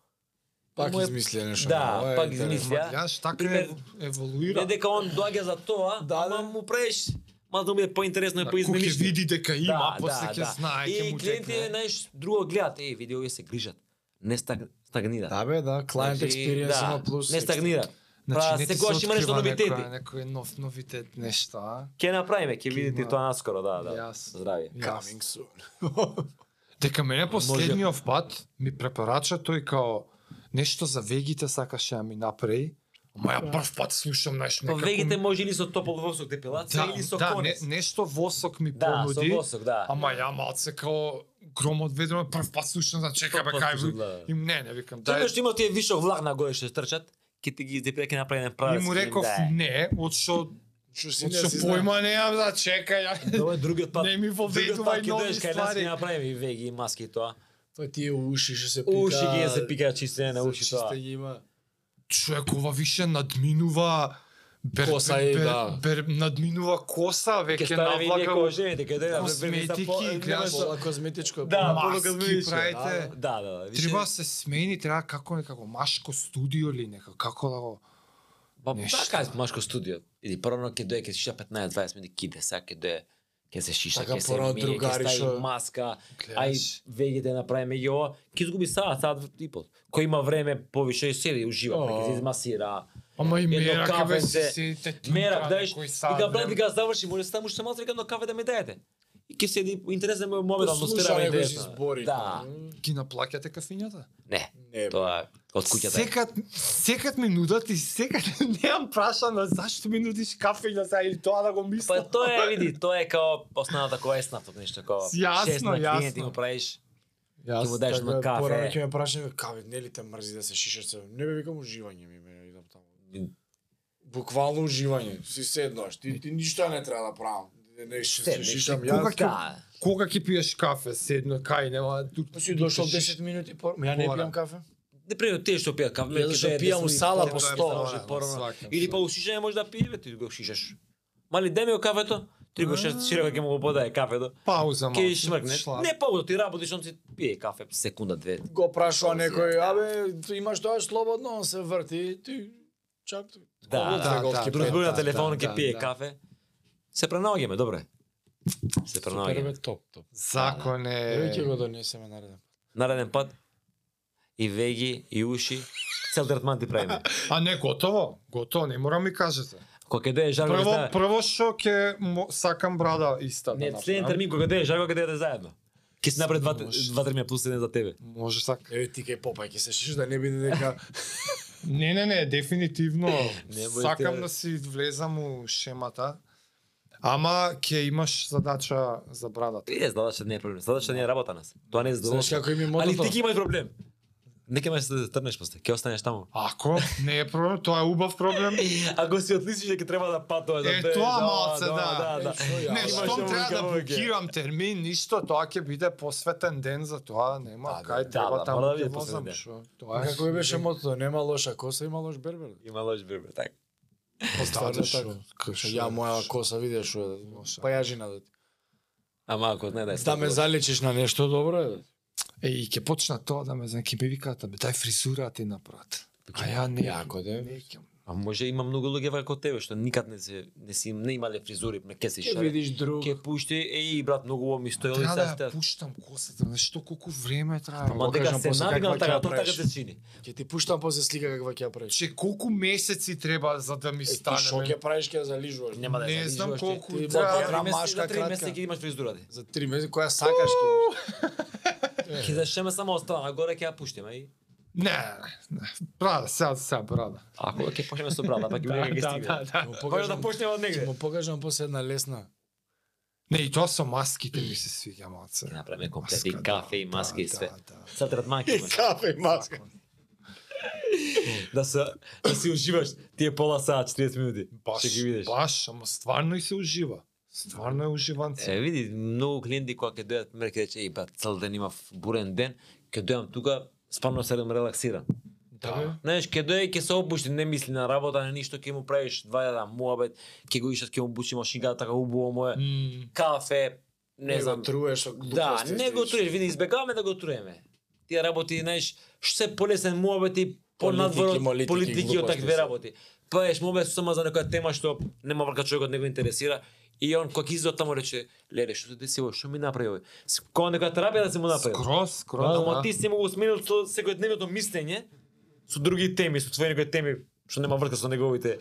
Пак
Па Му е-
измислија нешто.
Да,
ново, е
пак
интересно.
измислија.
Ма, Гледаш, така
Пример,
ев- еволуира.
Не дека он доаѓа за тоа,
Да,
да, ама
да.
му правиш малку да му биде поинтересно и
Ако ќе
поизменишно.
види дека има, после ќе знае, ќе
Да, И
му
клиентите,
текне.
знаеш, друго гледат, еј, види, овие се грижат. Не стаг, стагнира.
Да бе, да, client experience има плюс.
Значи, Не стагнира. Па
Значи, не ти се
секогаш има нешто
открива
новитети.
некоја- Некој нов новитет нешто, а?
Ќе направиме, ќе видите
има.
тоа наскоро, да, да.
Јас.
Здравје.
Јас.
Coming soon.
Дека мене последниот пат ми препорача тој као нешто за вегите сакаше да ми направи. Ама ја прв пат слушам знаеш
Па
некако.
вегите може или со топол восок депилација,
да,
или со
да, не,
конец.
нешто восок ми
Да, со
понуди.
восок, да.
Ама ја малце као гром од ведро, прв пат слушам за чека бе
Прв пат
кај
слушам, да.
им не, не викам
Тоа
дај.
што има тие вишок влак на горе што трчат, ќе ти ги издепира, ќе направи еден да
И
правец.
му реков не, од што
Што си
од
не
што
си знам.
појма немам да чека ја.
Тоа е другиот пат.
Не ми
Другиот
воведувај
пат ќе
нови
доеш кај нас ќе
ствари.
направиме и веги и маски и тоа.
Тоа Па тие уши што се пика.
Уши ги се пика чистене на
за
уши тоа.
чистење има.
човек ова више надминува бер,
Коса е, да.
бер, надминува коса,
Ке
веќе
ставаме и ние
навлака во
кожените, ке дојде
косметики, гледаш,
Тоа козметичко.
Да,
маски
полука змијише,
правите.
Да, да, да. више-
Треба да се смени, треба како некако машко студио или некако како да го
Па
Нешто.
така е машко студио. Или прво ќе дое ќе шиша 15-20 минути киде, сега ќе дое ќе се шиша,
Така
ќе се
порано
мие, ќе
другари шо-
стави маска, ај
гледаш.
вегите направиме и ова, ќе изгуби саат, саат и пол. Кој има време повише и седи и ужива, па
О.
ќе се измасира.
Ама и
Едно
мерак е бе
кафенце,
се сидите
Мерак, даеш,
некој
вика брат,
сад.
вика заврши, може само уште малку вика, но кафе да ми даете. и ќе седи интересен му е момент, атмосфера
Да Слушање
е
кој се
интересна.
збори.
Да.
Ги наплакате кафињата?
Не,
Не, бе.
тоа е од куќата. е.
Секад, секад ми нудат и секад неам прашана зашто ми нудиш кафења сега или тоа да го
Па
мисля.
тоа е, види, тоа е као основната која е снатот нешто, као
Јасно,
шест на клиент ти
јасно.
го правиш,
Јас
ќе му дадеш на
Порано
кафе.
ќе така ме прашаја, каве, не ли те мрзи да се шишеш се? Не бе викам уживање ми, ме идам таму. Буквално уживање, си седнаш, ти, ти ништо не треба да правам. Не, не ши- се
Седнеш,
шишам
кога
јас.
ќе-
Да.
Кога ќе пиеш кафе, седно, кај нема, ту,
Па си дошол 10 минути пор, Ма ја не
Порано.
пијам кафе.
Не пример, тие што пијат да кафе,
Ја
ќе
зашто
дадеш
да пијам у
10
сала
минути,
по
тоа
100,
е порано,
може,
да, порано. Или па усишање може да пие, бе, ти го шишаш. Мали деме го кафето, ти го шеш, широко ќе му го подае кафето.
пауза малку.
Ке шмркне.
шла- Да,
Не пауза, ти работиш, он си пие кафе секунда две.
Го прашува некој, абе, ти имаш тоа слободно, он се врти, ти чак
Да,
колку две
да,
голски
да,
пет?
Разбори на
да,
телефон
да,
ќе
да,
пие
да.
кафе. Се пренаоѓаме, добре. Се
Супер,
пренаоѓаме.
бе, топ, топ.
Закон
Да,
Еве ќе
е...
го донесеме нареден.
Нареден пат и веги и уши цел третман ти правиме.
А не, готово, готово, не мора ми кажете.
Кога ќе дее жарко ќе
Прво,
знае.
прво што ќе мо- сакам брада иста да
Не, следен
направам.
термин кога дее жарко ќе дее заедно. Ќе се направи два два термина плюс еден за тебе.
Може така.
Еве ти кај попај, ќе се шиш да не биде дека
Не, не, не, дефинитивно.
Не бојте.
сакам да си влезам у шемата. Ама ќе имаш задача за брадата.
Е, задача не е проблем. Задача не е работа нас. Тоа не е
знаеш
задолжно.
како им е
Да. Али
мотото.
ти ќе имаш проблем. Не ќе можеш да трнеш после, ќе останеш таму.
Ако не е проблем, тоа е убав проблем.
Ако си отличиш ќе треба да патуваш
Е, тоа малце, да.
да, да.
Не,
Ама
штом
што
треба да блокирам термин, ништо, тоа ќе биде посветен ден за тоа, нема
Да,
кај
да,
треба
да,
таму
мора да
ќе
биде посветен
возам,
ден.
шо. Тоа
Па
е
како ми беше мотото, нема лоша коса, има лош бербер.
Има лош бебе, така.
Стварно
да,
поставено
така. Што ја моја коса видеш што е,
Лоша.
па ја жена да ти.
Ама ако не да е.
Да ме залечиш на нешто добро е. да.
Е, и ќе почна тоа да ме знае, ќе ми викаат, бе, дај фризура ти направат. А ја не,
Јако
да
де.
не ќе.
А може има многу луѓе како тебе што никад не се не си не имале фризури, не ке се
Ќе
шаре.
видиш друг.
Ке пушти, еј брат, многу ово ми стоело и
Треба
сега
да ја
сте.
пуштам косата, знаеш што колку време трае.
Ама
Ама
дека
кажам
се
после
навигнал
каква ќе
така,
ја
тоа така
правиш.
се чини.
Ќе ти пуштам после слика каква ќе ја правиш.
Че колку месеци треба за да ми
Е, ти
стане?
Што
бе?
ќе правиш ќе ја залижуваш.
Нема да
Не знам колку
ти
треба.
баба,
Да, три
Една
месеци, за
машка
три месеци
кратка.
ќе имаш да фризура ти.
За три месеци која сакаш ќе имаш.
Ќе зашеме само од страна, горе ќе ја пуштиме и
Не, не, не. брада, сега, сега, брада. Да,
ако ќе почнеме со брада, па ќе видиме ќе стигне.
Ќе му
Може да
покажам-
почнеме од
Ќе
негде.
му покажам после една лесна.
Не, и тоа со маските ми се свиѓа малце.
Ќе направиме комплет
Маска,
и
да,
кафе и
да,
маски и
да,
све.
да.
Цел третман ќе имаш.
Кафе и маска.
Да се да си уживаш тие пола саат 40 минути.
Баш,
Ќе ги видиш.
баш, ама стварно и се ужива. Стварно е уживанце.
Е, види, многу клиенти кога ќе дојдат, ме ќе рече, и брат, цел ден имав бурен ден, ќе дојам тука, спарно се релаксиран.
да.
Знаеш, ќе дојде, ќе се обушти, не мисли на работа, на ништо, ќе му правиш два јада муабет, ќе го ишат, ќе му буши машинката така убаво му е,
М,
кафе, не
Не
знам.
знам. Труеш со глупости.
Да, не го
стигаш.
труеш, види, избегаваме да го труеме. Тие работи, знаеш, што се полесен муабет и понадвор
Политики,
од
молитики,
политики од
глупости
такве
се.
работи. Правиш муабет само за некоја тема што нема врка човекот не го интересира и он кога ќе изод таму рече, леле, што се деси овој, што ми направи овој? С- Кога некоја терапија да си му направи.
Скроз, скроз.
Ама
да.
ти си му го сменил со секојдневното мислење, со други теми, со твои некои теми што нема врска со неговите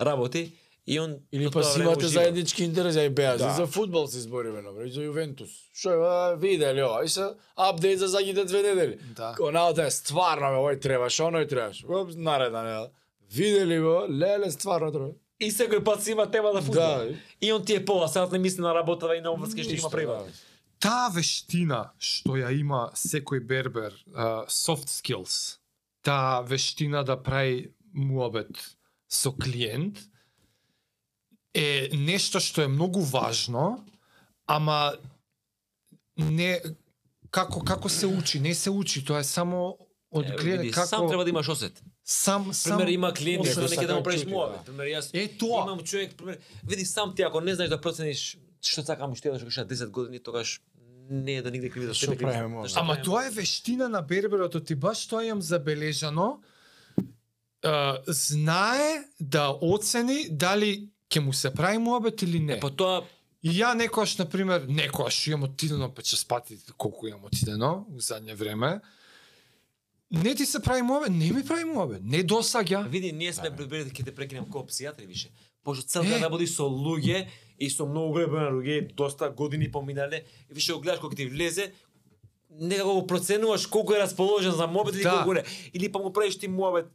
работи и он
Или
до
па
тоа
си
време
имате
ужива.
заеднички интереси, ај беа,
Да.
за фудбал се избориме, например, за Ювентус. Што е, а, виде ли ова, и се апдейт за загите две недели.
Да.
Онаота е стварно, бе, овој требаше, оној требаше. Оп, наредна недела. Виде ли го, леле, стварно треба.
И секој пат си има тема да фудбал.
Да,
И он ти е пола сат не мисли на работа да и на обврска што има превар.
таа вештина што ја има секој бербер, а, soft skills, таа вештина да прави муабет со клиент, е нешто што е многу важно, ама не како како се учи, не се учи, тоа е само од
Е,
гледа
види,
како
Сам треба да имаш осет.
сам сам
Пример има клиент
осет
што не ќе да
сакам
му правиш
чути,
муабет.
да.
Пример јас
Е, тоа.
имам човек пример види сам ти ако не знаеш да процениш што сакам што едеш кога 10 години тогаш не е да нигде кривица
Што правиме муабет?
Да,
Ама тоа е вештина на берберот, ти баш тоа имам забележано. А, знае да оцени дали ќе му се прави муабет или не.
Па тоа
И ја некојаш, например, некојаш имам отидено па ќе спати колку имам отидено у задње време. Не ти се прави муабет, не ми прави муабет, не досаѓа.
да Види, ние сме пребрели ќе те прекинам како псијатри више. Пошто целта
Да. Е.
работи со луѓе и со многу голем број на луѓе, доста години поминале, и више го гледаш кога ти влезе, некако го проценуваш колку е расположен за мобет или
Да.
колку не. Или па му правиш ти мобет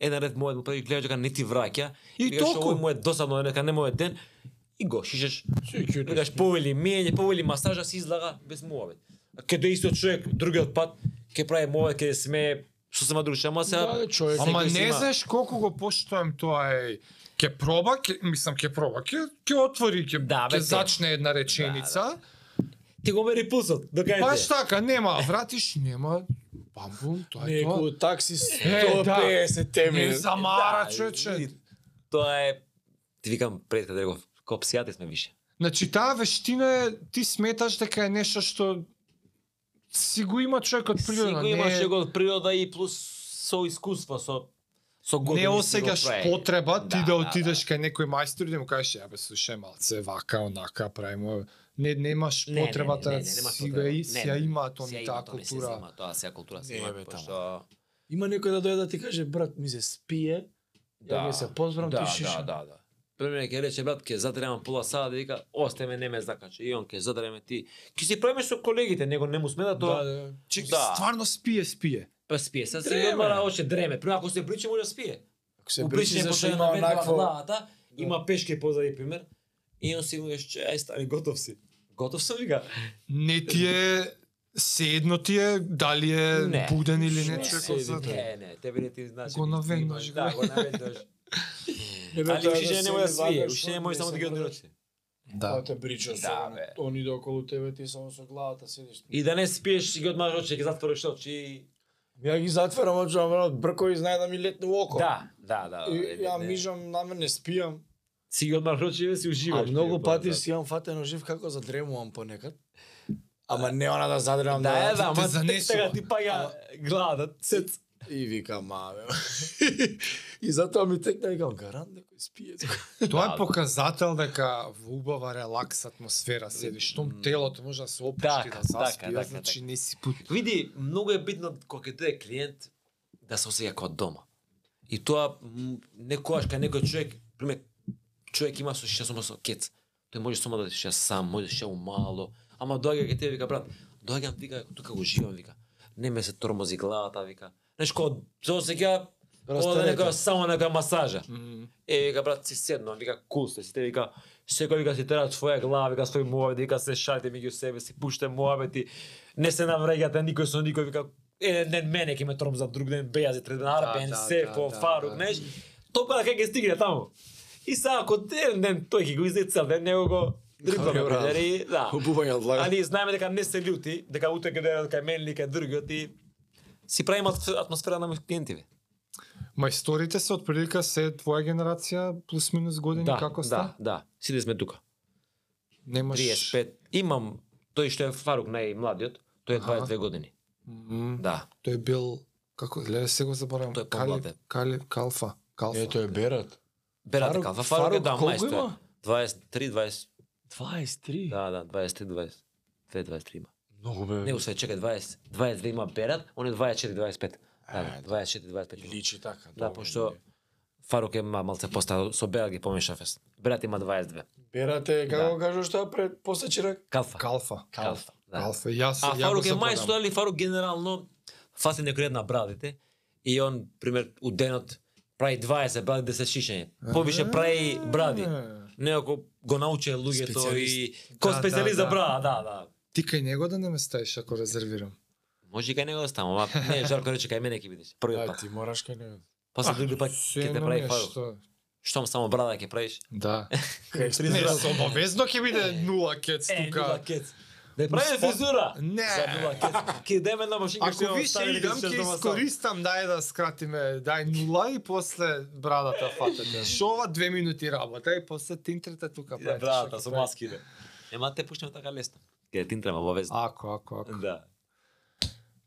еден ред мобет му правиш, гледаш дека не ти враќа,
И
викаш,
толку.
овој му е досадно, дека не му е ден, и го шишеш.
Си ќе
Викаш повели миење, повели масажа се излага без муавет. А Каде истиот човек другиот пат ќе прави муавет, ќе се смее сосема другач, ама сега
Да, бе, човек.
Ама
секој си
не
има-
знаеш колку го поштоем тоа е. Ке проба, ке, мислам ке проба, ке, ке отвори, ке,
Да,
ке
бе, те.
зачне една реченица.
ти го мери пулсот, докај
Баш
те.
така, нема, вратиш, нема, бамбум, тоа е тоа.
Неку такси
Е, да.
150
Не
теми.
замара,
Да,
човече.
и Тоа е ти викам пред каде реков, копсијате сме више.
Значи таа вештина е, ти сметаш дека е нешто што си го има човекот природно,
Сиго имаш
не,
го од природа и плюс со искуство со со години
не
си го
осеќаш
прави.
потреба ти
Да,
да
да,
отидеш кај некој мајстор и да му кажеш ја бе слушај малце вака онака правиме не немаш
Не, не, не,
потребата
не, не, нема
си
потреба.
га и
Не,
си
не,
ја
не,
има
си ја
тоа
има,
таа
тоа не се
култура.
зема, Тоа се култура се
Не,
има,
бе, тама.
пошто-
Има некој да дојде да ти каже брат ми се спие. Да. Ја ми се позбрам
да,
ти шиша.
Да, да, да. Премине ќе рече брат ќе затребам пола сада да вика осте ме не ме закачи и он ќе затреме ти. Ќе си правиме со колегите, него не му смета тоа. Да,
да.
Чеки,
Да.
стварно спие, спие.
Па спие, сега
Дреме.
се одмара още дреме. Прво ако се бричи може да спие.
Ако се
У
бричи
бричне
зашто
зашто Да.
има онакво.
главата, има пешке позади пример. И он си му каже, ај стари, готов си. Готов сам вика.
Не ти е седно ти е дали е
Не.
буден или не
Не,
човекот
седи,
за
не.
Не, не, тебе не ти значи.
Го наведнаш,
Да, го наведнаш.
Не бе,
Али
тоа
уште не може да
се
свие,
излагаш,
уште не може само да ги
се
однорочи.
Тоа
Да.
те брича
Да,
со
бе.
они до околу тебе ти само со главата седиш.
И да не спиеш, си ги одмараш очи, ќе затвориш очи. и-
Ја ги затварам очам, брат, бркој знае да ми летне во око.
Да, да, да.
И,
е,
ја
не.
мижам, на мен не спијам.
си ги одмараш очи и си
А
уживаш.
многу
Ти,
пати
па,
си имам фатено жив како задремувам понекад. Ама не она да
Да,
задрам
да, е,
да.
да, ама
занесува.
така ти паја глада, цец.
И викам, маве. и затоа ми текна и викам, гарант некој спие.
Тоа е
Да.
показател дека во убава релакс атмосфера седиш, штом телото може да се опушти
Така,
да
така, така,
заспие, значи не си пут.
Види, многу е битно кога ќе дојде клиент да се осеќа како дома. И тоа м, некојаш кај некој човек, пример, човек има со шест со кец. Тој може само да шеа сам, може да шеа мало. Ама доаѓа кај тебе вика брат, доаѓам вика тука го живам вика. Не ме се тормози главата вика. Знаеш кога се осеќа Ода
Растарета.
некоја само нека масажа. Е, вика, брат, си седнам, вика, кул сте, сите, вика, секој вика си тера твоја глава, вика, свој муавет, вика, се шалите меѓу себе, си пуште муавети, не се навреѓате никој со никој, вика, еден ден мене ќе ме тромза, друг ден бејази, треден арбен,
да,
се,
да,
по
да,
фару,
да.
знаеш, толку да кај ќе стигне таму. И сега, ако еден ден тој ќе го излезе цел ден, него го
Добре,
дрибламе,
брат.
дали, да.
Обување од лага.
Али знаеме дека не се лјути, дека утре ќе дојде кај мен или кај другиот и си правиме атмосфера на клиентите.
Мајсторите се отприлика се твоја генерација плюс минус години како
да,
сте?
да. Сите сме тука.
Немаш
35. Имам тој што е Фарук најмладиот, тој е
Аха.
22 години.
Мгм.
Да.
Тој бил како леле се го заборавам.
Тој е
Кали,
помладен.
Кали, Калфа, Калфа.
Е, тој е берат.
Берат
Фарук-
Калфа, Фарук е
Фарук
да,
колку
мајстор.
има?
23, 20,
23.
да, да, 23, 20. 22, 23 има.
Многу бе.
Не, усве, чекај, 20, 22 има Берат, он е 24, 25. Да,
Ајде.
да, 24, 25. има.
Личи така.
Да, пошто Фарук е ма- малце постар, со Берат ги помеша фест. Берат има 22.
Берате,
Да.
како го кажуваш тоа пред после чирак?
Калфа.
Калфа.
Калфа, да.
Калфа. Јас
А
ја го
Фарук е
заборавам.
мајстор, али Фарук генерално фаси некој ред на брадите и он пример у денот прави 20 бради 10 шишење. Повише прави бради.
Е.
Некако го науче луѓето и
Специјалист.
ко
Да,
специјалист
да,
за
да.
брада, да, да.
Ти кај него да не ме ставиш ако резервирам.
Може и кај него да ставам, ама не, Жарко рече кај мене ќе бидеш.
Да,
Првиот пат.
ти мораш кај него.
После други пат
Се
Па, ќе те
едно
прави фарук.
нешто.
Штом само брада ќе правиш?
Да.
Кај
Не,
стризра.
со обовезно ќе биде нула кец
Е,
тука.
нула кец. Да прави фризура.
Не.
За нула кец. Ќе деме на машинка
Ако да више идам, ќе искористам, дај да скратиме, дај нула и после брадата фатате. Шо ова две минути работа и после тинтрата тука
Да,
правите.
брата,
шо ќе
со
правите.
маски да. Ема те пуштаме така лесно. Ке ти треба обавезно.
Ако, ако, ако.
Да.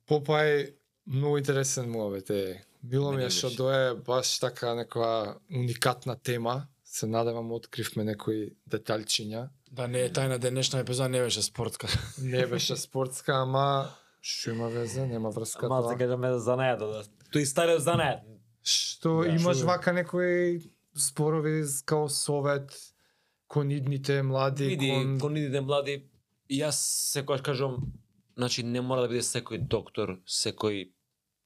Попај, многу интересен муавет е. Било ми
Мене
е што
беше.
дое баш така некоја уникатна тема. Се надевам откривме некои деталчиња.
Да не е тајна денешна епизода не беше спортка.
Не беше спортска, ама што има веза, нема врска
Малце
тоа.
кажаме за занајата. да. Тој стариот занајат.
Што
Да,
имаш
шо бе?
вака некои спорови с- као совет кон идните млади,
Види,
кон...
кон идите млади, јас секогаш кажам, значи не мора да биде секој доктор, секој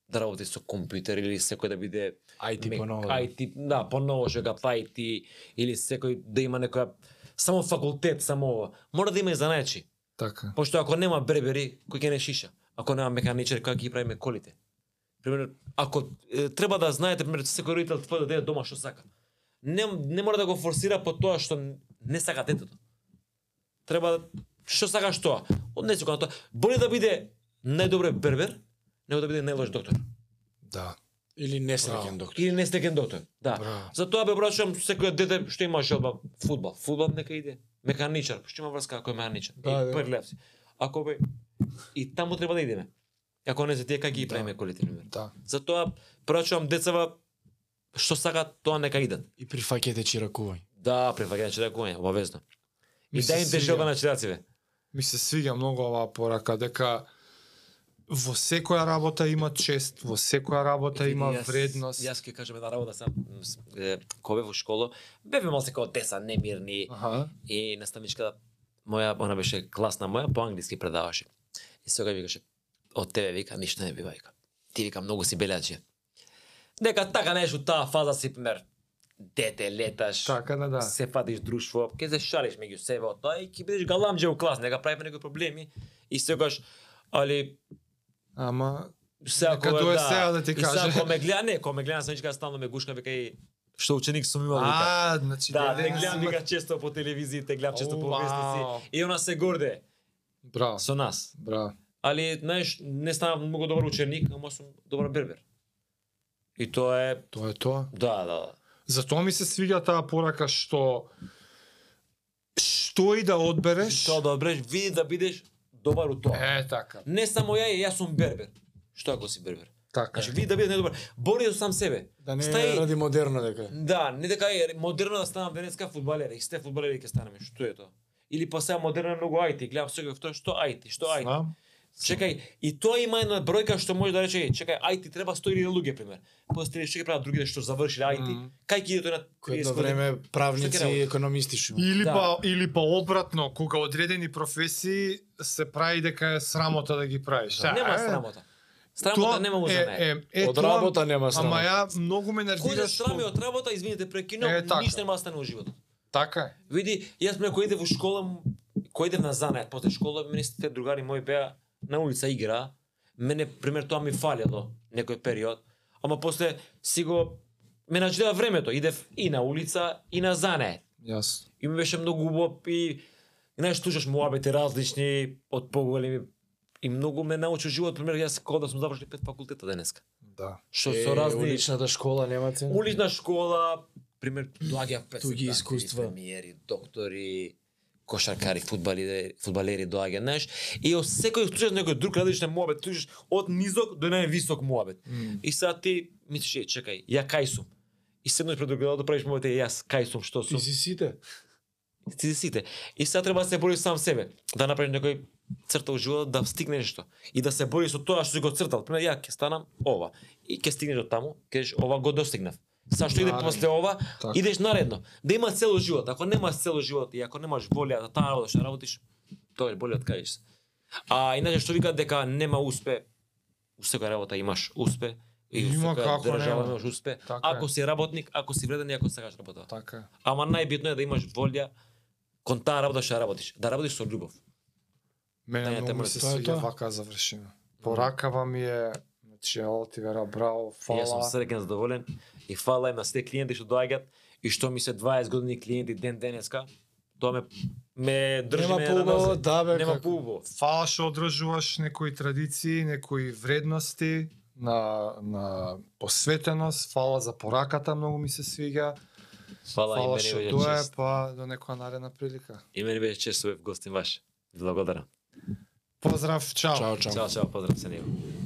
да работи со компјутер или секој да биде
IT
мек-
поново.
IT, да, поново ќе га IT или секој да има некоја само факултет, само ова. Мора да има и занаечи.
Така.
Пошто ако нема бербери, кој ќе не шиша? Ако нема механичар, кој ќе ги прави колите? Пример, ако е, треба да знаете, пример, секој родител твој да дете дома што сака. Не, не мора да го форсира по тоа што не сака детето. Треба да- што сакаш тоа. Однеси го на тоа. Боли да биде најдобре бербер, него да биде најлош доктор.
Да.
Или несреќен доктор.
Или нестекен доктор. Да.
Браво.
Затоа бе прашувам секој дете што има желба фудбал, фудбал нека иде. Механичар, што има врска ако е механичар?
Да,
и
да.
прлев си. Ако бе и таму треба да идеме. Ако не се тие како ги правиме колите пример.
Да.
Затоа прашувам децава што сакаат тоа нека идат.
И при факете чиракување.
Да, префаќање чиракување, обавезно. И
Ми се
да им
свиѓа.
желба на чираците.
Ми се свиѓа многу оваа порака дека во секоја работа има чест, во секоја работа има
Види, јас-
вредност.
Јас ќе кажам една работа сам м, с- е, кога бев во школа, бевме малку како деца немирни.
Аха.
И наставничка моја, она беше класна моја, по-англиски предаваше. И сега викаше, од тебе вика, ништо не бива, вика. Ти вика, многу си беляче. Дека така нешто таа фаза си, пример, дете, леташ,
Така да да.
се фатиш друштво, ќе се шариш меѓу себе од тоа и ќе бидеш галамџе у клас, нека правиме некои проблеми. И сегаш, али
Ама
се ако
Нека дое
да,
сега да ти
и
каже.
сега ако ме гледа, не, ако ме гледа самичка стално ме гушка вика и што ученик сум имал вика.
А, значи
Да, те
не
гледам
си-
вика често по телевизии, те гледам често по
Вау.
вестници и она се горде
Браво,
со нас.
браво.
Али, знаеш, не станав многу добар ученик, ама сум добар бербер. И тоа е,
Тоа е тоа.
да, да, да.
Затоа ми се свиѓа таа порака што што и да одбереш.
Тоа да бреш, види да бидеш добар у тоа.
Е, така.
Не само ја, јас сум бербер. Што ако си бербер?
Така.
Значи,
е.
види да бидеш недобар. Бори со сам себе.
Да не
Стај-
ради модерно дека.
Да, не дека е модерно да станам денеска фудбалер, и сте фудбалери ќе станеме, што е тоа? Или па сега модерно е многу IT, гледам секој тоа што IT, што IT.
Знам.
Чекај, и тоа има една бројка што може да рече, е, чекај, IT треба 100.000 луѓе, пример. После 30 што ќе прават другите што завршиле IT,
Мгм.
кај ќе иде тој на
Кој
30
едно
време...
време правници
Што ќе
и
работи?
економисти шу.
Или
Да.
па или па обратно, кога одредени професии се прави дека е срамота да ги правиш. Е,
Нема срамота. Срамота нема да му за
е,
неја.
е, е,
Од
тоа-
работа нема срама.
Ама ја многу ме
Кој се
нервираш. што-
срами од работа, извините, прекинам,
Е, така.
ништо нема да стане во животот.
Така е.
Види, јас ме кој иде во школа, м- кој иде на занает после школа, мене сите другари мои беа на улица игра. Мене пример тоа ми фалело некој период, ама после си го менаџира времето, идев и на улица и на занает.
Јасно.
И ми беше многу убав и знаеш слушаш муабети различни од поголеми и многу ме научи живот пример јас кога да сум завршил пет факултета денеска.
Да.
Што со разни
уличната школа нема цена.
улична школа, пример доаѓа
Туѓи искуства.
премиери, доктори, кошаркари, фудбалери, фудбалери доаѓа, знаеш, и од секој слушаш некој друг различен муабет, слушаш од низок до највисок муабет. И сега ти мислиш, е, чекај, ја кај сум? И седнеш пред огледало да правиш муабет, е, јас кај сум, што
Ти
сум?
си сите.
Ти си сите. И сега треба да се бориш сам себе, да направиш некој црта у животот да стигне нешто и да се бориш со тоа што си го цртал. Пример, ја ќе станам ова и ќе стигнеш до таму, кажеш ова го достигнав. Са што иде
Наредно.
после ова,
Така.
идеш наредно. Да има цело живот. Ако немаш цело живот и ако немаш волја да таа работа што работиш, тоа е боле откажеш се. А иначе што викаат дека нема успе, у секоја работа имаш успе, и у
Има
секоја
како
држава
нема.
имаш успе.
Така е.
ако си работник, ако си вреден и ако сакаш работа.
Така е.
Ама најбитно е да имаш волја кон таа работа што ја работиш, да работиш со љубов.
Мене
Не,
многу
тема да
ми
Така
се
е
тоа. Тоа е
свиѓа
тоа.
вака завршина. Поракава ми е, значи, ала ти вера, браво,
Фала. Јас сум
фала.
среќен, задоволен и фала им на сите клиенти што доаѓаат и што ми се 20 години клиенти ден денеска, тоа ме ме држи
Нема
ме
поубаво,
нозе.
да бе.
Нема
како.
поубаво.
Фала што одржуваш некои традиции, некои вредности на на посветеност, фала за пораката, многу ми се свиѓа.
Фала,
Фала
и
што
мене беше
тоа е,
чест.
па до некоја наредна прилика.
И мене беше чест што бев гостин ваш. Благодарам.
Поздрав, чао.
Чао, чао.
Чао, чао, поздрав се него.